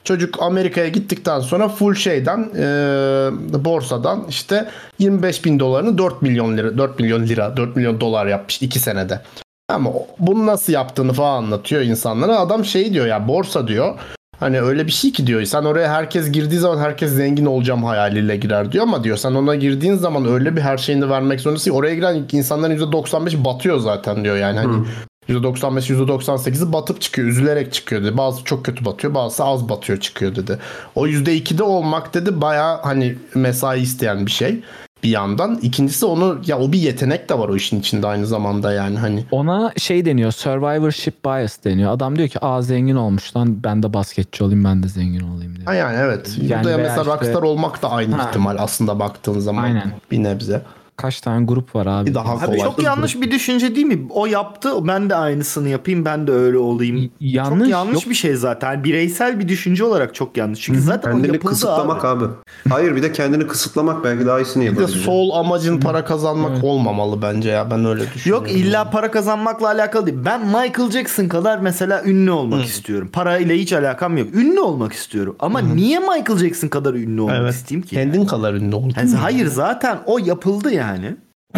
S3: Çocuk Amerika'ya gittikten sonra full şeyden e, borsadan işte 25 bin dolarını 4 milyon lira 4 milyon lira 4 milyon dolar yapmış 2 senede. Ama o- bunu nasıl yaptığını falan anlatıyor insanlara. Adam şey diyor ya borsa diyor. Hani öyle bir şey ki diyor. Sen oraya herkes girdiği zaman herkes zengin olacağım hayaliyle girer diyor ama diyor sen ona girdiğin zaman öyle bir her şeyini vermek zorundasın. Oraya giren insanların %95 batıyor zaten diyor yani. Hani %95 %98'i batıp çıkıyor. Üzülerek çıkıyor dedi. Bazı çok kötü batıyor. Bazısı az batıyor çıkıyor dedi. O %2'de olmak dedi baya hani mesai isteyen bir şey bir yandan. İkincisi onu ya o bir yetenek de var o işin içinde aynı zamanda yani hani.
S1: Ona şey deniyor survivorship bias deniyor. Adam diyor ki aa zengin olmuş lan ben de basketçi olayım ben de zengin olayım diyor.
S3: Ha yani evet.
S1: Yani
S3: Bu
S1: veya
S3: da mesela
S1: işte-
S3: rockstar olmak da aynı
S1: Ha.
S3: ihtimal aslında baktığın zaman.
S1: Aynen.
S3: Bir nebze.
S1: Kaç tane grup var abi?
S3: Bir daha
S5: Abi
S3: kolay.
S5: çok yanlış bir düşünce değil mi? O yaptı ben de aynısını yapayım ben de öyle olayım.
S1: Yanlış.
S5: çok yanlış
S1: yok.
S5: bir şey zaten. Bireysel bir düşünce olarak çok yanlış. Çünkü zaten o
S2: Kendini
S5: yapıldı abi.
S2: kısıtlamak abi. Hayır bir de kendini kısıtlamak belki daha iyisini
S3: Bir de
S2: yapabilir.
S3: sol amacın para kazanmak
S1: Evet.
S3: olmamalı bence ya. Ben öyle düşünüyorum.
S5: Yok illa para kazanmakla alakalı değil. Ben Michael Jackson kadar mesela ünlü olmak istiyorum. Para ile hiç alakam yok. Ünlü olmak istiyorum. Ama niye Michael Jackson kadar ünlü olmak
S3: Evet.
S5: isteyeyim ki?
S3: Kendin kadar ünlü oldun.
S1: Hmm.
S5: Yani hayır zaten o yapıldı yani.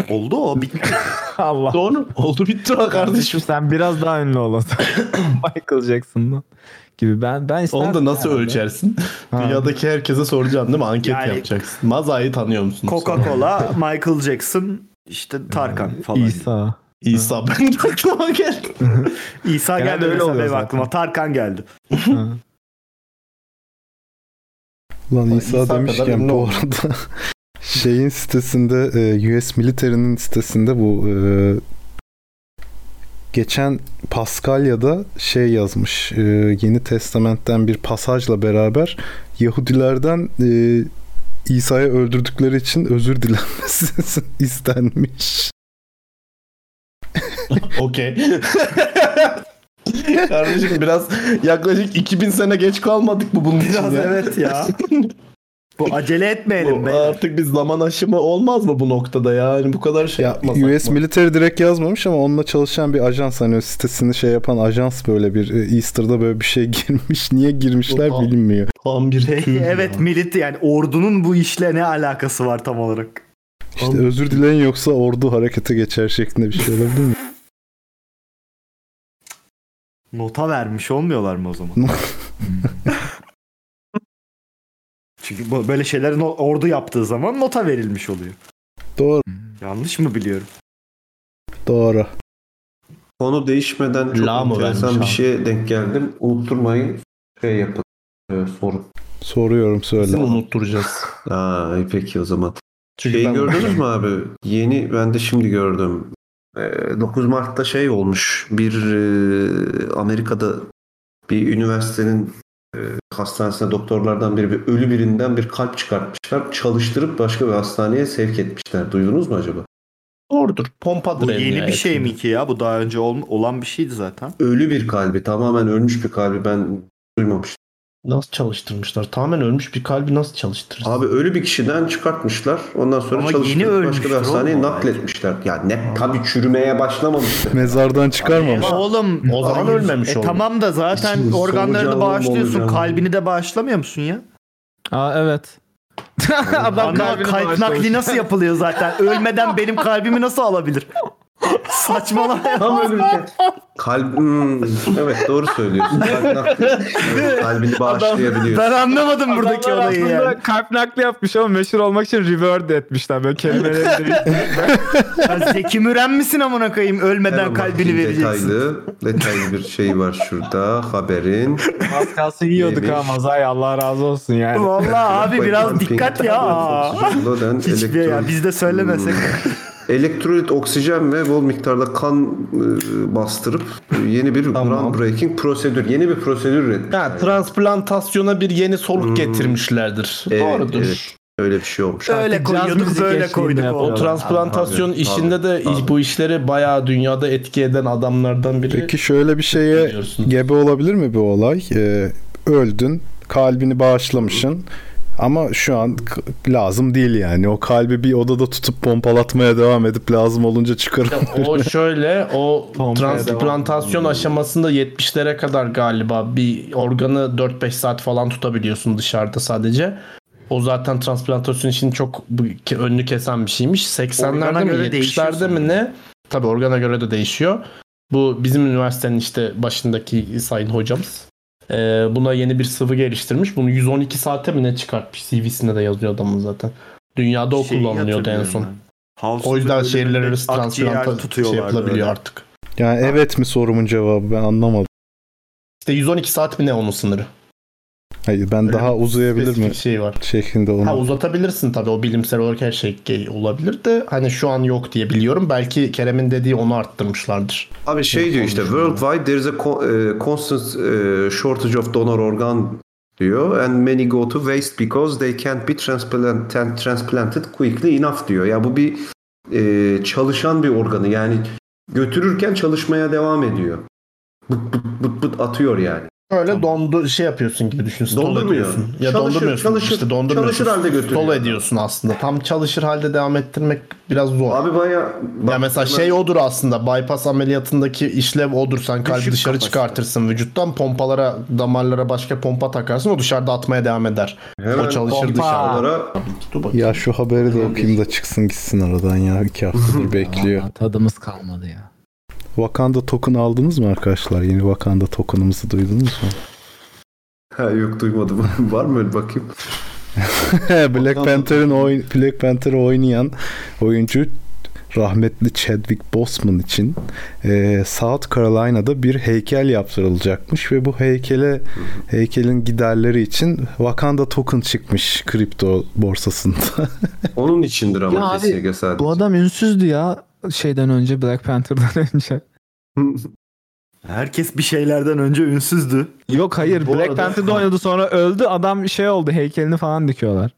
S5: Oldu o. Bitti.
S1: Allah.
S3: Doğru. Oldu bitti o kardeşim.
S1: Kardeşim sen biraz daha ünlü olasın. Michael Jackson'dan gibi ben ben isterdim.
S3: Onu da nasıl
S1: herhalde.
S3: ölçersin?
S1: Ha.
S3: Dünyadaki herkese soracaksın değil mi? Anket
S5: Yani-
S3: yapacaksın. Maza'yı tanıyor musunuz?
S5: Coca-Cola, Michael Jackson, işte Tarkan falan. İsa,
S1: Hmm. İsa.
S3: İsa ben de aklıma geldi.
S1: Genelde
S5: geldi
S1: öyle
S5: mesela
S1: oluyor
S5: benim
S1: zaten.
S5: aklıma. Tarkan geldi.
S4: Lan
S3: İsa
S4: İsa,
S3: kadar
S4: demişken
S3: ünlü
S4: bu
S3: oldu.
S4: arada şeyin sitesinde e, US Military'nin sitesinde bu e, geçen Paskalya'da şey yazmış e, Yeni Testament'ten bir pasajla beraber Yahudilerden e, İsa'yı öldürdükleri için özür dilenmesi istenmiş.
S3: Okey. Kardeşim biraz yaklaşık 2000 sene geç kalmadık mı bunun için?
S5: Biraz
S3: ya?
S5: evet ya. Bu acele etmeyelim
S3: Bu,
S5: be.
S3: artık bir zaman aşımı olmaz mı bu noktada ya? Yani bu kadar şey
S4: Ya
S3: yapmasak
S4: US
S3: mı?
S4: Military direkt yazmamış ama onunla çalışan bir ajans hani o sitesini şey yapan ajans böyle bir e, Easter'da böyle bir şey girmiş. Niye girmişler
S3: Oha.
S4: bilinmiyor.
S3: Tam bir
S5: Peki,
S3: tür
S1: Hmm.
S3: ya.
S5: Şey, evet militi yani ordunun bu işle ne alakası var tam olarak?
S4: İşte özür dileyin yoksa ordu harekete geçer şeklinde bir şey olabilir mi?
S5: Nota vermiş olmuyorlar mı o zaman? Çünkü bu- böyle şeylerin o- ordu yaptığı zaman nota verilmiş oluyor.
S4: Doğru.
S5: Yanlış mı biliyorum?
S4: Doğru.
S2: Konu değişmeden çok
S3: La mı vermiş
S2: enteresan bir
S3: abi?
S2: şeye denk geldim. Unutturmayın şey yapın. Ee, sorun.
S4: Soruyorum
S3: Bizi
S4: söyle.
S3: unutturacağız.
S2: Aa, iyi peki o zaman.
S3: Çünkü
S2: Şeyi
S3: ben-
S2: gördünüz mü abi? Yeni ben de şimdi gördüm. Ee, 9 Mart'ta şey olmuş. Bir e, Amerika'da bir üniversitenin e, hastanesine doktorlardan biri bir ölü birinden bir kalp çıkartmışlar. Çalıştırıp başka bir hastaneye sevk etmişler. Duydunuz mu acaba?
S3: Doğrudur. Pompadır
S5: Bu
S3: eline
S5: yeni bir şey
S3: yakın.
S5: mi ki ya? Bu daha önce ol- olan bir şeydi zaten.
S2: Ölü bir kalbi, tamamen ölmüş bir kalbi ben duymamıştım.
S3: Nasıl çalıştırmışlar? Tamamen ölmüş bir kalbi nasıl çalıştırırsın?
S2: Abi ölü bir kişiden çıkartmışlar. Ondan sonra
S5: Ama yeni
S2: çalıştırıp başka
S5: ölmüştür
S2: bir hastaneye
S5: oğlum o
S2: nakletmişler. Ya ne tabii çürümeye başlamamıştı.
S4: Mezardan çıkarmamış.
S5: Ya oğlum
S3: O zaman
S5: hayır.
S3: ölmemiş
S5: e,
S3: oldu.
S5: Tamam da zaten
S2: İçimiz
S5: organlarını
S2: solucanlı
S5: bağışlıyorsun.
S2: molucanlı.
S5: Kalbini de bağışlamıyor musun ya?
S1: Aa evet. Adam
S5: Ana,
S1: kalbini
S5: kalp
S1: bağışlamış.
S5: nakli nasıl yapılıyor zaten? Ölmeden benim kalbimi nasıl alabilir? Saçmalama ya.
S2: Tam öyle bir şey. Kalp... Hmm, evet doğru söylüyorsun. Kalp nakli- Evet, Kalbini bağışlayabiliyor.
S5: Ben anlamadım buradaki
S1: Adamlar
S5: olayı
S1: aslında
S5: yani.
S1: kalp nakli yapmış ama meşhur olmak için reword etmişler böyle kelimeleri değiştirip.
S5: Ya Zeki Müren misin amına koyayım? Ölmeden
S2: Hemen
S5: kalbini
S2: bakayım,
S5: vereceksin.
S2: Detaylı, detaylı bir şey var şurada haberin.
S1: Az kalsın yiyorduk
S2: Yemiş.
S1: ha mazay Allah razı olsun yani.
S5: Vallahi abi biraz
S2: Dumping,
S5: dikkat ya.
S2: Bloden,
S5: Hiçbir ya
S2: elektron-
S5: biz de söylemesek.
S2: Elektrolit, oksijen ve bol miktarda kan e, bastırıp yeni bir
S3: Tamam.
S2: groundbreaking prosedür, yeni bir prosedür üretmiş.
S3: Ha, transplantasyona bir yeni soluk
S2: Hmm.
S3: getirmişlerdir.
S5: E,
S2: Evet,
S3: Doğrudur.
S2: evet. Öyle bir şey olmuş.
S5: Öyle
S1: Artık caz
S5: koyuyorduk
S1: müziği
S5: böyle
S1: eşliğinde
S5: koyduk.
S1: yapalım.
S3: O
S5: oğlum.
S3: transplantasyon
S2: Tabii,
S3: işinde de
S2: tabii, tabii.
S3: bu işleri bayağı dünyada etki eden adamlardan biri.
S4: Peki şöyle bir şeye
S3: Biliyorsun.
S4: gebe olabilir mi bu olay? Ee, öldün. kalbini bağışlamışsın. Ama şu an k- lazım değil yani. O kalbi bir odada tutup pompalatmaya devam edip lazım olunca çıkarıp
S3: o şöyle o
S1: Pompaya
S3: transplantasyon aşamasında 70'lere kadar galiba bir organı 4-5 saat falan tutabiliyorsun dışarıda sadece. O zaten transplantasyon için çok bu- ke- önünü kesen bir şeymiş. 80'lerde
S5: Organa
S3: mi
S5: göre
S3: 70'lerde
S5: değişiyor
S3: mi
S5: sanırım.
S3: ne? Tabii organa göre de değişiyor. Bu bizim üniversitenin işte başındaki sayın hocamız. Ee, buna yeni bir sıvı geliştirmiş. Bunu 112 saate mi ne çıkartmış? CV'sinde de yazıyor adamın zaten. Dünyada o
S5: Şeyi
S3: kullanılıyordu en
S5: hatırlıyorum
S3: son.
S5: ben. House'un
S3: O yüzden
S5: böyle
S3: şehirler arası
S5: akciğer
S3: transplanta şey
S5: tutuyorlardı
S3: yapılabiliyor
S5: öyle.
S3: artık.
S4: yani evet mi sorumun cevabı ben anlamadım.
S3: İşte 112 saat mi ne onun sınırı?
S4: Hayır ben
S3: Öyle
S4: daha
S3: bir
S4: uzayabilir mi
S3: Spesifik şey var.
S4: şeklinde
S3: Ha
S4: onu.
S3: uzatabilirsin tabii o bilimsel olarak her şey ge- olabilir de hani şu an yok diye biliyorum. Belki Kerem'in dediği onu arttırmışlardır.
S2: Abi şey diyor işte worldwide there is a co- e, constant e, shortage of donor organ diyor and many go to waste because they can't be transplanted, transplanted quickly enough diyor. Ya bu bir e, çalışan bir organı yani götürürken çalışmaya devam ediyor. Bıt bıt bıt bıt atıyor yani.
S3: Öyle dondu şey yapıyorsun gibi düşün. Stola
S2: Dondurmuyor.
S3: ediyorsun. Ya
S2: Çalışır,
S3: dondurmuyorsun.
S2: çalışır,
S3: işte dondurmuyorsun.
S2: çalışır halde götürüyor.
S3: Stola ediyorsun aslında. Tam çalışır halde devam ettirmek biraz zor.
S2: Abi baya
S3: ya mesela şey odur aslında bypass ameliyatındaki işlev odur sen kalbi
S5: Düşük
S3: dışarı
S5: kapasite.
S3: çıkartırsın vücuttan pompalara damarlara başka pompa takarsın o dışarıda atmaya devam eder. o çalışır dışarıda.
S2: dışarıda.
S3: Dur bakayım.
S4: Ya şu haberi de okuyayım da çıksın gitsin aradan ya. iki haftadır bekliyor.
S1: Aman, tadımız kalmadı ya.
S4: Wakanda token aldınız mı arkadaşlar? Yeni Wakanda token'ımızı duydunuz mu?
S2: Ha, yok duymadım. Var mı öyle bakayım?
S4: Black Panther'ın oyn- Black Panther'ı oynayan oyuncu rahmetli Chadwick Boseman için eee, South Carolina'da bir heykel yaptırılacakmış ve bu heykele heykelin giderleri için Wakanda token çıkmış kripto borsasında.
S2: Onun içindir ama
S1: Ya abi,
S2: kesinlikle sadece.
S1: Bu adam ünsüzdü ya şeyden önce Black Panther'dan önce.
S5: Herkes bir şeylerden önce ünsüzdü.
S1: Yok hayır
S3: Bu
S1: Black
S3: arada-
S1: Panther'da oynadı sonra öldü adam şey oldu heykelini falan dikiyorlar.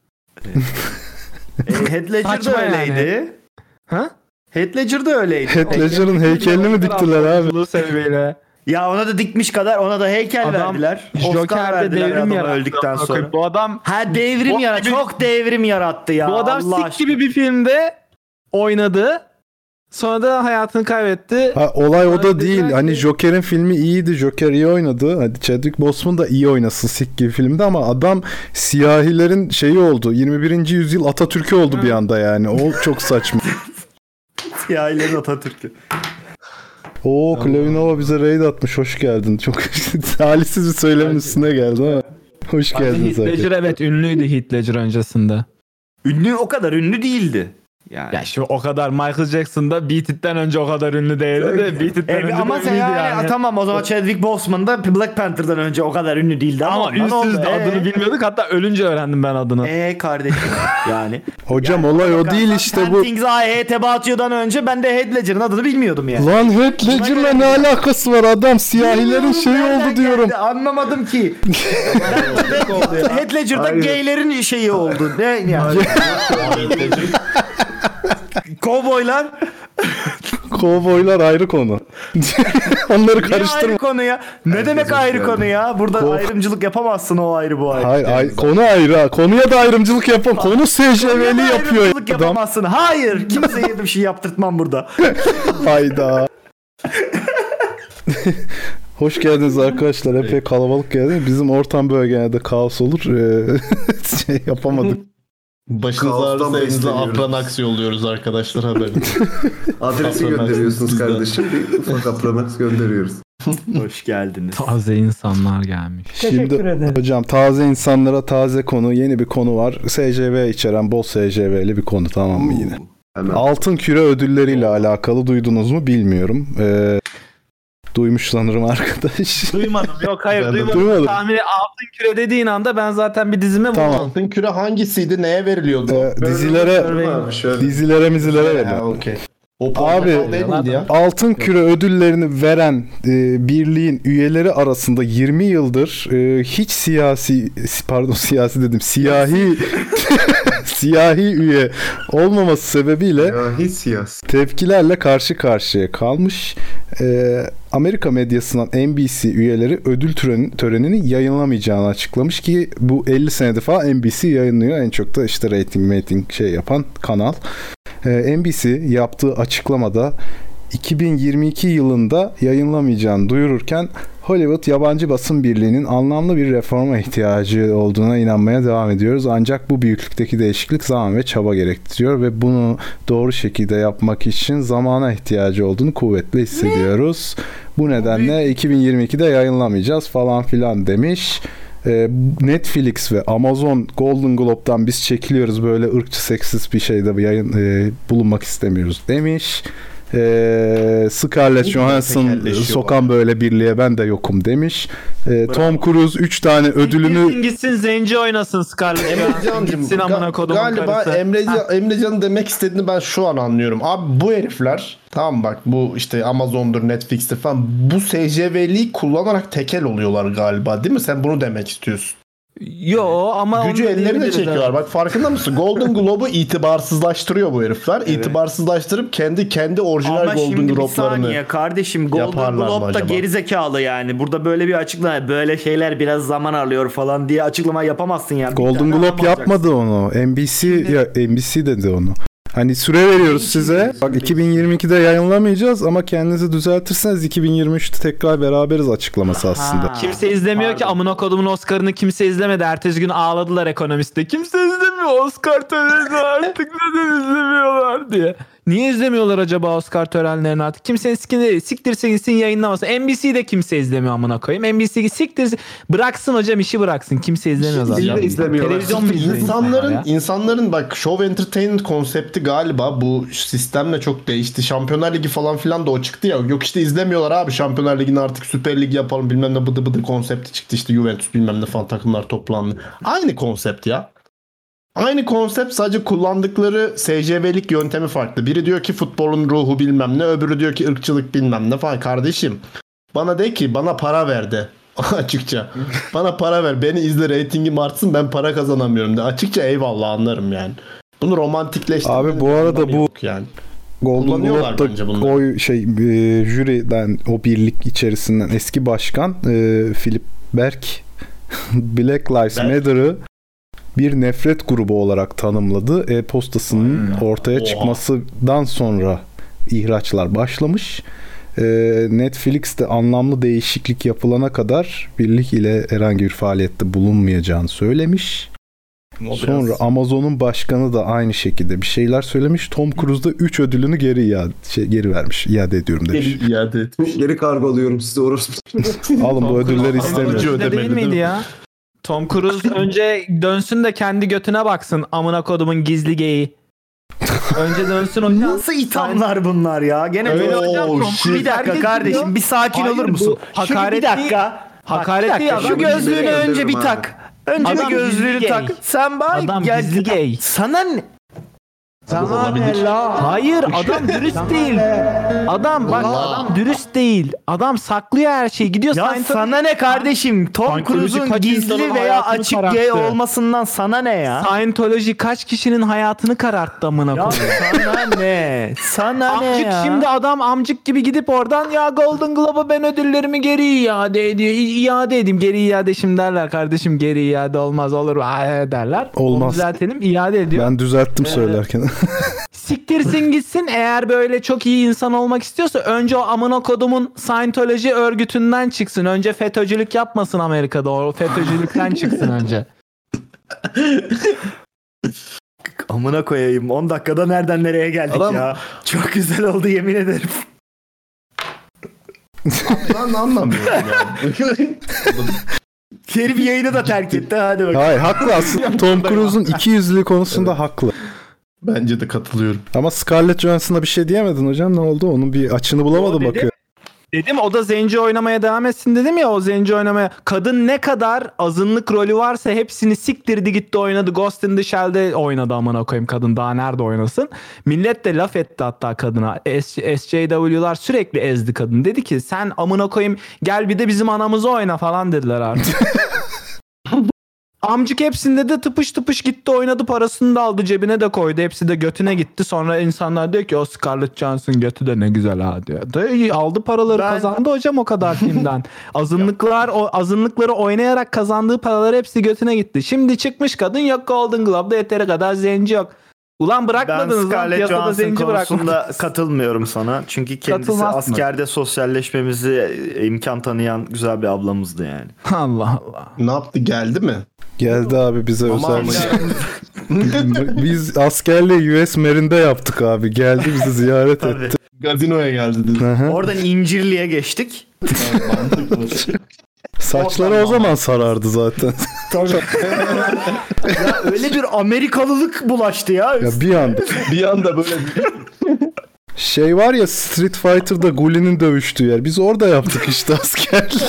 S5: E, Heath Ledger de
S1: Saçma yani.
S5: öyleydi.
S1: Ha?
S5: Heath Ledger de öyleydi.
S4: Heath Ledger'ın heykelini mi diktiler abi?
S1: Bu sebebiyle.
S5: Ya ona da dikmiş kadar ona da heykel
S1: Adam
S5: verdiler. Oscar
S1: Joker'de
S5: verdiler
S1: devrim
S5: adama
S1: yarattı.
S5: öldükten
S1: amına
S5: sonra.
S1: koyayım. Bu adam
S5: Ha devrim
S1: Bok
S5: yarattı.
S1: gibi-
S5: Çok devrim yarattı ya.
S1: bu adam
S5: Allah
S1: sik
S5: aşkına.
S1: gibi bir filmde oynadı. Sonra da hayatını kaybetti.
S4: Ha, olay o da
S1: Abi,
S4: değil.
S1: güzel
S4: Hani
S1: şey.
S4: Joker'in filmi iyiydi. Joker iyi oynadı. Hadi Chadwick Boseman da iyi oynasın sik gibi filmde ama adam siyahilerin şeyi oldu. 21. yüzyıl Atatürk'ü oldu bir anda yani. O çok saçma.
S5: Ya ileri Atatürk'ü.
S4: Oo Klevinova bize raid atmış. Hoş geldin. Çok talihsiz bir söylemin üstüne geldi ama. Hoş
S1: Abi
S4: geldin
S1: Heath Ledger
S4: zaten.
S1: evet ünlüydü Heath Ledger öncesinde.
S5: Ünlü o kadar ünlü değildi. Yani.
S1: Ya şimdi o kadar Michael Jackson'da Beat It'ten önce o kadar ünlü değildi de Beat It'ten
S5: E,
S1: önce
S5: ama
S1: de
S5: sen
S1: ünlüydü
S5: yani,
S1: yani.
S5: tamam o zaman Chadwick Boseman da Black Panther'dan önce o kadar ünlü değildi ama,
S1: Ama
S5: ondan oldu.
S1: ünsüzdü adını
S3: Ee?
S5: E,
S1: bilmiyorduk hatta ölünce öğrendim ben adını.
S5: E kardeşim yani.
S4: Hocam olay o değil işte bu.
S5: Things I Hate About You'dan önce ben de Heath Ledger'ın adını bilmiyordum yani.
S4: Lan Heath Ledger'la ne alakası var adam? Siyahilerin
S5: Bilmiyorum,
S4: şeyi
S5: nereden
S4: oldu diyorum.
S5: geldi, Anlamadım ki. Heath Ledger'da
S2: Hayır.
S5: gaylerin şeyi oldu. Ne yani? Kovboylar
S4: Kovboylar ayrı konu. Onları
S5: ne ayrı
S4: karıştırma.
S5: konu ya? Ne demek ayrı konu ya? Burada
S4: Kov-
S5: ayrımcılık yapamazsın o ayrı bu ayrı.
S4: Hayır, ay- konu ayrı. ha. Konuya da ayrımcılık yapam. Konu SJV'li
S5: Ayrımcılık
S4: yapıyor ya adam.
S5: yapamazsın. Hayır. Kimseye de bir şey yaptırtmam burada.
S4: Hayda. Hoş geldiniz arkadaşlar. Epey kalabalık geldi. Bizim ortam böyle genelde kaos olur. Ee, şey yapamadık.
S3: Başınız
S2: Kaostan
S3: ağrısı elinizde
S2: besleniyoruz.
S3: apran aksi oluyoruz arkadaşlar haberiniz.
S2: Adresi
S3: Aslında
S2: gönderiyorsunuz
S3: bizden.
S2: kardeşim. Bir ufak aplamak gönderiyoruz.
S5: Hoş geldiniz.
S1: Taze insanlar gelmiş.
S4: Şimdi hocam taze insanlara taze konu. Yeni bir konu var. SJV içeren bol SJV'li bir konu tamam mı yine?
S2: Hemen.
S4: Altın küre ödülleriyle alakalı duydunuz mu bilmiyorum. Ee, duymuş sanırım arkadaş.
S1: Duymadım. Yok hayır
S3: Ben de
S1: duymadım.
S4: duymadım.
S1: Tahmini altın küre dediğin anda ben zaten bir dizime
S4: Tamam.
S1: vurdum.
S3: Altın küre hangisiydi? Neye veriliyordu?
S4: Ee, dizilere
S2: Abi şöyle.
S4: dizilere mizilere verin.
S3: Ha, okey. O
S4: Abi-
S3: portakal değil miydi ya?
S4: Altın Küre ödüllerini veren e, birliğin üyeleri arasında 20 yıldır e, hiç siyasi pardon siyasi dedim siyahi siyahi üye olmaması sebebiyle
S2: Ya hiç siyasi.
S4: tepkilerle karşı karşıya kalmış. e, Amerika medyasından NBC üyeleri ödül töreni, törenini yayınlamayacağını açıklamış ki bu 50 senede falan NBC yayınlıyor. En çok da işte rating rating şey yapan kanal. E, NBC yaptığı açıklamada 2022 yılında yayınlamayacağını duyururken Hollywood yabancı basın birliğinin anlamlı bir reforma ihtiyacı olduğuna inanmaya devam ediyoruz. Ancak bu büyüklükteki değişiklik zaman ve çaba gerektiriyor ve bunu doğru şekilde yapmak için zamana ihtiyacı olduğunu kuvvetle hissediyoruz. Bu nedenle 2022'de yayınlamayacağız falan filan demiş. Ee, Netflix ve Amazon Golden Globe'dan biz çekiliyoruz böyle ırkçı seksist bir şeyde bir yayın e, bulunmak istemiyoruz demiş. Ee, Scarlett Johansson
S5: tekelleşiyor
S4: sokan böyle birliğe ben de yokum demiş. Ee, Tom Cruise 3 tane ödülünü
S1: Gitsin gitsin zenci oynasın Scarlett. Johansson.
S3: Emrecan'cım
S1: gitsin amına
S3: ga-
S1: kodumun
S3: galiba
S1: karısı.
S3: Emrecan, Emrecan'ın demek istediğini ben şu an anlıyorum. Abi bu herifler tamam bak bu işte Amazon'dur Netflix'tir falan bu SCV'liği kullanarak tekel oluyorlar galiba değil mi? Sen bunu demek istiyorsun.
S1: Yo ama
S3: Gücü
S1: onu da
S3: ellerine
S1: diyebiliriz
S3: çekiyorlar.
S1: abi.
S3: Bak farkında mısın? Golden Globe'u itibarsızlaştırıyor bu herifler. İtibarsızlaştırıp kendi kendi orijinal
S5: Ama
S3: Golden
S5: şimdi bir
S3: Globe'larını.
S5: saniye kardeşim Golden
S3: yaparlar mı
S5: Globe da
S3: acaba?
S5: gerizekalı yani. Burada böyle bir açıklama böyle şeyler biraz zaman alıyor falan diye açıklama yapamazsın yani. Bir
S4: Golden
S5: tane
S4: Globe
S5: alamayacaksın.
S4: yapmadı onu. NBC ya NBC dedi onu. Hani süre veriyoruz size. Bak 2022'de yayınlamayacağız ama kendinizi düzeltirseniz 2023'te tekrar beraberiz açıklaması aslında.
S5: Ha.
S1: Kimse izlemiyor ki amına kodumun Oscar'ını kimse izlemedi. Ertesi gün ağladılar ekonomiste. Kimse izlemiyor Oscar törenini artık neden izlemiyorlar diye. Niye izlemiyorlar acaba Oscar törenlerini artık? Kimsenin sikini siktirse gitsin yayınlamasın. NBC de kimse izlemiyor amına koyayım. NBC siktirse bıraksın hocam işi bıraksın. Kimse izlemiyor zaten.
S2: İzle- izlemiyorlar.
S1: Televizyon mu izliyor insanlar
S3: İnsanların
S1: ya?
S3: insanların bak show entertainment konsepti galiba bu sistemle çok değişti. Şampiyonlar Ligi falan filan da o çıktı ya. Yok işte izlemiyorlar abi Şampiyonlar Ligi'ni artık Süper Lig yapalım bilmem ne bıdı bıdı konsepti çıktı işte Juventus bilmem ne falan takımlar toplandı. Aynı konsept ya. Aynı konsept sadece kullandıkları SCV'lik yöntemi farklı. Biri diyor ki futbolun ruhu bilmem ne, öbürü diyor ki ırkçılık bilmem ne falan. Kardeşim bana de ki bana para ver de. Açıkça. Bana para ver. Beni izle reytingim artsın ben para kazanamıyorum de. Açıkça eyvallah anlarım yani. Bunu romantikleştirmenin
S4: Abi bu arada
S3: anlamı
S4: bu-
S3: yok yani.
S4: Golden
S3: Kullanıyorlar bence
S4: Globe'da
S3: bunları.
S4: oy şey e, jüriden o birlik içerisinden eski başkan e, Philip Berk Black Lives
S3: Berk.
S4: Matter'ı bir nefret grubu olarak tanımladı. E-postasının ortaya
S3: Oha.
S4: çıkmasından sonra ihraçlar başlamış. E, Netflix'te anlamlı değişiklik yapılana kadar birlik ile herhangi bir faaliyette bulunmayacağını söylemiş. Sonra Amazon'un başkanı da aynı şekilde bir şeyler söylemiş. Tom Cruise da 3 ödülünü geri iade, şey, geri vermiş. İade ediyorum demiş.
S3: Geri iade et.
S2: Geri kargoluyorum size orospu.
S3: Tom
S4: Alın bu
S3: Cruise
S4: ödülleri
S3: ama
S4: istemiyorum.
S3: acı
S1: Ödül de
S3: ödemeli,
S1: değil
S3: değil
S1: miydi
S3: mi?
S1: ya? Tom Cruise önce dönsün de kendi götüne baksın amına kodumun gizli geyi. Önce dönsün o
S5: Nasıl ithamlar bunlar ya? Gene
S3: Evet.
S5: böyle
S3: Oo, shit.
S5: bir dakika
S1: Herkes
S5: kardeşim
S1: biliyor.
S5: bir sakin
S1: Hayır,
S5: olur
S1: bu
S5: musun? Hakaret
S1: hakaret
S5: bir dakika.
S1: Hakaret
S5: Bak, bir
S1: değil,
S5: dakika.
S1: adam
S5: Şu gözlüğünü
S2: gizli
S5: önce
S2: gönderirim
S5: bir
S2: abi.
S5: tak. Önce
S1: Adam
S5: bir gözlüğünü
S1: gizli
S5: tak.
S1: gay.
S5: Sen bak
S1: Adam
S5: gel-
S1: gizli gay.
S5: Sana ne?
S1: Sana ne la? Hayır
S5: Şey-
S1: adam dürüst değil. Adam bak adam dürüst değil. Adam saklıyor her şeyi. Gidiyor
S5: Ya
S1: Scientology-
S5: sana ne kardeşim? Tom
S1: Scientology
S5: Cruise'un
S1: kaç
S5: gizli
S1: insanın
S5: veya
S1: hayatını
S5: açık
S1: kararttı?
S5: gay olmasından sana ne ya?
S1: Scientology kaç kişinin hayatını kararttı amına
S5: Ya
S1: koyayım.
S5: sana ne? Sana ne
S1: Amcık
S5: ya?
S1: şimdi adam amcık gibi gidip oradan ya Golden Globe'a ben ödüllerimi geri iade ediyor. İ- iade edeyim. Geri iade şimdi derler kardeşim. Geri iade olmaz olur Aa, derler.
S4: Olmaz.
S1: Onu düzeltelim iade ediyor.
S4: Ben düzelttim söylerken.
S1: Siktirsin gitsin eğer böyle çok iyi insan olmak istiyorsa önce o amına kodumun Scientology örgütünden çıksın. Önce FETÖ'cülük yapmasın Amerika'da. O FETÖ'cülükten çıksın önce.
S5: Amına koyayım 10 dakikada nereden nereye geldik
S2: Adam-
S5: ya? Çok güzel oldu yemin ederim.
S3: Ben anlamıyorum yani.
S5: Herif yayını da terk etti hadi bakalım.
S4: Hayır haklı aslında. Tom Cruise'un iki yüzlü konusunda haklı.
S3: Bence de katılıyorum.
S4: Ama Scarlett Johansson'a bir şey diyemedin hocam. Ne oldu? Onun bir açını bulamadım
S1: dedi.
S4: bakıyor.
S1: Dedim o da zenci oynamaya devam etsin dedim ya o zenci oynamaya. Kadın ne kadar azınlık rolü varsa hepsini siktirdi gitti oynadı. Ghost in the Shell'de oynadı amına koyayım kadın daha nerede oynasın. Millet de laf etti hatta kadına. S- SJW'lar sürekli ezdi kadın. Dedi ki sen amına koyayım gel bir de bizim anamızı oyna falan dediler artık. Amcık hepsinde de tıpış tıpış gitti oynadı parasını da aldı cebine de koydu. Hepsi de götüne gitti. Sonra insanlar diyor ki o Scarlett Johansson götü de ne güzel ha diyor. Da iyi, aldı paraları
S5: Ben-
S1: kazandı hocam o kadar filmden. Azınlıklar o azınlıkları oynayarak kazandığı paralar hepsi götüne gitti. Şimdi çıkmış kadın yok Golden Globe'da yeteri kadar zenci yok. Ulan
S5: Ben
S1: bırakmadınız lan
S5: Scarlett
S1: piyasada
S5: Johansson
S1: zenci
S5: konusunda
S1: bırakmadınız.
S5: katılmıyorum sana. Çünkü kendisi
S1: Katılmaz mı?
S5: askerde sosyalleşmemizi e, imkan tanıyan güzel bir ablamızdı yani.
S1: Allah Allah.
S3: Ne yaptı geldi mi?
S4: Geldi abi bize
S3: Ama
S4: özel. şey. Biz askerle US Marine'de yaptık abi. Geldi bizi ziyaret etti.
S5: Tabii.
S3: gazinoya geldi dedi.
S4: Aha.
S5: Oradan İncirli'ye geçtik.
S4: Saçları o zaman sarardı zaten.
S5: Öyle bir Amerikalılık bulaştı ya.
S4: ya bir anda.
S3: bir anda böyle
S4: Şey var ya Street Fighter'da Guli'nin dövüştüğü yer. Biz orada yaptık işte askerliği.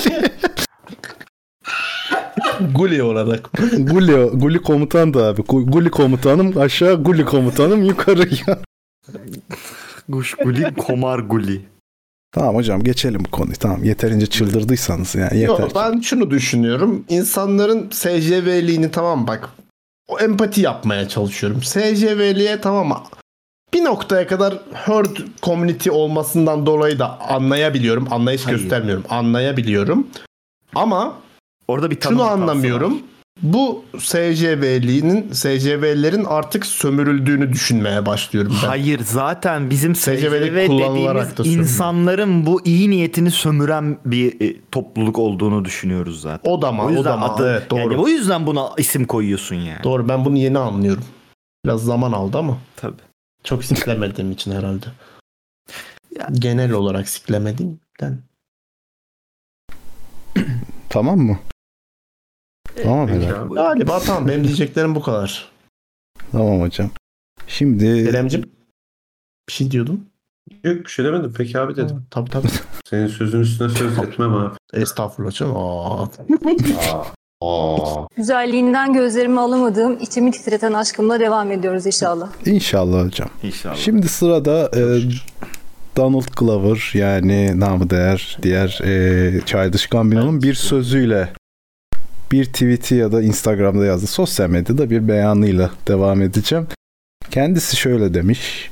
S3: guli olarak.
S4: Guli, Guli komutan da abi. Gu- Guli komutanım aşağı, Guli komutanım yukarı ya.
S5: Guş guli, komar guli.
S4: Tamam hocam geçelim bu konuyu. Tamam yeterince çıldırdıysanız yani yeter.
S3: Yok ben şunu düşünüyorum. İnsanların SCV'liğini tamam bak. O empati yapmaya çalışıyorum. SCV'liğe tamam bir noktaya kadar herd community olmasından dolayı da anlayabiliyorum. Anlayış
S5: Hayır.
S3: göstermiyorum. Anlayabiliyorum. Ama
S5: Orada bir tanım
S3: şunu
S5: hatası var.
S3: anlamıyorum. Bu SCV'liğinin SCV'lerin artık sömürüldüğünü düşünmeye başlıyorum ben.
S5: Hayır zaten bizim SCV
S3: SCV'de kullanılarak da
S5: dediğimiz
S3: sömürüyor.
S5: insanların bu iyi niyetini sömüren bir e, topluluk olduğunu düşünüyoruz zaten.
S3: O da mı?
S5: O
S3: O,
S5: yüzden
S3: da mı?
S5: adı,
S3: Evet, doğru.
S5: yani o yüzden buna isim koyuyorsun yani.
S3: Doğru ben bunu yeni anlıyorum. Biraz zaman aldı ama.
S5: Tabii.
S3: Çok siklemediğim için herhalde.
S5: Ya.
S3: Genel olarak siklemediğimden.
S4: Tamam mı? Tamam herhalde.
S3: Galiba tamam benim diyeceklerim bu kadar.
S4: Tamam hocam. Şimdi
S3: Kerem'cim bir şey diyordun.
S2: Yok bir şey demedim. Peki abi dedim.
S3: Tabii tabii.
S2: Senin sözün üstüne söz etmem abi.
S3: Estağfurullah canım. Aa.
S7: Güzelliğinden gözlerimi alamadığım, içimi titreten aşkımla devam ediyoruz inşallah.
S4: inşallah hocam.
S5: İnşallah.
S4: Şimdi sırada e, Donald Glover yani namı değer diğer e, Childish Gambino'nun bir sözüyle bir tweet'i ya da Instagram'da yazdı. Sosyal medyada bir beyanıyla devam edeceğim. Kendisi şöyle demiş.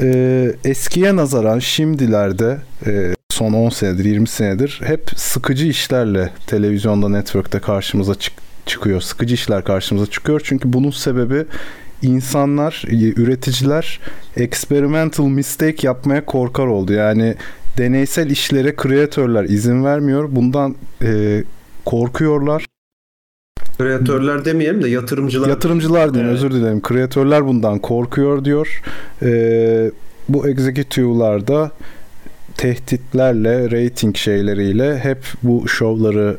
S4: E, eskiye nazaran şimdilerde e, son 10 senedir 20 senedir hep sıkıcı işlerle televizyonda network'te karşımıza çık- çıkıyor. Sıkıcı işler karşımıza çıkıyor. Çünkü bunun sebebi insanlar, e, üreticiler experimental mistake yapmaya korkar oldu. Yani deneysel işlere kreatörler izin vermiyor. Bundan e, korkuyorlar.
S2: Kreatörler demeyelim de yatırımcılar.
S4: Yatırımcılar diyeyim
S2: Evet.
S4: özür dilerim. Kreatörler bundan korkuyor diyor. E, bu executive'lar da tehditlerle, rating şeyleriyle hep bu şovları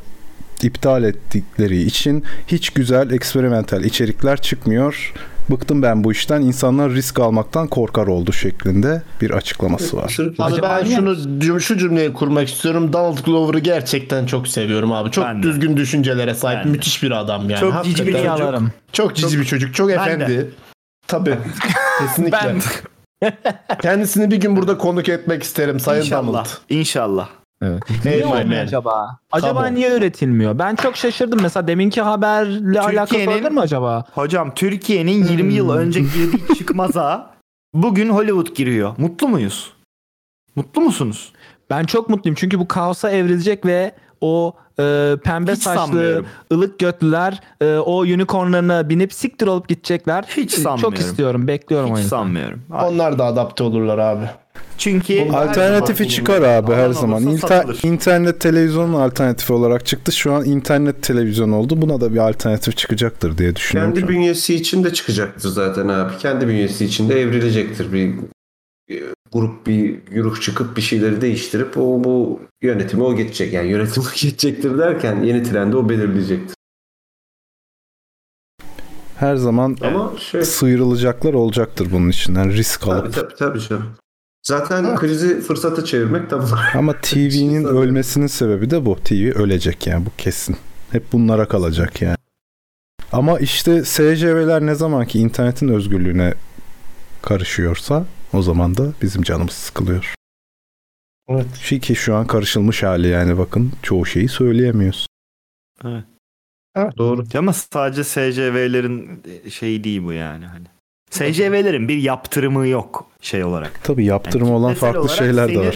S4: iptal ettikleri için hiç güzel eksperimental içerikler çıkmıyor. Bıktım ben bu işten. İnsanlar risk almaktan korkar oldu şeklinde bir açıklaması var.
S2: Sırf-
S3: Abi
S2: Acaba-
S3: ben şunu cüm- şu cümleyi kurmak istiyorum. Donald Glover'ı gerçekten çok seviyorum abi. Çok
S5: Ben de.
S3: düzgün düşüncelere sahip
S5: Ben de.
S3: müthiş bir adam yani.
S5: Çok cici bir
S3: Hakikaten
S5: yalan.
S1: Yalarım.
S3: Çok cici bir çocuk. Çok
S5: de.
S3: efendi. Tabii. Kesinlikle. Kendisini bir gün burada konuk etmek isterim Sayın
S5: İnşallah.
S3: Donald.
S5: İnşallah.
S1: Niye
S3: Hey my
S1: olmuyor
S3: man.
S1: acaba? Acaba
S3: Come on.
S1: niye üretilmiyor? Ben çok şaşırdım. Mesela deminki haberle alakası olabilir mi acaba?
S5: Hocam Türkiye'nin 20 yıl önce girdiği çıkmaza bugün Hollywood giriyor. Mutlu muyuz? Mutlu musunuz?
S1: Ben çok mutluyum çünkü bu kaosa evrilecek ve o e, pembe
S5: Hiç
S1: saçlı
S5: sanmıyorum.
S1: ılık götlüler e, o unicornlarına binip siktir olup gidecekler.
S5: Hiç sanmıyorum.
S1: Çok istiyorum. Bekliyorum
S5: Hiç
S1: oyunu.
S5: sanmıyorum.
S3: Onlar da adapte olurlar abi.
S5: Çünkü
S4: Alternatifi çıkar abi her zaman. İnter- internet televizyonun alternatifi olarak çıktı. Şu an internet televizyon oldu. Buna da bir alternatif çıkacaktır diye düşünüyorum.
S2: Kendi bünyesi için de çıkacaktır zaten abi. Kendi bünyesi için de evrilecektir. Bir e, grup bir yürük çıkıp bir şeyleri değiştirip o bu yönetimi o geçecek. Yani yönetim o geçecektir derken yeni trendi o belirleyecektir.
S4: Her zaman
S2: Ama şey
S4: sıyrılacaklar olacaktır bunun içinden risk
S2: tabii
S4: alıp.
S2: tabii tabii canım. Zaten krizi fırsata çevirmek tabii.
S4: Ama
S5: şey
S4: TV'nin
S2: Sanırım.
S4: ölmesinin sebebi de bu. TV ölecek yani bu kesin. Hep bunlara kalacak yani. Ama işte SCV'ler ne zaman ki internetin özgürlüğüne karışıyorsa o zaman da bizim canımız sıkılıyor.
S3: Evet.
S4: Şey ki şu an karışılmış hali yani bakın çoğu şeyi söyleyemiyoruz.
S2: Doğru.
S5: Ama sadece SCV'lerin e, şeyi değil bu yani. Hani. SCV'lerin bir yaptırımı yok şey olarak.
S4: Tabii yaptırımı olan
S5: Kitlesel
S4: farklı
S5: olarak
S4: şeyler de
S5: seni-
S4: var.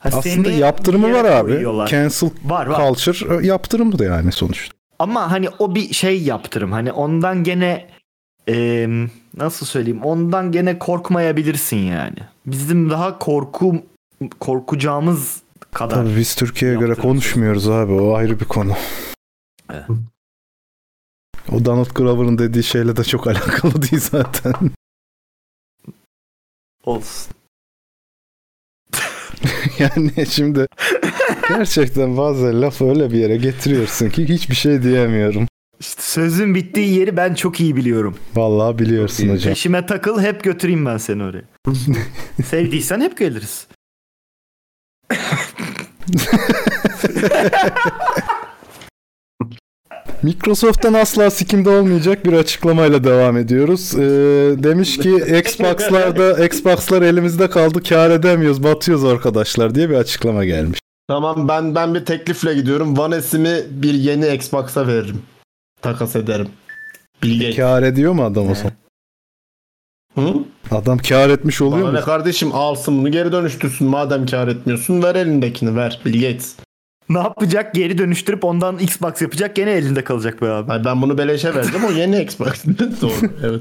S5: Ha,
S4: Aslında
S5: seni
S4: yaptırımı
S5: bir
S4: var
S5: yere
S4: abi.
S5: koyuyorlar.
S4: Cancel
S5: Var var.
S4: culture ö, yaptırımı da yani sonuçta.
S5: Ama hani o bir şey yaptırım. Hani ondan gene eee, nasıl söyleyeyim? Ondan gene korkmayabilirsin yani. Bizim daha korku korkacağımız kadar.
S4: Tabii biz Türkiye'ye göre
S5: Yaptırım.
S4: konuşmuyoruz abi. O ayrı bir konu.
S5: Evet.
S4: O Donald Glover'ın dediği şeyle de çok alakalı değil zaten.
S5: Olsun.
S4: Yani şimdi gerçekten bazen laf öyle bir yere getiriyorsun ki hiçbir şey diyemiyorum.
S5: İşte sözün bittiği yeri ben çok iyi biliyorum.
S4: Vallahi biliyorsun
S2: İyi.
S4: hocam.
S5: Peşime takıl hep götüreyim ben seni oraya. Sevdiysen hep geliriz.
S4: Microsoft'tan asla sikimde olmayacak bir açıklamayla devam ediyoruz. Ee, demiş ki Xbox'larda Xbox'lar elimizde kaldı kar edemiyoruz batıyoruz arkadaşlar diye bir açıklama gelmiş.
S3: Tamam ben ben bir teklifle gidiyorum. One S'imi bir yeni Xbox'a veririm. Takas ederim. Bilge.
S4: Kar ediyor mu adam o zaman?
S3: Hı?
S4: Adam kar etmiş oluyor
S3: Bana
S4: mu?
S3: ne kardeşim alsın bunu geri dönüştürsün madem kar etmiyorsun ver elindekini ver Bill Gates.
S5: Ne yapacak? Geri dönüştürüp ondan Xbox yapacak. Gene elinde kalacak be abi.
S3: Hayır, ben bunu beleşe verdim o yeni Xbox. Doğru evet.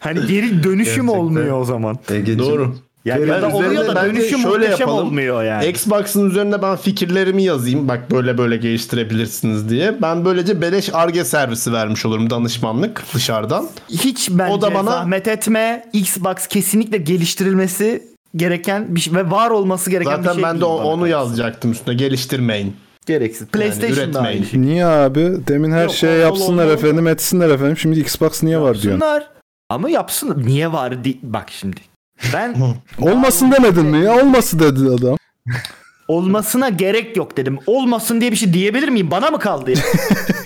S5: Hani geri dönüşüm
S2: Gerçekten.
S5: olmuyor o zaman.
S2: Egeciğim.
S3: Doğru.
S5: Yani ya
S3: Ben
S5: da oluyor
S3: üzerine
S5: da
S3: bence
S5: dönüşüm
S3: şöyle
S5: şöyle muhteşem
S3: yapalım.
S5: olmuyor yani.
S3: Xbox'ın üzerine ben fikirlerimi yazayım. Bak böyle böyle geliştirebilirsiniz diye. Ben böylece beleş Arge servisi vermiş olurum danışmanlık dışarıdan.
S5: Hiç bence
S3: O da bana-
S5: zahmet etme. Xbox kesinlikle geliştirilmesi gereken bir şey ve var olması gereken bir
S3: Zaten
S5: şey.
S3: ben de
S5: değil
S3: o-
S5: bana
S3: onu
S5: kalırsa.
S3: yazacaktım üstüne geliştirmeyin.
S5: Gereksiz. PlayStation da
S3: üretmeyin.
S5: aynı şey.
S4: Niye abi? Demin her
S3: Yok,
S4: şeye
S3: o- o-
S4: yapsınlar
S3: o-
S4: efendim etsinler efendim. Şimdi Xbox niye var diyorsun.
S5: Yapsınlar. Ama yapsın. Niye var? di- Bak şimdi. Ben
S4: Olmasın demedin mi ya? Olması dedi adam.
S5: olmasına gerek yok dedim. Olmasın diye bir şey diyebilir miyim? Bana mı kaldı ya?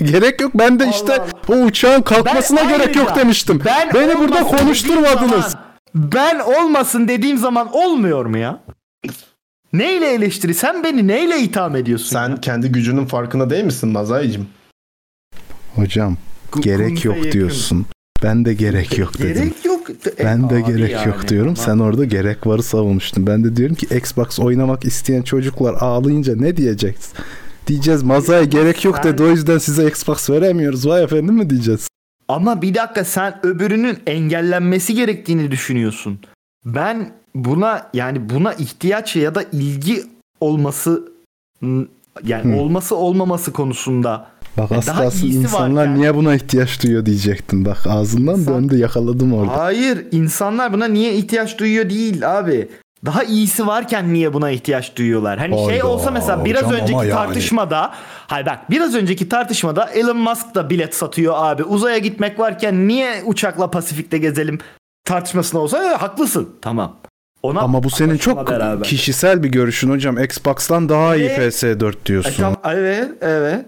S4: Gerek yok. Ben de işte o uçağın kalkmasına
S5: Ben
S4: gerek yok
S5: ayrıca-
S4: demiştim.
S5: Ben
S4: Beni burada
S5: olmasın dediğim
S4: konuşturmadınız.
S5: zaman- ben olmasın dediğim zaman olmuyor mu ya? Neyle eleştiri? Sen beni neyle itham ediyorsun? ya?
S3: Sen kendi gücünün farkına değil misin Mazay'cım?
S4: Hocam
S5: Ku-
S4: gerek
S5: kumsa
S4: yok
S5: yakın.
S4: diyorsun. Ben de gerek yok dedim.
S5: Gerek yok. E,
S4: Ben de
S5: abi
S4: gerek
S5: yani,
S4: yok diyorum.
S5: aman.
S4: Sen orada gerek varı savunmuştun. Ben de diyorum ki Xbox oynamak isteyen çocuklar ağlayınca ne diyeceksin? Diyeceğiz
S5: Ee,
S4: mazaya gerek yok dedi o yüzden size Xbox veremiyoruz vay efendim mi diyeceğiz?
S5: Ama bir dakika sen öbürünün engellenmesi gerektiğini düşünüyorsun. Ben buna yani buna ihtiyaç ya da ilgi olması yani
S4: Hı.
S5: olması olmaması konusunda
S4: Bak
S5: E,
S4: asla
S5: daha
S4: asıl
S5: iyisi var
S4: insanlar
S5: yani.
S4: niye buna ihtiyaç duyuyor diyecektin. Bak ağzından
S5: İnsan-
S4: döndü yakaladım orada.
S5: Hayır insanlar buna niye ihtiyaç duyuyor değil abi. Daha iyisi varken niye buna ihtiyaç duyuyorlar? Hani şey
S4: Hayda,
S5: olsa mesela biraz
S4: hocam ama
S5: önceki
S4: yani.
S5: tartışmada hayır bak biraz önceki tartışmada Elon Musk da bilet satıyor abi. Uzaya gitmek varken niye uçakla Pasifik'te gezelim tartışmasına olsa "E, haklısın. Tamam. Ona
S4: Ama bu senin
S5: anlaşma
S4: çok
S5: beraber.
S4: kişisel bir görüşün hocam. Xbox'tan daha iyi
S5: Ne?
S4: PS4
S5: E,
S4: diyorsun.
S5: tamam, evet, evet.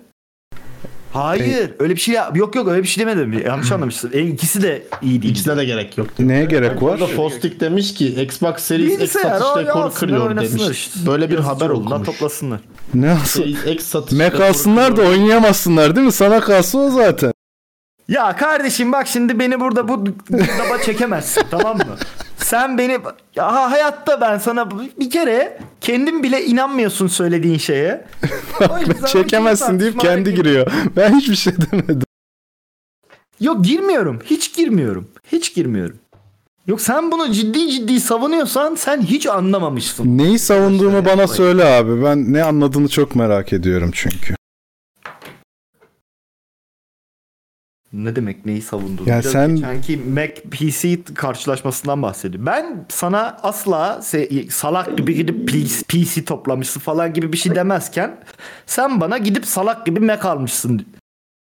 S5: Hayır, öyle bir şey ya- yok yok öyle bir şey demedim. Yanlış anlamışsın. E, ikisi de iyi değil.
S3: İkisine de gerek yok.
S4: Neye
S5: E,
S4: gerek var?
S3: Burada Fostik demiş ki Xbox Series X
S5: Bilgisayar,
S3: satış
S5: o-
S3: rekoru
S5: alsınlar,
S3: kırıyor
S5: oynasınlar
S3: demiş.
S5: işte.
S3: Böyle bir
S5: Yazıcı
S3: haber
S5: oldular,
S3: okumuş.
S5: Toplasınlar.
S4: Ne asıl?
S3: Series şey, X satış
S4: Mac
S3: rekoru
S4: alsınlar da
S3: kırıyor.
S4: oynayamasınlar değil mi? Sana kalsın o zaten.
S5: Ya kardeşim bak şimdi beni burada bu daba çekemezsin tamam mı? Sen beni ya ha- hayatta ben sana bu- bir kere kendin bile inanmıyorsun söylediğin şeye. O yüzden
S4: Çekemezsin
S5: bu
S4: deyip
S5: tartışmalara
S4: kendi
S5: gir-
S4: giriyor. Ben hiçbir şey demedim.
S5: Yok girmiyorum. Hiç girmiyorum. Hiç girmiyorum. Yok sen bunu ciddi ciddi savunuyorsan sen hiç anlamamışsın.
S4: Neyi savunduğumu bana
S5: yapmayın.
S4: söyle abi. Ben ne anladığını çok merak ediyorum çünkü.
S5: Ne demek neyi savundun?
S4: Ya
S5: Biraz
S4: sen-
S5: geçenki Mac PC karşılaşmasından bahsediyor. Ben sana asla se- salak gibi gidip PC, PC toplamışsın falan gibi bir şey demezken sen bana gidip salak gibi Mac almışsın.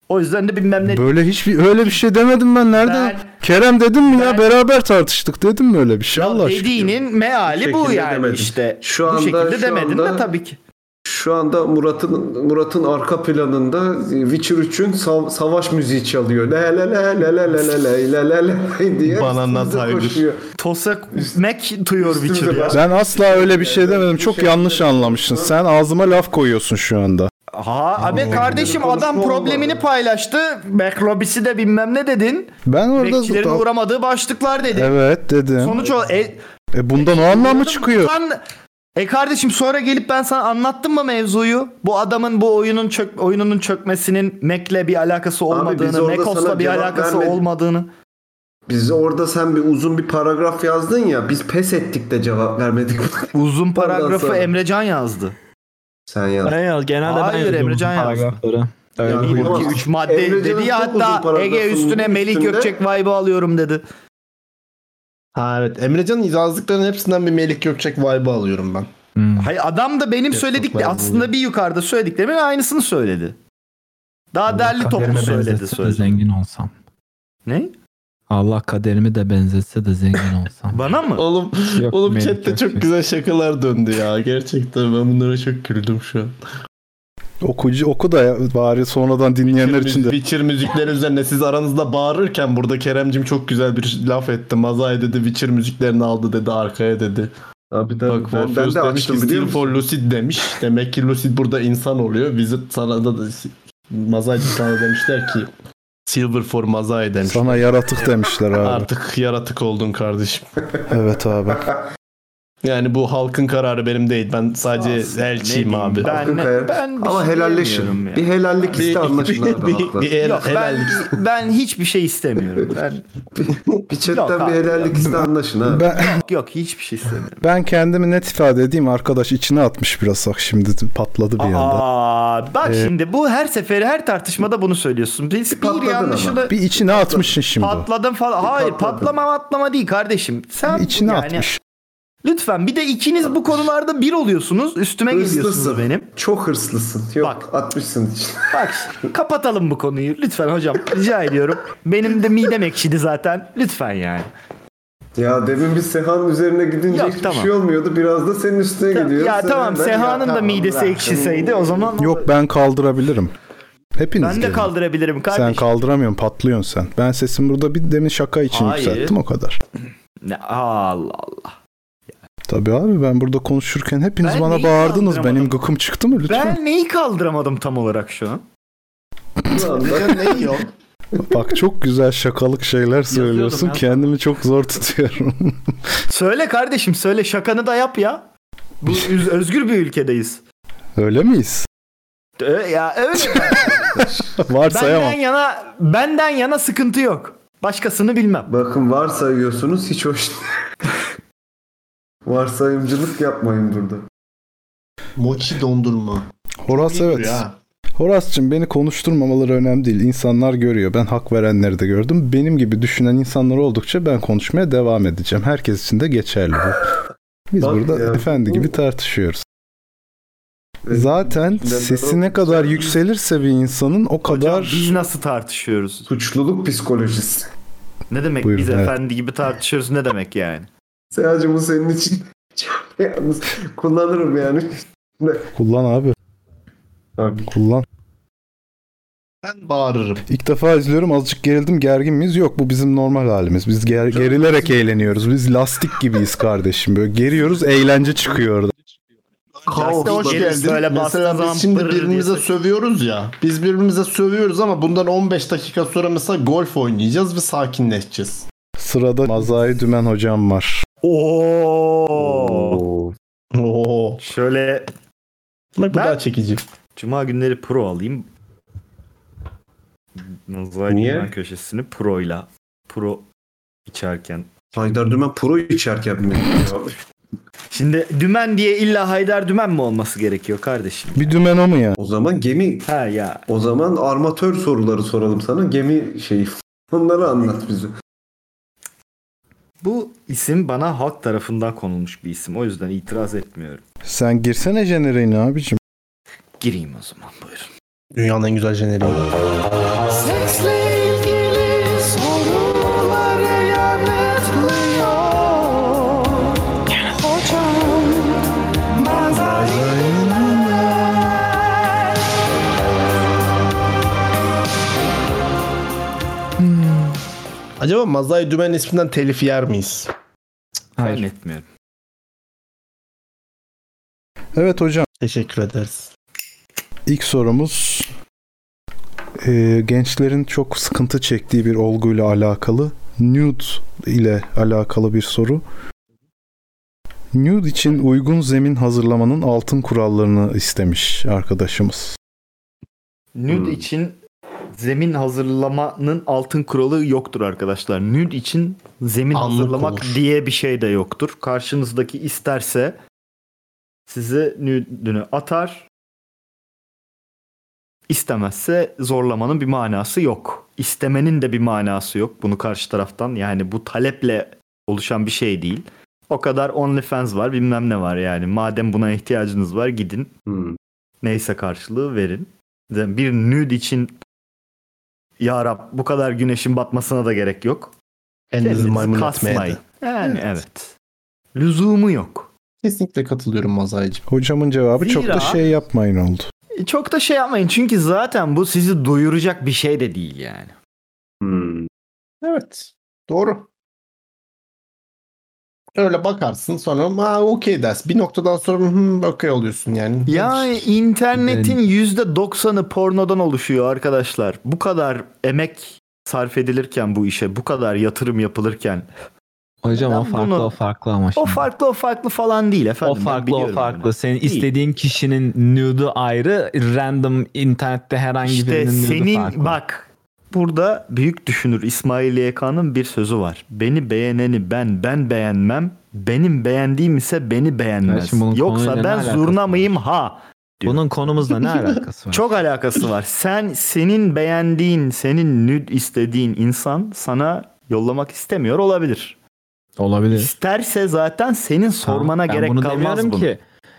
S5: O yüzden de bilmem ne
S4: Böyle hiçbir öyle bir şey demedim ben nerede?
S5: Ben-
S4: Kerem dedim mi ya
S5: Ben-
S4: beraber tartıştık dedim mi öyle bir şey Allah aşkına?
S5: dediğinin
S2: Bu
S5: meali bu
S2: şekilde
S5: yani
S2: demedim.
S5: işte.
S2: Şu
S5: Bu
S2: anda-
S5: şekilde
S2: şu
S5: demedin de
S2: anda-
S5: tabii ki.
S2: Şu anda Murat'ın Murat'ın arka planında Witcher 3'ün sa- savaş müziği çalıyor. Le le le le le le le le le le le diye
S3: Banana
S2: üstümüze
S3: Tiger.
S2: koşuyor.
S5: Tosa Mac duyuyor
S2: üstümüze
S5: Witcher ya.
S2: bak.
S4: Ben asla öyle bir şey
S2: Ben
S4: demedim.
S2: bir
S4: Çok
S2: şey
S4: yanlış
S2: demedim.
S4: anlamışsın. Sen ağzıma laf koyuyorsun şu anda.
S5: Ha abi kardeşim adam problemini paylaştı. Backlobisi de bilmem ne dedin.
S4: Ben orada
S5: Bekçilerin uğramadığı başlıklar dedi.
S4: Evet dedim.
S5: Sonuç o. E,
S4: E bundan o anlamı
S5: Anladım.
S4: çıkıyor.
S5: Sen- e kardeşim sonra gelip ben sana anlattım mı mevzuyu? Bu adamın bu oyunun çök, oyununun çökmesinin Mac'le bir alakası
S2: biz
S5: olmadığını,
S2: orada sana
S5: Mekos'la bir
S2: cevap
S5: alakası
S2: vermedik.
S5: olmadığını.
S2: Biz orada sen bir uzun bir paragraf yazdın ya biz pes ettik de cevap vermedik.
S5: Uzun
S2: Ondan
S5: paragrafı
S2: sonra.
S5: Emrecan yazdı.
S2: sen yazdın.
S1: Ben yaz, genelde
S5: Hayır,
S1: ben yazıyorum
S5: Emrecan
S1: bu
S5: yazdı.
S1: paragrafları. Öyle
S2: Yani
S1: bir-
S2: bu-
S5: 1
S2: Tamam.
S5: 2 3 madde
S2: Emrecan'ın
S5: dedi ya
S2: çok uzun
S5: hatta
S2: paragrafının
S5: Ege üstüne Melih
S2: üstünde-
S5: Gökçek vibe'ı alıyorum dedi.
S3: Ha evet. Emrecan'ın yazdıklarının hepsinden bir Melik Gökçek vibe'ı alıyorum ben.
S5: Hayır adam da benim
S3: Çok
S5: söyledikle
S3: fazla
S5: aslında
S3: oluyor.
S5: bir yukarıda söylediklerimin aynısını söyledi. Daha derli toplu
S1: kaderime
S5: söyledi
S1: benzetse de
S5: söyledi.
S1: Zengin olsam.
S5: Ne?
S1: Allah kaderimi de benzetse de zengin olsam.
S5: Bana mı?
S3: Oğlum,
S1: Yok,
S3: oğlum
S1: Melih
S3: chatte
S1: Gökçek.
S3: çok güzel şakalar döndü ya. Gerçekten ben bunlara çok güldüm şu an.
S4: Okucu oku da ya, bari sonradan dinleyenler için de.
S3: Witcher müzikleri üzerine siz aranızda bağırırken burada Keremcim çok güzel bir laf etti. Mazay dedi Witcher müziklerini aldı dedi arkaya dedi.
S2: Abi de,
S3: Bak
S2: ben, ben
S3: Morpheus
S2: de
S3: demiş ki
S2: açtım biliyor
S3: Steel
S2: musun?
S3: for Lucid demiş. Demek ki Lucid burada insan oluyor. Visit sana da Mazay sana demişler ki Silver for Mazay demiş.
S4: Sana yaratık demişler abi.
S3: Artık yaratık oldun kardeşim.
S4: evet abi.
S3: Yani bu halkın kararı benim değil. Ben sadece
S5: Aslında ne
S3: elçiyim
S5: bileyim,
S3: abi.
S5: Ben,
S2: Hakkın kayar.
S5: ben bir
S2: Ama
S5: şey
S2: helalleşin.
S5: diyemiyorum ya.
S2: Bir helallik iste anlaşın abi haklı.
S3: bir el-
S5: Yok ben,
S3: helallik.
S5: ben hiçbir şey istemiyorum. Ben,
S2: Bir
S5: Yok
S2: chatten
S5: abi
S2: bir helallik iste anlaşın ha.
S4: Ben
S5: yok, yok hiçbir şey istemiyorum.
S4: ben kendimi net ifade edeyim arkadaş içine atmış biraz bak şimdi patladı bir anda. Ee,
S5: Aa, bak şimdi bu her seferi her tartışmada bunu söylüyorsun. Biz bir
S2: patladın
S5: yanlışını
S4: Bir içine atmışsın şimdi.
S5: patladım falan. Hayır
S2: patladın.
S5: patlama patlama değil kardeşim. Sen
S4: Bir içine
S5: yani,
S4: atmış.
S5: Lütfen bir de ikiniz bu konularda bir oluyorsunuz. Üstüme geliyorsunuz
S2: Hırslısın.
S5: benim.
S2: Çok hırslısın. Yok
S5: Bak.
S2: atmışsın işte.
S5: Bak kapatalım bu konuyu. Lütfen hocam rica ediyorum. Benim de midem ekşidi zaten. Lütfen yani.
S2: Ya demin biz Seha'nın üzerine gidince
S5: Yok,
S2: hiçbir
S5: tamam.
S2: şey olmuyordu. Biraz da senin üstüne gidiyor.
S5: Ya
S2: Sen-
S5: tamam
S2: ben- Ya
S5: Seha'nın da
S2: tamam,
S5: midesi
S2: bırak.
S5: ekşiseydi o zaman
S4: Yok ben kaldırabilirim. Hepiniz
S5: ben de
S4: gelin.
S5: kaldırabilirim kardeşim.
S4: Sen kaldıramıyorsun patlıyorsun sen. Ben sesim burada bir demin şaka için
S5: Hayır.
S4: yükselttim o kadar.
S5: Ne- Allah Allah.
S4: Tabii abi ben burada konuşurken hepiniz
S5: Ben
S4: bana
S5: neyi
S4: bağırdınız. Benim
S5: kaldıramadım?
S4: gıkım çıktı mı lütfen?
S5: Ben neyi kaldıramadım tam olarak şu an?
S2: Ulan bak,
S3: ne yok?
S4: Bak çok güzel şakalık şeyler söylüyorsun.
S1: ya.
S4: Kendimi çok zor tutuyorum.
S5: Söyle kardeşim söyle şakanı da yap ya. Bu üz- özgür bir ülkedeyiz.
S4: Öyle miyiz?
S5: Ö- ya öyle.
S4: Varsayamam.
S5: benden yana benden yana sıkıntı yok. Başkasını bilmem.
S2: Bakın varsayıyorsunuz hiç hoş değil. Varsayımcılık yapmayın burada.
S3: Mochi dondurma.
S4: Horas evet. Horas'cığım beni konuşturmamaları önemli değil. İnsanlar görüyor. Ben hak verenleri de gördüm. Benim gibi düşünen insanlar oldukça ben konuşmaya devam edeceğim. Herkes için de geçerli bu. Biz
S2: Bak
S4: burada
S2: ya.
S4: efendi gibi tartışıyoruz. Zaten
S2: Ben-
S4: sesi ne kadar yükselirse bir insanın o
S5: Hocam,
S4: kadar
S5: biz nasıl tartışıyoruz?
S2: Suçluluk psikolojisi.
S5: Ne demek
S4: Buyurun,
S5: biz
S4: evet.
S5: efendi gibi tartışıyoruz ne demek yani?
S2: Seha'cığım bu senin için çok yalnız kullanırım yani.
S4: kullan abi.
S2: Abi.
S4: Kullan.
S3: Ben bağırırım.
S4: İlk defa izliyorum azıcık gerildim gergin miyiz? Yok bu bizim normal halimiz. Biz ger- gerilerek eğleniyoruz. Biz lastik gibiyiz kardeşim. Böyle geriyoruz eğlence çıkıyor orada.
S3: Kaosla hoş
S5: Gelir,
S3: geldin.
S5: söyle bastığın
S3: mesela
S5: zaman
S3: biz şimdi
S5: pırr
S3: birbirimize
S5: diye ses-
S3: sövüyoruz ya. Biz birbirimize sövüyoruz ama bundan 15 dakika sonra mesela golf oynayacağız ve sakinleşeceğiz.
S4: Sırada Mazai Dümen hocam var.
S5: Oo.
S3: Oo.
S5: Şöyle
S3: Bak bu
S5: Ben-
S3: daha çekici.
S5: cuma günleri pro alayım. Nazlı
S2: Niye?
S5: Dümen köşesini pro'yla pro içerken
S2: Haydar Dümen pro içerken mi?
S5: Şimdi dümen diye illa Haydar dümen mi olması gerekiyor kardeşim?
S4: Bir dümen o mu ya?
S2: o zaman gemi
S5: Ha ya.
S2: o zaman armatör soruları soralım sana. Gemi şeyi onları anlat bize.
S5: Bu isim bana halk tarafından konulmuş bir isim. O yüzden itiraz etmiyorum.
S4: Sen girsene jeneriğine abicim.
S5: Gireyim o zaman buyurun.
S3: Dünyanın en güzel jeneriği. Hmm. Acaba Mazay Dümen isminden telif yer miyiz?
S5: Ben
S1: Hayır.
S5: etmiyorum.
S4: Evet hocam.
S3: Teşekkür ederiz.
S4: İlk sorumuz e, gençlerin çok sıkıntı çektiği bir olguyla alakalı. Nude ile alakalı bir soru. Nude için uygun zemin hazırlamanın altın kurallarını istemiş arkadaşımız.
S5: Nude
S2: Hmm.
S5: için zemin hazırlamanın altın kuralı yoktur arkadaşlar. Nude için zemin
S3: Anlık
S5: hazırlamak
S3: olur.
S5: diye bir şey de yoktur. Karşınızdaki isterse size nude'ünü atar. İstemezse zorlamanın bir manası yok. İstemenin de bir manası yok. Bunu karşı taraftan yani bu taleple oluşan bir şey değil. O kadar OnlyFans var bilmem ne var yani. Madem buna ihtiyacınız var gidin
S2: Hmm.
S5: neyse karşılığı verin. Yani Bir nude için ya Rab bu kadar güneşin batmasına da gerek yok.
S3: Kendinizi
S5: Kendinizi
S3: maymun
S5: kasmayın.
S3: etmeye de.
S5: Yani evet. Lüzumu yok.
S3: Kesinlikle katılıyorum Mazaycığım.
S4: Hocamın cevabı çok da
S5: Zira-
S4: şey yapmayın oldu.
S5: E, Çok da şey yapmayın çünkü zaten bu sizi doyuracak bir şey de değil yani.
S2: Hmm.
S3: Evet. Doğru. Öyle bakarsın sonra aa okey ders. Bir noktadan sonra hı, okey oluyorsun yani.
S5: Ya internetin %90'ı pornodan oluşuyor arkadaşlar. Bu kadar emek sarf edilirken bu işe, bu kadar yatırım yapılırken
S1: Hocam
S5: Ben
S1: o farklı
S5: bunu-
S1: o farklı ama
S5: o
S1: şimdi.
S5: farklı o farklı falan değil
S1: O
S5: efendim. ben
S1: farklı o
S5: biliyorum
S1: farklı.
S5: bunu.
S1: Senin istediğin kişinin nude'u ayrı, random internette herhangi
S5: İşte
S1: birinin nude'u
S5: senin
S1: farklı.
S5: bak burada büyük düşünür İsmail YK'nın bir sözü var. Beni beğeneni ben ben beğenmem. Benim beğendiğim ise beni
S1: Ya
S5: beğenmez.
S1: şimdi bunun konuyla
S5: Yoksa
S1: ne
S5: ben
S1: alakası
S5: zurna
S1: var?
S5: mıyım ha? diyor.
S1: Bunun konumuzla ne alakası var?
S5: Çok alakası var. Sen senin beğendiğin, senin nüd istediğin insan sana yollamak istemiyor olabilir.
S1: olabilir.
S5: İsterse zaten senin sormana
S1: ben
S5: gerek
S1: bunu
S5: kalmaz
S1: demiyorum
S5: bunu.
S1: ki.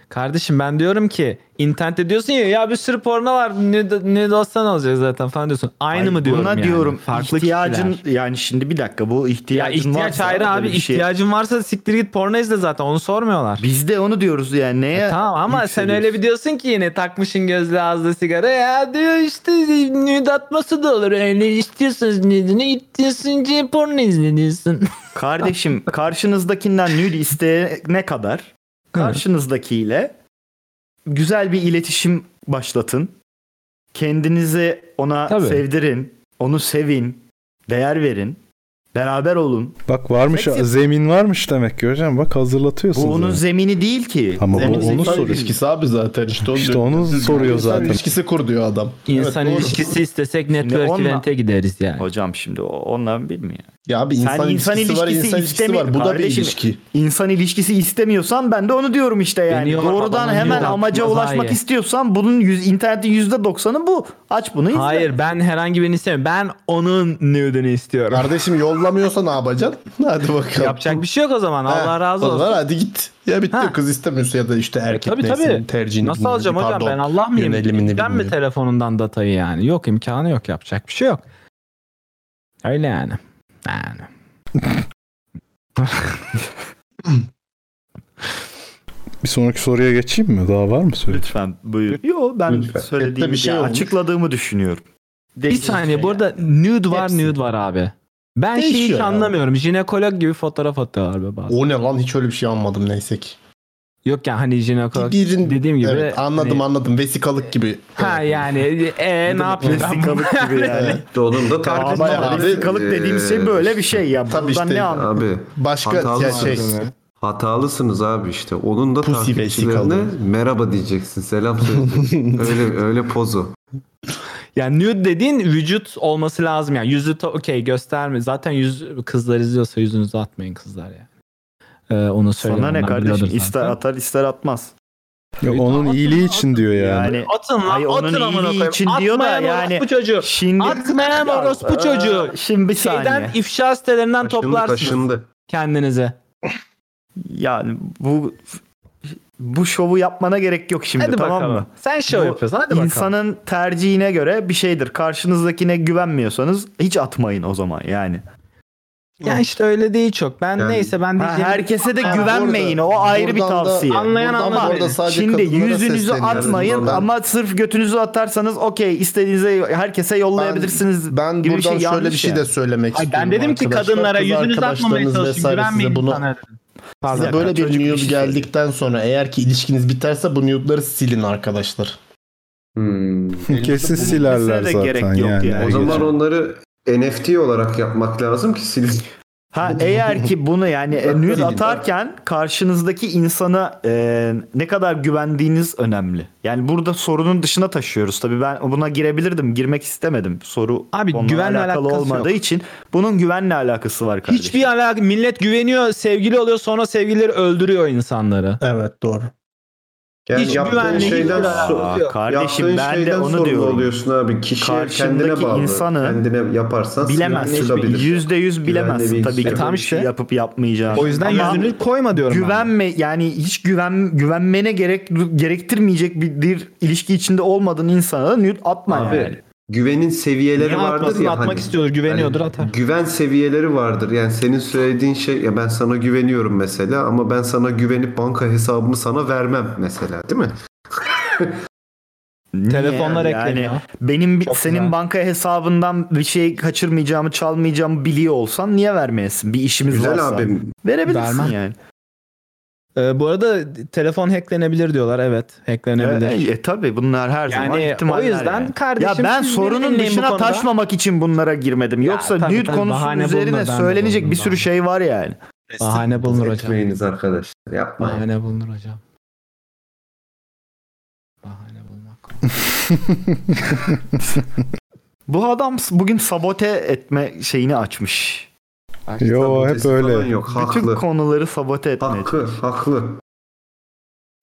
S1: Kardeşim ben diyorum ki internette diyorsun ya ya bir sürü porno var ne, ne dostan olacak zaten falan diyorsun. Aynı
S5: Hayır,
S1: mı diyorum
S5: Buna
S1: yani?
S5: diyorum
S1: Farklı
S5: ihtiyacın
S1: kişiler.
S5: yani şimdi bir dakika bu ihtiyacın
S1: ya ihtiyaç
S5: varsa
S1: ayrı
S5: böyle
S1: abi
S5: bir şey-
S1: ihtiyacın varsa siktir git porno izle zaten onu sormuyorlar.
S5: Biz de onu diyoruz yani neye?
S1: E tamam ama sen öyle bir diyorsun ki yine takmışın gözlü ağızlı sigara ya diyor işte nude atması da olur öyle istiyorsanız nudini istiyorsun porno izle diyorsun.
S5: Kardeşim karşınızdakinden nude isteyene kadar karşınızdakiyle güzel bir iletişim başlatın. Kendinizi ona
S1: Tabii.
S5: sevdirin. Onu sevin. Değer verin. Beraber olun.
S4: Bak varmış
S5: Seks yap-
S4: zemin varmış demek ki hocam. Bak hazırlatıyorsun.
S5: Bu onun
S4: zemin.
S5: zemini değil ki.
S4: Ama bu
S5: Zemin
S4: onu
S5: zemini
S4: soruyor.
S5: değil.
S3: ilişkisi abi zaten işte.
S4: İşte onu
S3: diyor.
S4: soruyor
S3: İnsan
S4: zaten.
S3: ilişkisi kur diyor adam.
S1: İnsan
S3: Evet, doğru.
S1: ilişkisi istesek network
S5: onunla-
S1: event'e gideriz yani.
S5: Hocam şimdi o- ondan bilmiyor.
S3: Ya abi insan,
S5: Sen insan
S3: ilişkisi, var,
S5: ilişkisi
S3: insan ilişkisi
S5: istemiyor
S3: var. Bu da bir
S5: kardeşim.
S3: ilişki.
S5: İnsan ilişkisi istemiyorsan ben de onu diyorum işte yani.
S1: Beni yorma,
S5: Doğrudan
S1: bana
S5: hemen
S1: yürü,
S5: amaca
S1: atmaz
S5: ulaşmak
S1: hayır.
S5: istiyorsan bunun yüz, internetin %90'ı bu. Aç bunu izle.
S1: Hayır ben herhangi birini istemiyorum. Ben onun nude'ünü istiyorum.
S3: Kardeşim yollamıyorsa ne yapacaksın? Hadi bakalım.
S1: Yapacak bir şey yok o zaman.
S3: Ha,
S1: Allah razı
S3: o
S1: olsun.
S3: zaman Hadi git. Ya bitti
S1: Ha.
S3: kız istemiyorsa ya da işte erkek
S1: Tabii,
S3: neyse
S1: tabii.
S3: tercihini
S1: Nasıl
S3: bilmiyorum.
S1: alacağım hocam
S3: Pardon.
S1: ben Allah mıyım?
S3: Yönelimini
S1: Ben mi
S3: bilmiyorum.
S1: telefonundan datayı yani? Yok imkanı yok yapacak bir şey yok. Öyle yani. Yani.
S4: Bir sonraki soruya geçeyim mi? Daha var mı söyle?
S5: Lütfen buyur. Yo ben
S2: Lütfen.
S5: söylediğimi
S3: Chatte bir şey
S5: ya,
S3: olmuş.
S5: açıkladığımı düşünüyorum.
S1: Bir
S5: Değişik
S1: saniye
S5: şey
S1: burada
S5: yani.
S1: nude var
S3: Hepsi.
S1: nude var abi. Ben şeyi
S3: Değişiyor
S1: hiç
S3: abi.
S1: anlamıyorum. Jinekolog gibi fotoğraf atıyorlar be bazen.
S3: O ne lan hiç öyle bir şey anlamadım neyse ki.
S1: Yok yani hani jinekolog
S3: Birin-
S1: dediğim gibi.
S3: evet, anladım
S1: hani-
S3: anladım vesikalık gibi.
S1: Ha yani e, ne yapayım ben bunu?
S5: Vesikalık gibi yani.
S3: Evet.
S2: Onun da
S5: Kardeşim,
S2: tartışma
S3: Ama
S2: var.
S3: abi,
S5: vesikalık
S2: Ee,
S5: dediğim şey böyle bir şey ya.
S3: tabii
S5: Buradan
S3: işte.
S5: ne anlıyorsun?
S2: Abi
S3: Başka
S2: Hatalı
S3: ya
S2: var
S3: şey.
S2: zaten. hatalısınız abi işte. Onun da
S3: Pussy
S2: takipçilerine
S3: vesikalı.
S2: merhaba diyeceksin. Selam söyleyeceksin. öyle öyle pozu.
S1: Yani nude dediğin vücut olması lazım yani. Yüzü ta- okey gösterme. Zaten yüz kızlar izliyorsa yüzünüzü atmayın kızlar yani. Ee, onu söyleyeyim.
S5: Sana ne
S1: Onlar
S5: kardeşim?
S1: biliyordur
S5: İster
S1: zaten.
S5: atar ister atmaz.
S4: Yok, onun iyiliği için diyor yani.
S5: Yani
S1: Atın lan
S5: Ay, onun
S1: atın amına
S5: iyiliği
S1: koyayım.
S5: için diyor da
S1: Atmayan
S5: yani-
S1: orospu çocuğu.
S5: şimdi
S1: Atmayan orospu
S5: Ee,
S1: çocuğu.
S5: Şimdi bir
S1: Şeyden
S5: saniye.
S1: ifşa sitelerinden
S2: Kaşındı
S1: toplarsınız
S2: kaşındı.
S1: kendinize.
S5: Yani bu bu şovu yapmana gerek yok şimdi
S1: Hadi
S5: tamam
S1: bakalım.
S5: mı?
S1: Sen şov
S5: Bu
S1: yapıyorsun. Hadi bakalım.
S5: İnsanın tercihine göre bir şeydir. Karşınızdakine güvenmiyorsanız hiç atmayın o zaman yani.
S1: Ya işte öyle değil çok. Ben
S2: Yani-
S1: neyse ben şey-
S5: Ha,
S1: diyeceğim.
S5: herkese de
S1: Ha,
S5: güvenmeyin.
S3: burada-
S5: o ayrı bir
S3: buradan da-
S5: tavsiye.
S1: Anlayan
S3: Buradan
S1: anlar
S3: bu arada
S1: beni.
S3: sadece
S5: Şimdi
S3: kadınlara
S5: yüzünüzü
S3: sesleniyoruz
S5: atmayın
S3: buradan.
S5: ama sırf götünüzü atarsanız okey istediğinize herkese
S3: ben,
S5: yollayabilirsiniz.
S3: ben
S5: gibi bir
S3: buradan
S5: şey
S3: şöyle
S5: yanlış
S3: bir şey
S5: yani.
S3: de söylemek
S1: Ay,
S3: istiyorum.
S1: ben dedim ki
S3: arkadaşlar.
S1: kadınlara
S3: Kız
S1: yüzünüzü atmamaya
S3: arkadaşlarınız
S1: çalışın.
S3: vesaire
S1: Güvenmeyin
S3: size bunu-
S1: insanlara. dedim. Pardon.
S3: Size
S5: Ya,
S3: böyle bir
S5: çocuk bir
S3: nude
S5: şey
S3: geldikten sonra eğer ki ilişkiniz biterse bu nude'ları silin arkadaşlar.
S2: Hmm.
S4: Kesin
S5: bulunmasına
S4: silerler
S5: da
S4: zaten
S5: gerek yok
S4: yani.
S5: yani.
S2: O
S4: her
S2: zaman
S4: gece.
S2: onları NFT olarak yapmak lazım ki silin.
S5: Ha eğer ki bunu yani e, nude atarken karşınızdaki insana e, ne kadar güvendiğiniz önemli. Yani burada sorunun dışına taşıyoruz. Tabii ben buna girebilirdim. Girmek istemedim. Soru
S1: Abi
S5: onunla
S1: güvenle
S5: alakalı
S1: alakası
S5: olmadığı için bunun güvenle alakası var kardeşim.
S1: Hiçbir alak millet güveniyor, sevgili oluyor sonra sevgilileri öldürüyor insanları.
S3: Evet doğru.
S2: Yani
S1: Hiç
S2: yaptığın
S1: güvenli hiç
S2: şeyden
S1: güven-
S2: so-
S1: Aa,
S2: yaptığın
S5: kardeşim ben de
S2: şeyden
S5: onu
S2: sorumlu
S5: diyorum.
S2: oluyorsun abi. Kişi kendine
S5: Karşındaki
S2: bağlı.
S5: insanı
S2: kendine yaparsan
S5: bilemezsin.
S2: sinirli çıkabilir.
S5: Yüzde yüz bilemezsin
S2: Güvenli
S5: tabii
S2: bilgisayar.
S5: ki.
S1: E tamam
S5: bir şey
S1: işte.
S5: yapıp yapmayacağını.
S1: O yüzden
S5: Ama
S1: yüzünü koyma diyorum. ben.
S5: güvenme yani hiç güven güvenmene gerek gerektirmeyecek bir, bir ilişki içinde olmadığın insana da nude atma
S2: Abi,
S5: yani.
S2: Güvenin seviyeleri
S1: Niye
S2: vardır
S1: atmasın,
S2: ya.
S1: atmak
S2: hani.
S1: istiyordur, güveniyordur
S2: Yani
S1: atar.
S2: Güven seviyeleri vardır. Yani senin söylediğin şey ya ben sana güveniyorum mesela ama ben sana güvenip banka hesabımı sana vermem mesela değil mi?
S5: Niye
S1: Telefonlar
S5: yani?
S1: ekleniyor.
S5: Yani benim bi-
S1: Çok
S5: senin
S1: güzel.
S5: banka hesabından bir şey kaçırmayacağımı, çalmayacağımı biliyor olsan niye vermeyesin? Bir işimiz
S2: Güzel
S5: varsa.
S2: abim.
S5: Verebilirsin
S1: Vermem.
S5: yani.
S1: Ee, bu arada telefon hacklenebilir diyorlar. Evet, hacklenebilir.
S5: E, e tabi bunlar her zaman
S1: yani
S5: ihtimaller.
S1: o yüzden
S5: yani. Ya
S1: kardeşim
S5: ben
S1: siz
S5: sorunun
S1: belirleyin bu
S5: dışına
S1: konuda.
S5: taşmamak için bunlara girmedim.
S1: Ya
S5: Yoksa
S1: tabii,
S5: nude
S1: tabii,
S5: konusunun
S1: bahane
S5: üzerine
S1: bulunur, ben de
S5: söylenecek bir
S1: bulundum
S5: sürü
S1: bahane.
S5: şey var yani.
S1: Bahane bulunur hocam.
S2: Etmeyiniz arkadaşlar yapmayın.
S1: Bahane bulunur hocam. Bahane bulmak.
S5: Bu adam s- bugün sabote etme şeyini açmış.
S4: Yo hep
S2: Sabotesi falan
S4: öyle.
S2: Yok
S5: Bütün
S2: haklı.
S5: konuları sabote etmeye
S2: Haklı, haklı.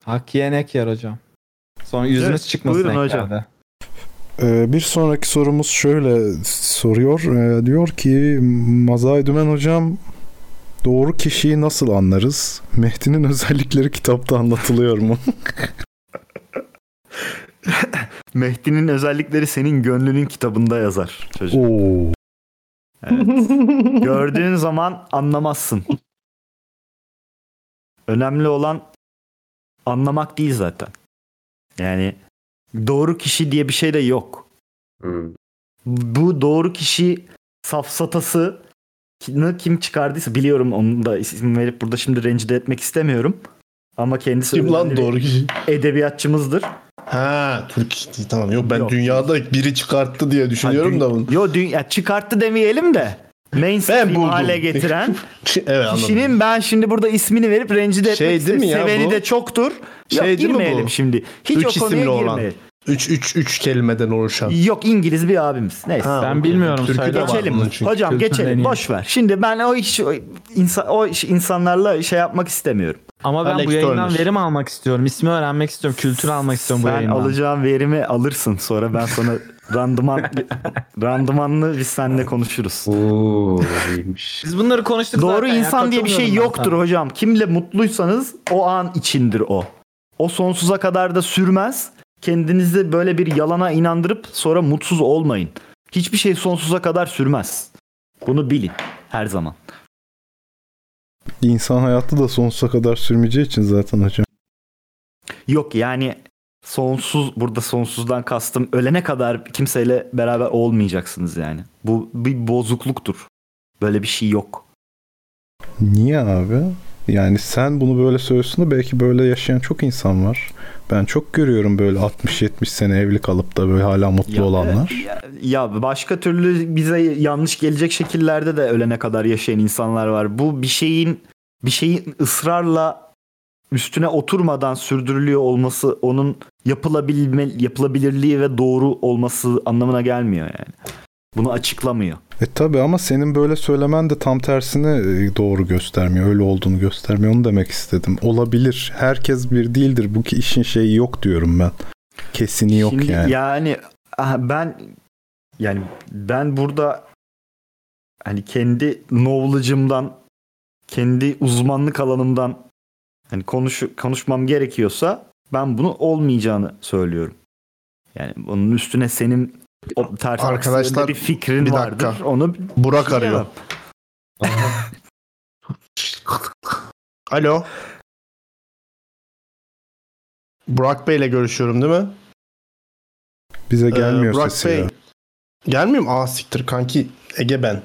S1: Hak yenek yer hocam. Sonra yüzünüz
S5: Evet,
S1: çıkmasın
S5: buyurun hocam.
S1: ekranda.
S4: Ee, bir sonraki sorumuz şöyle soruyor. Ee, diyor ki Mazay Dümen hocam doğru kişiyi nasıl anlarız? Mehdi'nin özellikleri kitapta anlatılıyor mu?
S5: Mehdi'nin özellikleri senin gönlünün kitabında yazar çocuk.
S4: Oo.
S5: Evet. Gördüğün zaman anlamazsın. Önemli olan anlamak değil zaten. Yani doğru kişi diye bir şey de yok.
S2: Hmm.
S5: Bu doğru kişi safsatası ne kim çıkardıysa biliyorum onu da isim verip burada şimdi rencide etmek istemiyorum. Ama kendisi
S3: Kim lan
S5: önemli bir
S3: doğru kişi?
S5: edebiyatçımızdır.
S3: Ha Türk tamam yok ben
S5: Yok.
S3: dünyada biri çıkarttı diye düşünüyorum
S5: Ha,
S3: da
S5: dü-
S3: bunu.
S5: Yo dü- ya çıkarttı demeyelim de mainstream
S3: Ben buldum.
S5: hale getiren
S3: evet anladım.
S5: kişinin ben şimdi burada ismini verip rencide
S3: Şey
S5: etmek
S3: değil mi
S5: istedim.
S3: ya
S5: Seveni
S3: bu?
S5: de çoktur.
S3: Şey
S5: Yok
S3: değil mi
S5: girmeyelim
S3: bu?
S5: şimdi. Hiç
S3: Üç
S5: o konuya
S3: isimli olan.
S5: girmeyelim.
S3: 3 3 3 kelimeden oluşan.
S5: Yok İngiliz bir abimiz. Neyse.
S3: Ha,
S1: Ben
S3: okey.
S1: bilmiyorum,
S3: Türkü
S1: söyle.
S3: de var
S5: geçelim.
S3: bunun çünkü.
S5: Hocam
S1: kültür
S5: geçelim.
S1: deniyor.
S5: Boş ver. Şimdi ben o iş o, insan, o iş, insanlarla şey yapmak istemiyorum.
S1: Ama ben
S3: Alex
S1: bu yayından
S3: Turner.
S1: verim almak istiyorum. İsmi öğrenmek istiyorum. Kültür almak istiyorum bu
S5: Sen
S1: yayından.
S5: alacağın verimi alırsın sonra ben sana randıman randımanlı biz seninle konuşuruz.
S2: Oo, iyiymiş.
S1: Biz bunları konuştuk
S5: Doğru
S1: zaten ya,
S5: insan diye bir şey
S1: katılmıyorum ben
S5: yoktur hocam. Kimle mutluysanız o an içindir o. O sonsuza kadar da sürmez. Kendinizi böyle bir yalana inandırıp sonra mutsuz olmayın. Hiçbir şey sonsuza kadar sürmez. Bunu bilin her zaman.
S4: İnsan hayatı da sonsuza kadar sürmeyeceği için zaten hocam.
S5: Yok yani sonsuz burada sonsuzdan kastım ölene kadar kimseyle beraber olmayacaksınız yani. Bu bir bozukluktur. Böyle bir şey yok.
S4: Niye abi? Yani sen bunu böyle söylüyorsun da belki böyle yaşayan çok insan var. Ben çok görüyorum böyle 60-70 sene evli kalıp da böyle hala mutlu
S5: Ya, e,
S4: olanlar.
S5: Ya, ya başka türlü bize yanlış gelecek şekillerde de ölene kadar yaşayan insanlar var. Bu bir şeyin bir şeyin ısrarla üstüne oturmadan sürdürülüyor olması onun yapılabilme yapılabilirliği ve doğru olması anlamına gelmiyor yani. Bunu açıklamıyor.
S4: E tabi ama senin böyle söylemen de tam tersini e, doğru göstermiyor. Öyle olduğunu göstermiyor. Onu demek istedim. Olabilir. Herkes bir değildir. Bu ki işin şeyi yok diyorum ben. Kesini yok
S5: Şimdi
S4: yani.
S5: aha, ben yani ben burada hani kendi knowledge'ımdan kendi uzmanlık alanımdan hani konuş konuşmam gerekiyorsa ben bunu olmayacağını söylüyorum. Yani bunun üstüne senin o ters
S3: Arkadaşlar,
S5: aksiyonda bir fikrin
S3: bir dakika.
S5: vardır. Onu şey
S3: Burak arıyor. Alo. Burak Bey'le görüşüyorum değil mi?
S4: Bize
S3: Ee,
S4: gelmiyor
S3: Burak
S4: sesi
S3: Bey.
S4: ya.
S3: Gelmiyor mu? Aa siktir kanki. Ege ben.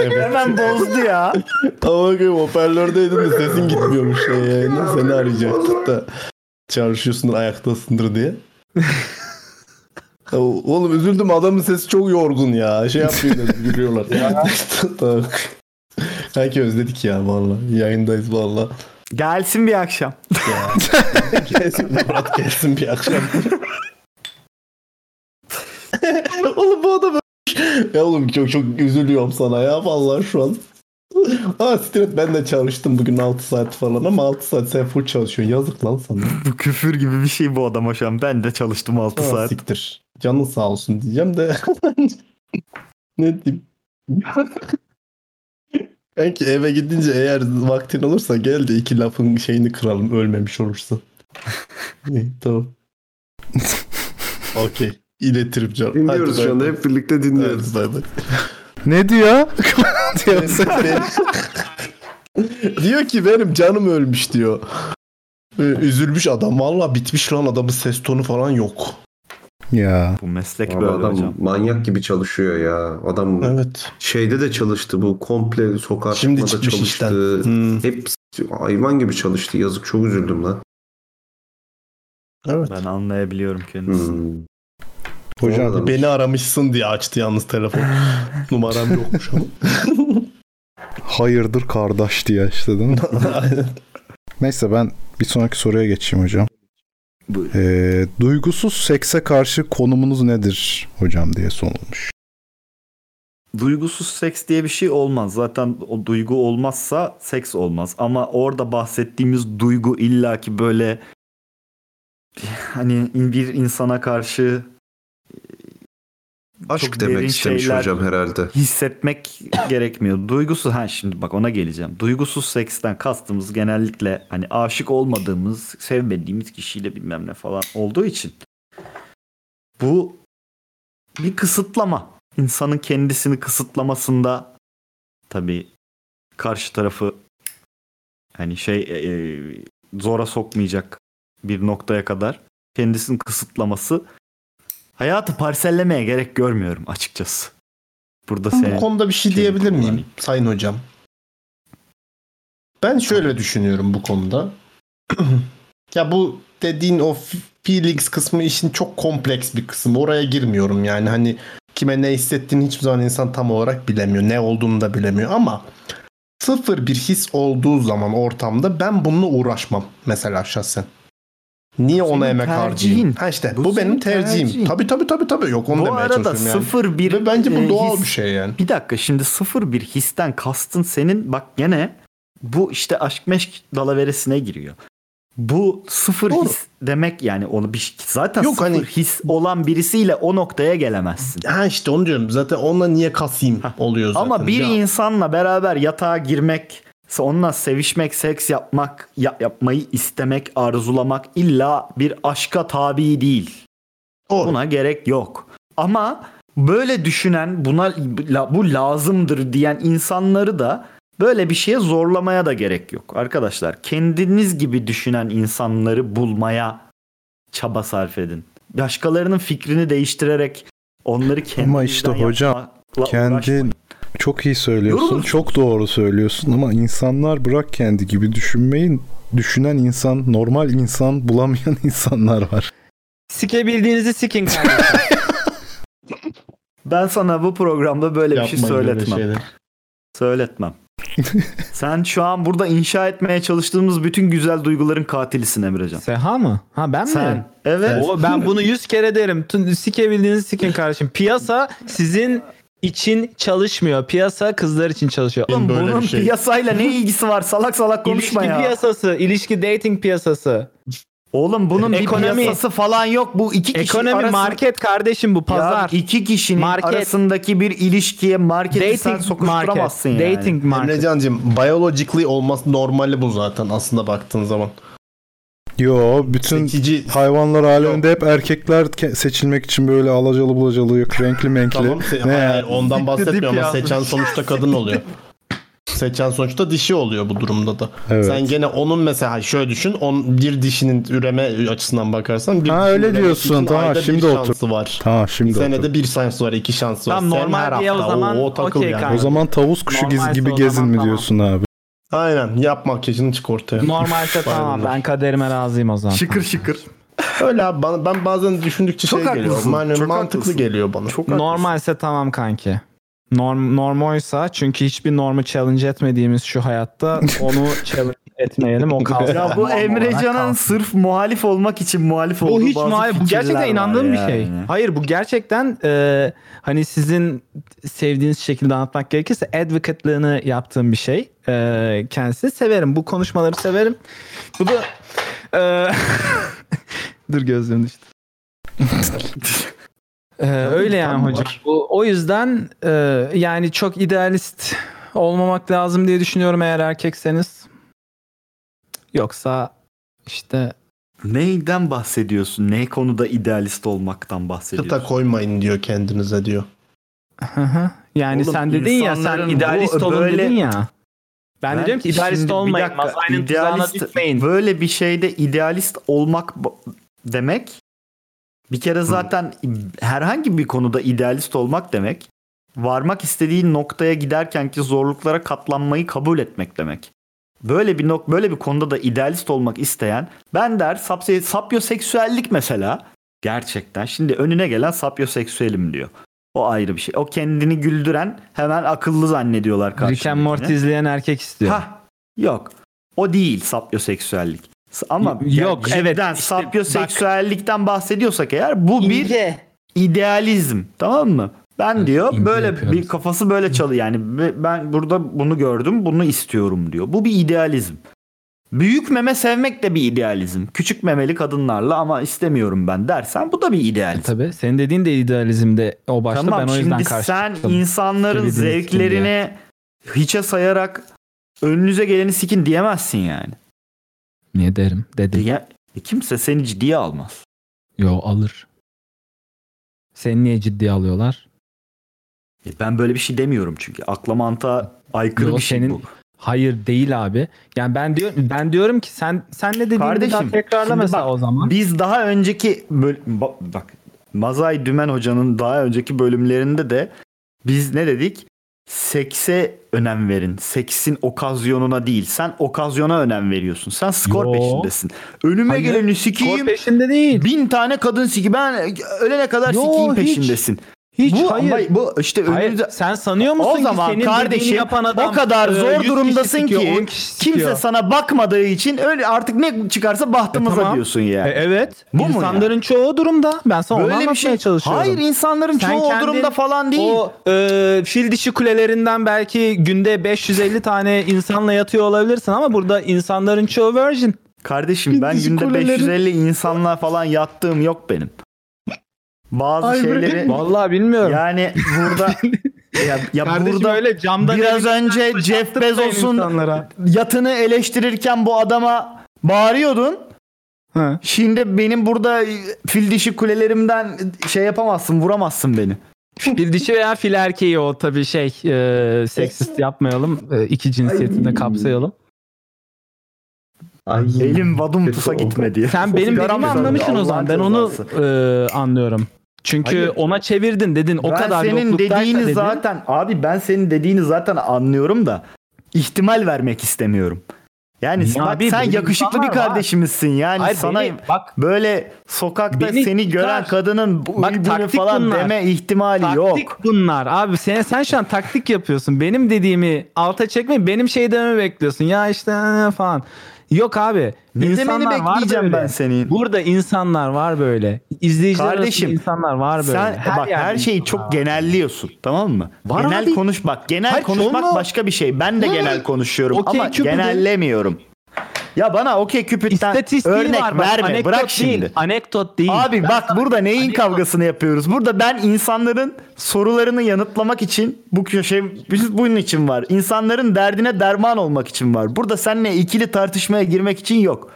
S3: evet.
S5: Hemen bozdu ya.
S3: Ee, Tamam bakayım hoparlördeydim de sesin gitmiyormuş. Şey yani. Seni arayacaktık da. Çalışıyorsundur ayaktasındır diye. Ya Oğlum üzüldüm adamın sesi çok yorgun ya. Şey yapmıyor dedim, gülüyorlar. Tamam. Kanki özledik ya valla. Yayındayız valla.
S5: Gelsin bir akşam.
S3: Gelsin Murat gelsin bir akşam. oğlum bu adam ölmüş. Ya oğlum çok çok üzülüyorum sana ya vallahi şu an. Aa Stret ben de çalıştım bugün 6 saat falan ama 6 saat sen full çalışıyorsun. Yazık lan sana.
S5: Bu küfür gibi bir şey bu adam şu an. Ben de çalıştım 6
S3: Aa,
S5: saat.
S3: Siktir. Canın sağ olsun diyeceğim de. ne diyeyim? Kanki eve gidince eğer vaktin olursa gel de iki lafın şeyini kıralım ölmemiş olursa. İyi, tamam. Okey. İletirim canım.
S2: Dinliyoruz şu anda hep birlikte dinliyoruz.
S4: Ne diyor? diyor.
S3: diyor ki benim canım ölmüş diyor. Ee, Üzülmüş adam. Valla bitmiş lan adamın ses tonu falan yok.
S4: ya.
S5: Bu meslek
S2: Abi
S5: böyle
S2: adam
S5: hocam.
S2: manyak gibi çalışıyor ya. Adam
S3: Evet.
S2: şeyde de çalıştı bu komple sokak
S3: Şimdi
S2: da
S3: çıkmış
S2: çalıştı.
S3: Hmm,
S2: Hep hayvan gibi çalıştı. Yazık çok üzüldüm lan.
S3: Evet.
S5: Ben anlayabiliyorum kendisini.
S2: Hmm.
S4: Hocam
S2: Oradan-
S3: Beni aramışsın diye açtı yalnız telefon. Numaram yokmuş ama.
S4: hayırdır kardeş diye işte değil mi? Neyse ben bir sonraki soruya geçeyim hocam.
S5: Buyurun.
S4: Ee, duygusuz sekse karşı konumunuz nedir hocam diye sorulmuş.
S5: Duygusuz seks diye bir şey olmaz. Zaten o duygu olmazsa seks olmaz. Ama orada bahsettiğimiz duygu illaki böyle hani bir insana karşı e,
S2: Aşk
S5: çok
S2: demek
S5: derin
S2: istemiş
S5: şeyler-
S2: hocam herhalde.
S5: hissetmek gerekmiyor. Duygusuz ha şimdi bak ona geleceğim. Duygusuz seksten kastımız genellikle hani aşık olmadığımız, sevmediğimiz kişiyle bilmem ne falan olduğu için bu bir kısıtlama. İnsanın kendisini kısıtlamasında tabii karşı tarafı hani şey e, e, zora sokmayacak bir noktaya kadar kendisini kısıtlaması hayatı parsellemeye gerek görmüyorum açıkçası. Burada
S3: Bu
S5: senin
S3: konuda bir şey
S5: Şey,
S3: diyebilir miyim
S5: kullanayım.
S3: sayın hocam? Ben şöyle düşünüyorum bu konuda. ya bu dediğin o feelings kısmı işin çok kompleks bir kısmı. Oraya girmiyorum yani hani kime ne hissettiğini hiçbir zaman insan tam olarak bilemiyor. Ne olduğunu da bilemiyor ama sıfır bir his olduğu zaman ortamda ben bununla uğraşmam mesela şahsen. Niye ona
S5: senin
S3: emek
S5: tercihin.
S3: harcayayım? Ha işte bu,
S5: Bu
S3: benim
S5: senin
S3: tercihim.
S5: tercihin.
S3: Tabii tabii tabii tabii yok onu
S5: Bu
S3: demeye
S5: arada
S3: çalışıyorum yani.
S5: sıfır bir
S3: Ve bence bu
S5: e,
S3: doğal
S5: his-
S3: bir şey yani.
S5: Bir dakika şimdi sıfır bir histen kastın senin bak gene bu işte aşk meşk dalaveresine giriyor. Bu sıfır
S3: Doğru.
S5: his demek yani onu bir zaten
S3: Yok,
S5: sıfır
S3: hani-
S5: his olan birisiyle o noktaya gelemezsin.
S3: Ha işte onu diyorum. Zaten onunla niye kasayım oluyor zaten.
S5: Ama bir
S3: Ya,
S5: insanla beraber yatağa girmek, onunla sevişmek, seks yapmak, ya- yapmayı istemek, arzulamak illa bir aşka tabi değil.
S3: doğru.
S5: Buna gerek yok. Ama böyle düşünen, buna la- bu lazımdır diyen insanları da böyle bir şeye zorlamaya da gerek yok. Arkadaşlar, kendiniz gibi düşünen insanları bulmaya çaba sarf edin. Başkalarının fikrini değiştirerek onları kendinizden
S4: Ama işte hocam,
S5: yapmakla
S4: kendin-
S5: uğraşmayın.
S4: Çok iyi söylüyorsun.
S5: Yorulursun.
S4: Çok doğru söylüyorsun ama insanlar bırak kendi gibi düşünmeyin. Düşünen insan, normal insan bulamayan insanlar var.
S1: Sikebildiğinizi sikin kardeşim.
S5: Ben sana bu programda böyle bir şey
S3: Yapmayın öyle
S5: söyletmem.
S3: şeyleri.
S5: Söyletmem. Sen şu an burada inşa etmeye çalıştığımız bütün güzel duyguların katilisin Emrecan.
S1: Seha mı? Ha ben mi?
S5: Sen. Evet.
S1: O, ben bunu yüz kere derim. Tüm Sikebildiğinizi sikin kardeşim. Piyasa sizin için çalışmıyor. Piyasa kızlar için çalışıyor.
S3: Benim
S5: Oğlum
S3: böyle bir
S5: bunun
S3: şey.
S5: piyasayla ne ilgisi var? Salak salak konuşma
S1: ilişki
S5: ya.
S1: piyasası, ilişki dating piyasası.
S5: Oğlum bunun
S1: Ekonomi.
S5: bir piyasası falan yok. Bu iki kişi
S1: Ekonomi,
S5: arasında-
S1: market kardeşim bu,
S5: Ya
S1: pazar.
S5: iki kişinin
S1: Market.
S5: arasındaki bir ilişkiye marketi sen
S1: dating market.
S5: sokuşturamazsın yani.
S1: Dating market.
S3: Emrecan'cığım biyologically olması normali bu zaten aslında baktığın zaman.
S4: Yo bütün
S3: Sekici
S4: hayvanlar aleminde hep erkekler ke- seçilmek için böyle alacalı bulacalı yok renkli menkli.
S3: tamam se-
S4: Ne?
S3: hayır, ondan bahsetmiyorum ama
S1: ya.
S3: seçen sonuçta kadın oluyor. seçen sonuçta dişi oluyor bu durumda da.
S4: Evet.
S3: Sen gene onun mesela şöyle düşün. On, bir dişinin üreme açısından bakarsan bir
S4: Ha,
S3: dişinin
S4: öyle
S3: üremesi
S4: diyorsun.
S3: için
S4: Tamam,
S3: ayda bir
S4: şimdi otur.
S3: şansı var.
S4: Tamam
S3: Bir
S4: şimdi otur.
S3: senede bir şans var, iki şans var.
S1: Tamam,
S3: Sen
S1: normal
S3: her
S1: diye o
S3: hafta
S1: zaman
S3: o, o takıl
S1: okey
S3: yani.
S4: O
S1: kanka.
S4: zaman tavus kuşu giz
S1: Normalse
S4: gibi
S1: o zaman
S4: gezin mi
S1: tamam.
S4: diyorsun abi?
S3: Aynen yap makyajını çık ortaya.
S1: Normalde tamam ben kaderime razıyım o zaman.
S5: Şıkır şıkır.
S3: Öyle abi bana, ben bazen düşündükçe
S5: Çok
S3: şey
S5: haklısın,
S3: geliyor. Aynen
S5: çok
S3: mantıklı
S5: haklısın.
S3: geliyor bana.
S5: Çok haklısın.
S1: Normalse tamam kanki. Norm, normoysa çünkü hiçbir normu challenge etmediğimiz şu hayatta onu challenge etmeyelim o kalsın.
S5: Ya
S1: Norm
S5: bu
S1: olarak
S5: Emrecan'ın
S1: kalsın.
S5: sırf muhalif olmak için muhalif
S1: bu
S5: olduğu
S1: hiç
S5: bazı
S1: muhalif. Bu
S5: fikirler
S1: gerçekten
S5: var
S1: inandığım bir şey.
S5: yani.
S1: Hayır bu gerçekten e, hani sizin sevdiğiniz şekilde anlatmak gerekirse advocate'lığını yaptığım bir şey. E, kendisi severim. Bu konuşmaları severim. Bu da e, dur gözlüğüm düştü. E, öyle yani hocam. Bu, o yüzden e, yani çok idealist olmamak lazım diye düşünüyorum eğer erkekseniz. Yoksa işte
S5: Neyden bahsediyorsun? Ne konuda idealist olmaktan
S3: Kıta
S5: bahsediyorsun?
S3: koymayın diyor kendinize diyor.
S1: Hı hı. yani
S5: Oğlum,
S1: sen dedin ya sen
S5: insanların
S1: idealist
S5: bu
S1: olun
S5: böyle-
S1: dedin ya. Ben, de diyorum ki idealist
S5: şimdi bir
S1: olmayın.
S5: dakika,
S1: Mazay'ın tuzağına
S5: idealist-
S1: düşmeyin.
S5: Böyle bir şeyde idealist olmak ba- demek bir kere zaten herhangi bir konuda idealist olmak demek varmak istediğin noktaya giderkenki zorluklara katlanmayı kabul etmek demek. Böyle bir nok böyle bir konuda da idealist olmak isteyen ben der sapse- sapyoseksüellik mesela gerçekten şimdi önüne gelen sapyoseksüelim diyor. O ayrı bir şey. O kendini güldüren hemen akıllı zannediyorlar
S1: Rick and
S5: karşındakini.
S1: Morty izleyen erkek istiyor.
S5: Ha yok. O değil sapyoseksüellik. S- Ama
S1: Y- yok,
S5: yani
S1: evet,
S5: cidden
S1: işte
S5: sapyoseksüellikten bahsediyorsak eğer bu bir idealizm tamam mı? Ben
S8: Evet,
S5: diyor
S8: ince
S5: böyle
S8: yapıyoruz.
S5: bir kafası böyle çalı yani be- ben burada bunu gördüm bunu istiyorum diyor. Bu bir idealizm. Büyük meme sevmek de bir idealizm. Küçük memeli kadınlarla ama istemiyorum ben dersen bu da bir
S1: E
S5: idealizm.
S1: Tabii. Senin dediğin de idealizmde o başta ben
S5: tamam
S1: o yüzden
S5: şimdi
S1: karşı
S5: sen
S1: çıktım.
S5: insanların
S1: Söylediğiniz için
S5: zevklerini hiçe sayarak önünüze geleni sikin diyemezsin yani.
S8: Niye derim? Dedim.
S5: Diye, kimse seni ciddiye almaz.
S8: Yo alır.
S1: Seni niye ciddiye alıyorlar?
S5: E Ben böyle bir şey demiyorum çünkü. Akla mantığa aykırı
S1: Yo,
S5: bir şey
S1: senin
S5: bu.
S1: Hayır değil abi. Yani ben diyorum ben diyorum ki sen sen ne dediğini bir daha
S5: Kardeşim,
S1: tekrarla
S5: şimdi
S1: mesela
S5: bak,
S1: o zaman.
S5: Biz daha önceki böl- ba- bak Mazay Dümen hocanın daha önceki bölümlerinde de biz ne dedik? Sekse önem verin. Seksin okazyonuna değil. Sen okazyona önem veriyorsun. Sen skor
S1: Yo.
S5: peşindesin. Önüme
S1: Hayır,
S5: geleni
S1: Kor
S5: sikiyim.
S1: peşinde değil.
S5: Bin tane kadın siki. Ben ölene kadar
S1: Yo,
S5: sikiyim
S1: hiç.
S5: peşindesin.
S1: Hiç
S5: bu,
S1: hayır.
S5: ama bu işte
S1: Hayır,
S5: önünüze
S1: sen sanıyor musun
S5: O
S1: ki
S5: zaman
S1: senin
S5: kardeşim,
S1: dediğini yapan adam
S5: o kadar
S1: e,
S5: zor
S1: 100 kişi
S5: durumdasın
S1: sikiyor,
S5: ki
S1: 10 kişi
S5: Kimse
S1: sikiyor.
S5: sana bakmadığı için öyle artık ne çıkarsa bahtımıza
S1: E, tamam.
S5: diyorsun yani.
S1: E, evet.
S5: Bu mu
S1: İnsanların çoğu o durumda. Ben sana onu
S5: Böyle bir
S1: anlatmaya
S5: şey.
S1: çalışıyorum.
S5: Hayır insanların
S1: Sen
S5: çoğu o
S1: kendin
S5: durumda falan değil.
S1: O e, fil dişi kulelerinden belki günde 550 tane insanla yatıyor olabilirsin ama burada insanların çoğu virgin.
S5: Kardeşim ben
S3: Biz
S5: günde
S3: kulelerin-
S5: 550 insanla falan yattığım yok benim. Bazı
S3: Ay, bırakın.
S5: şeyleri
S1: Vallahi bilmiyorum.
S5: yani burada ya, ya
S1: Kardeşim
S5: burada
S1: öyle camdan
S5: biraz
S1: elimizden
S5: önce
S1: taş
S5: Jeff
S1: attırmayın
S5: Bezos'un-
S1: insanlara.
S5: yatını eleştirirken bu adama bağırıyordun.
S1: He.
S5: Şimdi benim burada fil dişi kulelerimden şey yapamazsın, vuramazsın beni.
S1: fil dişi veya fil erkeği o tabii şey e, seksist yapmayalım. E, iki cinsiyetini de kapsayalım.
S2: Ay.
S5: Elim vadum tusa
S2: Kötü oldu.
S5: gitme diye.
S1: Sen benim dediğimi anlamışsın o zaman. Ben onu e, anlıyorum. Çünkü
S5: Hayır.
S1: ona çevirdin dedin o
S5: ben
S1: kadar
S5: senin
S1: yokluktaysa
S5: dediğini
S1: dedin.
S5: zaten abi ben senin dediğini zaten anlıyorum da ihtimal vermek istemiyorum. Yani
S1: Ya
S5: bak
S1: abi,
S5: sen
S1: böyle
S5: yakışıklı bir
S1: insanlar var.
S5: kardeşimizsin yani
S1: Hayır,
S5: hani sana
S1: beni- bak
S5: böyle sokakta
S1: Beni
S5: seni
S1: tutar.
S5: gören kadının bu
S1: Bak,
S5: uy bunu
S1: taktik
S5: falan
S1: bunlar.
S5: deme ihtimali
S1: taktik
S5: yok.
S1: bunlar. Abi sen sen şu an taktik yapıyorsun. Benim dediğimi alta çekme, benim şey dememi bekliyorsun. Ya işte ee, falan. Yok abi.
S5: Ne demeni
S1: İnsanlar var
S5: bekleyeceğim
S1: böyle.
S5: ben senin.
S1: Burada insanlar var böyle. İzleyiciler
S5: Kardeşim,
S1: Kardeşim, insanlar var böyle.
S5: Sen bak
S1: yerde
S5: her şeyi
S1: insanlar
S5: çok
S1: var.
S5: genelliyorsun tamam mı?
S1: Var
S5: genel
S1: abi.
S5: konuş bak. Genel
S1: Hayır,
S5: konuşmak
S1: çoğunluğu-
S5: başka bir şey. Ben de genel konuşuyorum
S1: Okey
S5: ama
S1: Cupid'in-
S5: genellemiyorum. Ya bana okey küpütten
S1: İstatistiği
S5: örnek
S1: var. Bak,
S5: verme.
S1: anekdot
S5: Bırak
S1: değil.
S5: şimdi.
S1: Anekdot değil.
S5: Abi
S1: Ben
S5: bak
S1: sana-
S5: burada neyin kavgasını yapıyoruz? Burada ben insanların sorularını yanıtlamak için bu köşe biz bunun için var. İnsanların derdine derman olmak için var. Burada seninle ikili tartışmaya girmek için yok.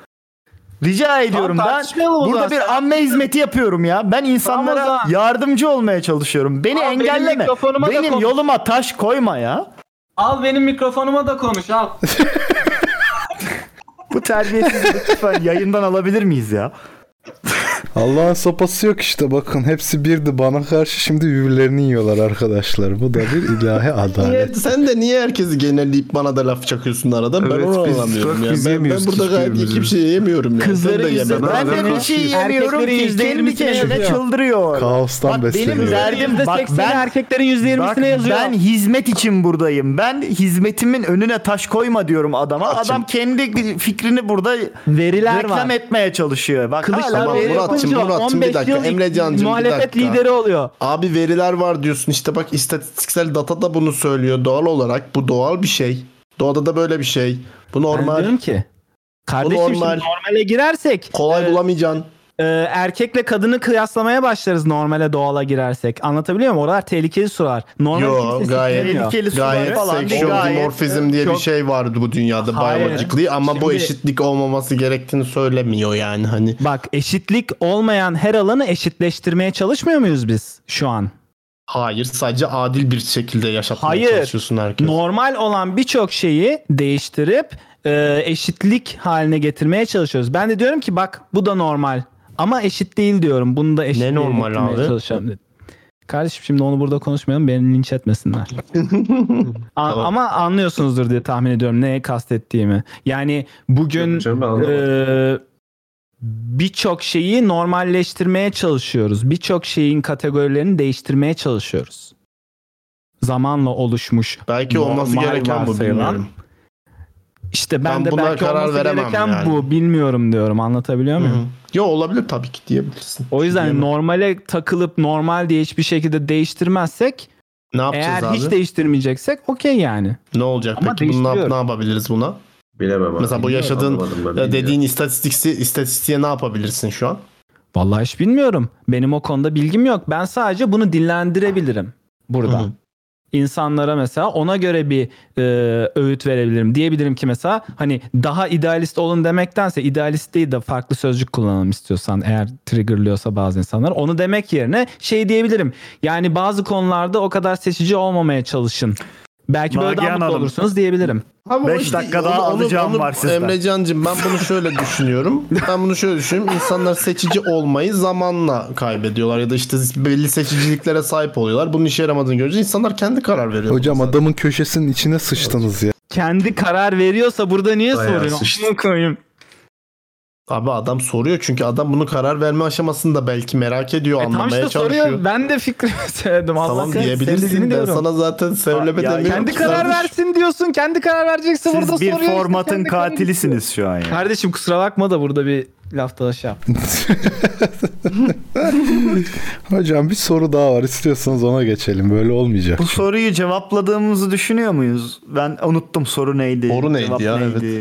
S5: Rica ediyorum ben
S1: tartışmayalım o
S5: burada
S1: zaman.
S5: bir amme hizmeti yapıyorum ya. Ben insanlara
S1: Tamam o zaman.
S5: yardımcı olmaya çalışıyorum. Beni
S1: Al benim
S5: engelleme.
S1: mikrofonuma da
S5: Benim,
S1: konuş.
S5: yoluma taş koyma ya.
S1: Al benim mikrofonuma da konuş al.
S5: Bu terbiyesizliği lütfen yayından alabilir miyiz ya?
S4: Allah'ın sopası yok işte bakın. Hepsi birdi bana karşı şimdi birbirlerini yiyorlar arkadaşlar. Bu da bir ilahi
S3: Niye,
S4: adalet.
S3: sen de niye herkesi genelleyip bana da laf çakıyorsun arada? ben
S2: Evet,
S3: onu
S2: biz-
S3: anlamıyorum
S2: bak
S3: ya.
S2: biz
S3: Ben, ben
S2: yemiyoruz
S3: burada gayet iyi
S2: hiçbirimizi.
S3: kimseyi yemiyorum ya.
S5: Kızları
S3: Sen de yeme.
S5: yüzde
S2: ben-
S5: ben
S2: ben-
S5: de bir şey
S1: Erkekleri
S5: yemiyorum ki.
S1: yüzde
S5: Kendi
S1: yirmisini
S5: kendine
S1: yazıyor.
S5: çıldır
S4: Kaostan
S5: Bak benim
S4: besleniyor.
S5: derdim bak
S1: %80'i
S5: ben
S1: erkeklerin %20'sine
S5: Bak,
S1: yazıyor.
S5: ben hizmet için buradayım. Ben hizmetimin önüne taş koyma diyorum adama. Adam kendi fikrini burada
S1: Veriler
S5: reklam
S1: var.
S5: etmeye çalışıyor. Bak hala
S1: Kılıçdaroğlu
S3: Tamam,
S5: veri-
S3: Muratçım,
S1: yapınca
S3: Muratçım, bir
S1: 15
S3: dakika.
S1: yıl
S3: Emrecancım, bir
S1: muhalefet
S3: dakika.
S1: lideri oluyor.
S3: Abi veriler var diyorsun işte bak istatistiksel data da bunu söylüyor doğal olarak bu doğal bir şey. Doğada da böyle bir şey. Bu
S1: Ben
S3: normal.
S1: diyorum ki kardeşim şimdi
S3: normal.
S1: normale girersek
S3: Kolay
S1: e,
S3: bulamayacaksın.
S1: e, erkekle kadını kıyaslamaya başlarız normale doğala girersek. Anlatabiliyor muyum? Oralar tehlikeli sular. Normal
S3: Yo,
S1: kimse
S3: gayet-
S1: siklemiyor.
S5: tehlikeli sular
S3: Gayet
S5: falan değil.
S3: seksüel
S5: Gayet
S3: dimorfizm diye bir
S1: çok-
S3: şey vardı bu dünyada
S1: Hayır.
S3: biyolojikli ama bu
S1: Şimdi-
S3: eşitlik olmaması gerektiğini söylemiyor yani hani.
S1: Bak eşitlik olmayan her alanı eşitleştirmeye çalışmıyor muyuz biz şu an?
S3: Hayır sadece adil bir şekilde yaşatmaya
S1: Hayır.
S3: çalışıyorsun herkes.
S1: Normal olan birçok şeyi değiştirip e, eşitlik haline getirmeye çalışıyoruz. Ben de diyorum ki bak bu da normal ama eşit değil diyorum. Bunu da eşit
S3: normal abi?
S1: Kardeşim şimdi onu burada konuşmayalım beni linç etmesinler. A-
S3: Tamam.
S1: Ama anlıyorsunuzdur diye tahmin ediyorum neye kastettiğimi. Yani bugün
S2: Canım, ben anlamadım.
S1: Ee, birçok şeyi normalleştirmeye çalışıyoruz. Birçok şeyin kategorilerini değiştirmeye çalışıyoruz. Zamanla oluşmuş.
S3: Belki olması
S1: normal
S3: gereken bu
S1: varsayılan.
S3: bilmiyorum.
S1: İşte
S3: Ben
S1: ben, de
S3: buna
S1: belki
S3: karar
S1: olması
S3: veremem
S1: gereken
S3: yani.
S1: bu. Bilmiyorum diyorum. Anlatabiliyor muyum?
S3: Hı. Yo olabilir tabii ki diyebilirsin.
S1: O yüzden
S3: Diyemem.
S1: normale takılıp normal diye hiçbir şekilde değiştirmezsek
S3: ne yapacağız
S1: eğer
S3: abi?
S1: hiç değiştirmeyeceksek okey yani.
S3: Ne olacak
S1: Ama
S3: peki? Bunu ne, yap-
S1: değiştiriyorum.
S3: ne yapabiliriz buna?
S2: Bilemem abi.
S3: Mesela bu
S2: Bilmiyorum,
S3: yaşadığın
S2: anlamadım ben,
S3: Ya
S2: bilmiyorum.
S3: dediğin istatistiksi istatistiğe ne yapabilirsin şu an?
S1: Vallahi hiç bilmiyorum. Benim o konuda bilgim yok. Ben sadece bunu dillendirebilirim burada.
S3: Hı hı.
S1: İnsanlara mesela ona göre bir e, öğüt verebilirim. Diyebilirim ki mesela hani daha idealist olun demektense idealist değil de farklı sözcük kullanalım istiyorsan eğer triggerlıyorsa bazı insanlar. Onu demek yerine şey diyebilirim. Yani bazı konularda o kadar seçici olmamaya çalışın. Belki böyle daha
S5: Nagihan
S1: mutlu
S5: Hanım.
S1: olursunuz diyebilirim.
S3: Ama
S5: Beş
S3: o işte-
S5: dakika daha alacağım var sizden.
S3: Emrecancığım ben bunu şöyle düşünüyorum. Ben bunu şöyle düşünüyorum. İnsanlar seçici olmayı zamanla kaybediyorlar ya da işte belli seçiciliklere sahip oluyorlar. Bunun işe yaramadığını görünce insanlar kendi karar veriyor.
S4: Hocam
S3: Mesela.
S4: adamın köşesinin içine sıçtınız ya.
S1: Kendi karar veriyorsa burada niye
S2: Bayağı
S1: soruyorsun?
S2: sıçtı.
S1: Amına koyayım.
S3: Abi adam soruyor çünkü adam bunu karar verme aşamasında belki merak ediyor,
S1: E tam
S3: anlamaya
S1: işte
S3: çalışıyor.
S1: soruyor. Ben de fikrimi söyledim.
S3: Tamam
S1: Allah kahretsin,
S3: diyebilirsin.
S1: sevdiğini
S3: Ben
S1: diyorum.
S3: sana zaten söyleme
S5: Ya- ya-
S3: demiyorum.
S1: Kendi
S3: ki.
S1: karar
S3: Sen-
S1: versin diyorsun. Kendi karar verecekse burada
S5: Siz bir
S1: soruyor. işte,
S5: formatın
S1: kendi karar-
S5: katilisiniz şu an ya.
S1: Kardeşim kusura bakma da şey burada bir laf dalaşı yap.
S4: Hocam bir soru daha var. İstiyorsanız ona geçelim. Böyle olmayacak.
S5: Bu soruyu cevapladığımızı düşünüyor muyuz? Ben unuttum soru neydi?
S3: Soru neydi
S5: cevap
S3: ya,
S5: neydi?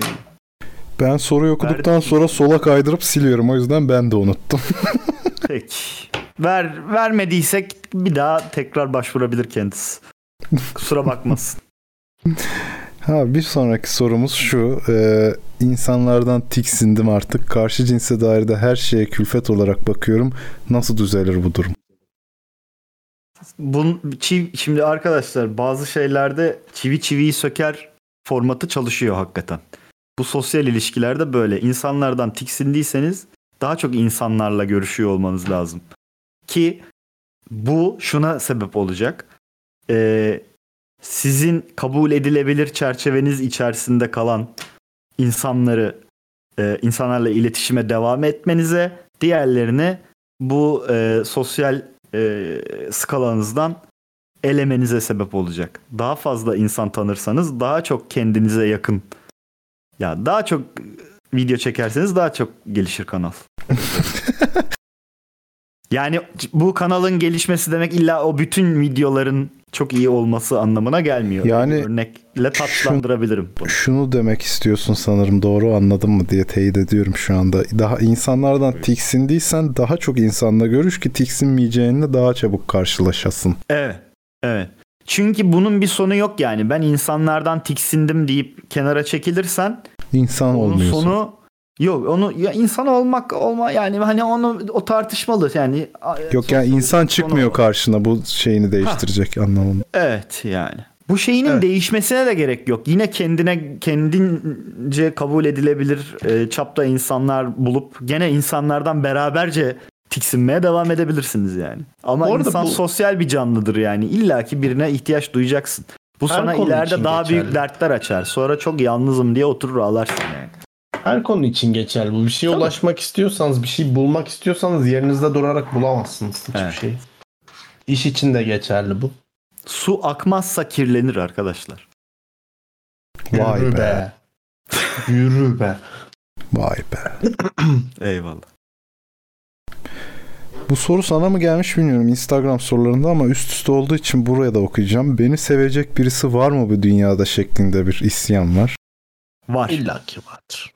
S4: Ben soruyu okuduktan sonra sola kaydırıp siliyorum. O yüzden ben de unuttum.
S5: Peki. Ver, vermediysek bir daha tekrar başvurabilir kendisi. Kusura bakmasın.
S4: Ha bir sonraki sorumuz şu. Ee, insanlardan tiksindim artık. Karşı cinse dair de her şeye külfet olarak bakıyorum. Nasıl düzelir bu durum?
S5: Bun, çiv- şimdi arkadaşlar bazı şeylerde çivi çiviyi söker formatı çalışıyor hakikaten. Bu sosyal ilişkilerde böyle. İnsanlardan tiksindiyseniz daha çok insanlarla görüşüyor olmanız lazım. Ki bu şuna sebep olacak. Ee, sizin kabul edilebilir çerçeveniz içerisinde kalan insanları e, insanlarla iletişime devam etmenize diğerlerini bu e, sosyal e, skalanızdan elemenize sebep olacak. Daha fazla insan tanırsanız daha çok kendinize yakın. Ya daha çok video çekerseniz daha çok gelişir kanal. yani bu kanalın gelişmesi demek illa o bütün videoların çok iyi olması anlamına gelmiyor.
S4: Yani
S5: Bir örnekle tatlandırabilirim. bunu.
S4: Şunu demek istiyorsun sanırım doğru anladım mı diye teyit ediyorum şu anda. Daha insanlardan tiksindiysen daha çok insanla görüş ki tiksinmeyeceğinle daha çabuk karşılaşasın.
S5: Evet. Evet. Çünkü bunun bir sonu yok yani. Ben insanlardan tiksindim deyip kenara çekilirsen
S4: İnsan
S5: onun
S4: olmuyorsun.
S5: sonu yok. Onu ya insan olmak olma yani hani onu o tartışmalı yani.
S4: Yok yani insan çıkmıyor karşına bu şeyini değiştirecek anlamında.
S5: Evet yani. Bu şeyinin
S3: Evet.
S5: değişmesine de gerek yok. Yine kendine kendince kabul edilebilir e, çapta insanlar bulup gene insanlardan beraberce tiksinmeye devam edebilirsiniz yani. Ama
S3: Bu arada
S5: insan
S3: bu-
S5: sosyal bir canlıdır yani. İlla ki birine ihtiyaç duyacaksın. Bu
S3: Her
S5: sana
S3: konu
S5: ileride
S3: için
S5: daha
S3: geçerli.
S5: büyük dertler açar. Sonra çok yalnızım diye oturur ağlarsın yani.
S3: Her konu için geçerli bu. Bir şeye
S5: Tabii.
S3: ulaşmak istiyorsanız, bir şey bulmak istiyorsanız yerinizde durarak bulamazsınız hiçbir
S5: Evet.
S3: şey. İş için de geçerli bu.
S5: Su akmazsa kirlenir arkadaşlar.
S4: Vay
S3: Yürü
S4: be.
S3: Yürü be.
S4: Vay be.
S5: Eyvallah.
S4: Bu soru sana mı gelmiş bilmiyorum Instagram sorularında ama üst üste olduğu için buraya da okuyacağım. Beni sevecek birisi var mı bu dünyada şeklinde bir isyan var.
S5: Var.
S3: İlla ki vardır.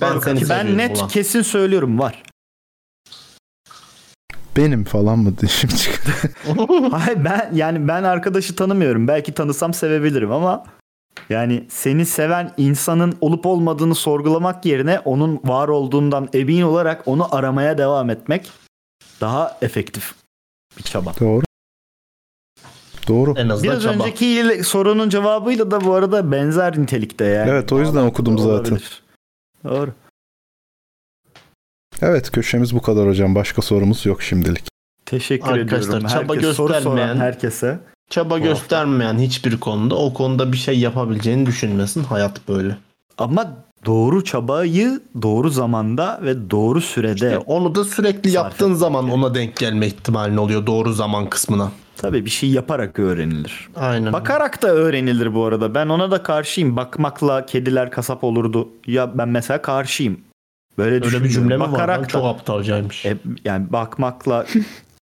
S2: Ben
S3: seni
S5: Ki ben
S3: seviyorum
S5: net
S3: ulan.
S5: kesin söylüyorum var.
S4: Benim falan mı diye şimdi çıkıyor.
S5: Hayır ben yani ben arkadaşı tanımıyorum. Belki tanısam sevebilirim ama yani seni seven insanın olup olmadığını sorgulamak yerine onun var olduğundan emin olarak onu aramaya devam etmek daha efektif bir çaba.
S4: Doğru. Doğru.
S3: En azından
S5: Biraz
S3: çaba.
S5: önceki ile- sorunun cevabıyla da bu arada benzer nitelikte yani.
S4: Evet o yüzden okudum zaten.
S5: Olabilir. Doğru.
S4: Evet köşemiz bu kadar hocam. Başka sorumuz yok şimdilik.
S5: Teşekkür
S3: Arkadaşlar,
S5: ediyorum.
S3: çaba
S5: soru soran
S3: göstermeyen-
S5: herkese.
S3: Çaba göstermeyen hiçbir konuda o konuda bir şey yapabileceğini düşünmesin. Hayat böyle.
S5: Ama doğru çabayı doğru zamanda ve doğru sürede
S3: İşte Ee, onu da sürekli
S5: Sarf
S3: yaptığın
S5: etmek
S3: zaman
S5: yani.
S3: ona denk gelme ihtimalin oluyor doğru zaman kısmına.
S5: tabii bir şey yaparak öğrenilir.
S3: Aynen.
S5: Bakarak da öğrenilir bu arada. Ben ona da karşıyım. Bakmakla kediler kasap olurdu. Ya ben mesela karşıyım. Böyle
S3: Öyle bir cümle mi
S5: düşünmüyorum.
S3: var?
S5: Bakarak
S3: lan?
S5: da-
S3: Çok aptalcaymış.
S5: E, yani bakmakla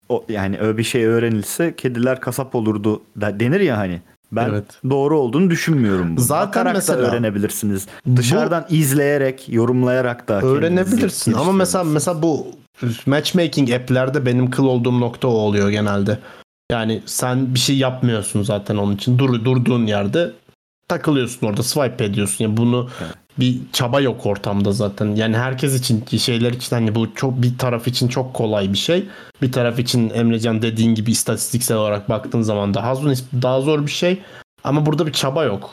S5: o, yani öyle bir şey öğrenilse kediler kasap olurdu da denir ya hani. Ben
S3: Evet.
S5: doğru olduğunu düşünmüyorum. bunu.
S3: Zaten
S5: Bakarak
S3: mesela-
S5: da öğrenebilirsiniz.
S3: Bu-
S5: Dışarıdan izleyerek, yorumlayarak da kendinizi
S3: Öğrenebilirsin ama mesela
S5: geliştirebilirsiniz.
S3: mesela bu matchmaking app'lerde benim kıl olduğum nokta o oluyor genelde. Yani sen bir şey yapmıyorsun zaten onun için. Dur durduğun yerde takılıyorsun orada swipe ediyorsun. Yani bunu bir çaba yok ortamda zaten. Yani herkes için şeyler için hani bu çok bir taraf için çok kolay bir şey. Bir taraf için Emrecan dediğin gibi istatistiksel olarak baktığın zaman daha zor, daha zor bir şey. Ama burada bir çaba yok.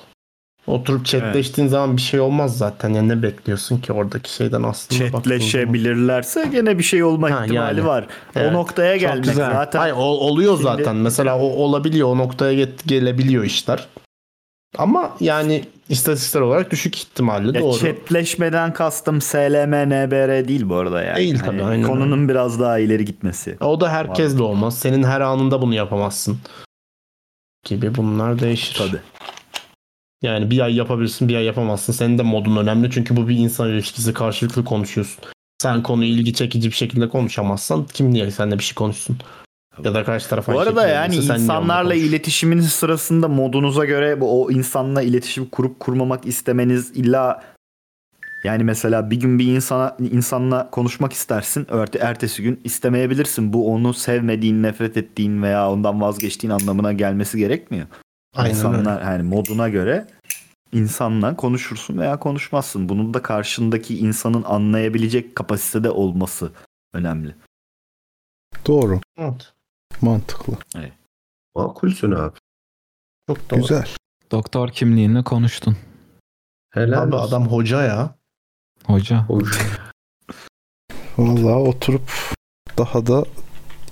S3: Oturup chatleştiğin zaman bir şey olmaz zaten. Yani ne bekliyorsun ki oradaki şeyden aslında baktığın zaman?
S5: chatleşebilirlerse gene bir şey olma
S3: Ha,
S5: ihtimali
S3: yani.
S5: var.
S3: Evet.
S5: O noktaya gelmek
S1: güzel.
S5: zaten
S3: Hayır, ol- oluyor
S5: Şimdi-
S3: zaten. Mesela o olabiliyor. O noktaya get- gelebiliyor işler. Ama yani istatistiksel olarak düşük ihtimalle
S5: Ya
S3: doğru.
S5: chatleşmeden kastım SLM, NBR değil bu arada yani. Hani
S3: Değil tabii, aynen
S5: Konunun biraz daha ileri gitmesi.
S3: O da herkesle olmaz. Senin her anında bunu yapamazsın. Gibi bunlar değişir.
S5: Tabii.
S3: Yani bir ay yapabilirsin bir ay yapamazsın. Senin de modun önemli. Çünkü bu bir insan ilişkisi karşılıklı konuşuyorsun. Sen konuyu ilgi çekici bir şekilde konuşamazsan kim niye seninle bir şey konuşsun? Ya da karşı taraf
S5: Bu
S3: aynı
S5: arada
S3: şekilde
S5: yani
S3: öyleyse sen niye onunla
S5: insanlarla
S3: konuşuyorsun?
S5: iletişiminiz sırasında modunuza göre bu- o insanla iletişim kurup kurmamak istemeniz illa yani mesela bir gün bir insana insanla konuşmak istersin, erte- ertesi gün istemeyebilirsin. Bu onu sevmediğin, nefret ettiğin veya ondan vazgeçtiğin anlamına gelmesi gerekmiyor.
S3: Aynen öyle.
S5: İnsanlar yani moduna göre insanla konuşursun veya konuşmazsın. Bunun da karşındaki insanın anlayabilecek kapasitede olması önemli.
S4: Doğru.
S3: Evet.
S4: Mantıklı.
S2: Makulsün abi.
S3: Çok doğru.
S4: Güzel.
S8: Doktor kimliğinle konuştun.
S2: Helal
S3: Abi
S2: olsun.
S3: adam hoca ya.
S8: Hoca.
S2: Hoş.
S4: Vallahi oturup daha da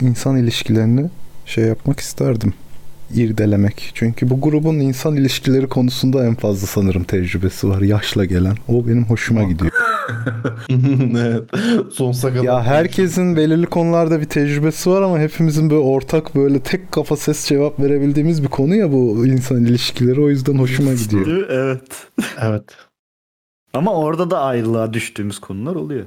S4: insan ilişkilerini şey yapmak isterdim. irdelemek. Çünkü bu grubun insan ilişkileri konusunda en fazla sanırım tecrübesi var. Yaşla gelen. O benim hoşuma gidiyor.
S3: evet. Sonsuza kadar.
S4: Ya herkesin belirli konularda bir tecrübesi var ama hepimizin böyle ortak böyle tek kafa ses cevap verebildiğimiz bir konu ya bu insan ilişkileri. O yüzden hoşuma gidiyor.
S5: Değil mi? Evet.
S3: Evet.
S5: Ama orada da ayrılığa düştüğümüz konular oluyor.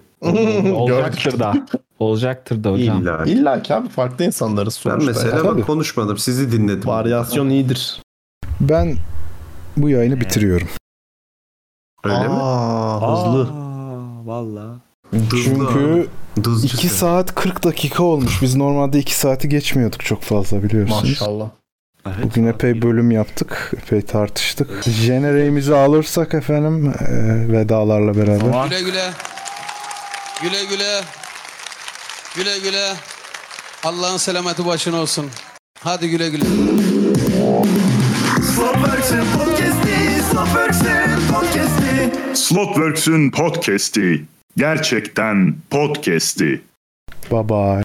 S1: Olacaktır da. Olacaktır da hocam.
S2: İlla.
S3: İlla ki abi farklı insanlarız
S2: Ben
S3: sonuçta. E,
S2: mesela
S4: Tabii.
S2: bak konuşmadım. Sizi dinledim.
S3: Varyasyon iyidir.
S4: Ben bu yayını bitiriyorum.
S2: Öyle mi?
S3: Aa, hızlı.
S5: Aa, Valla.
S2: Dızlı
S4: Çünkü
S2: abi. Dızcısı.
S4: 2 saat 40 dakika olmuş. Biz normalde 2 saati geçmiyorduk çok fazla biliyorsunuz.
S3: Maşallah.
S4: Bugün epey bölüm yaptık. Epey tartıştık. Jenereğimizi alırsak efendim e, vedalarla beraber.
S5: Ama
S9: Güle güle. Güle güle. Güle güle. Allah'ın selameti başına olsun. Hadi güle güle.
S6: Slotworks'ün podcast'i. Gerçekten podcast'i.
S4: Bye bye.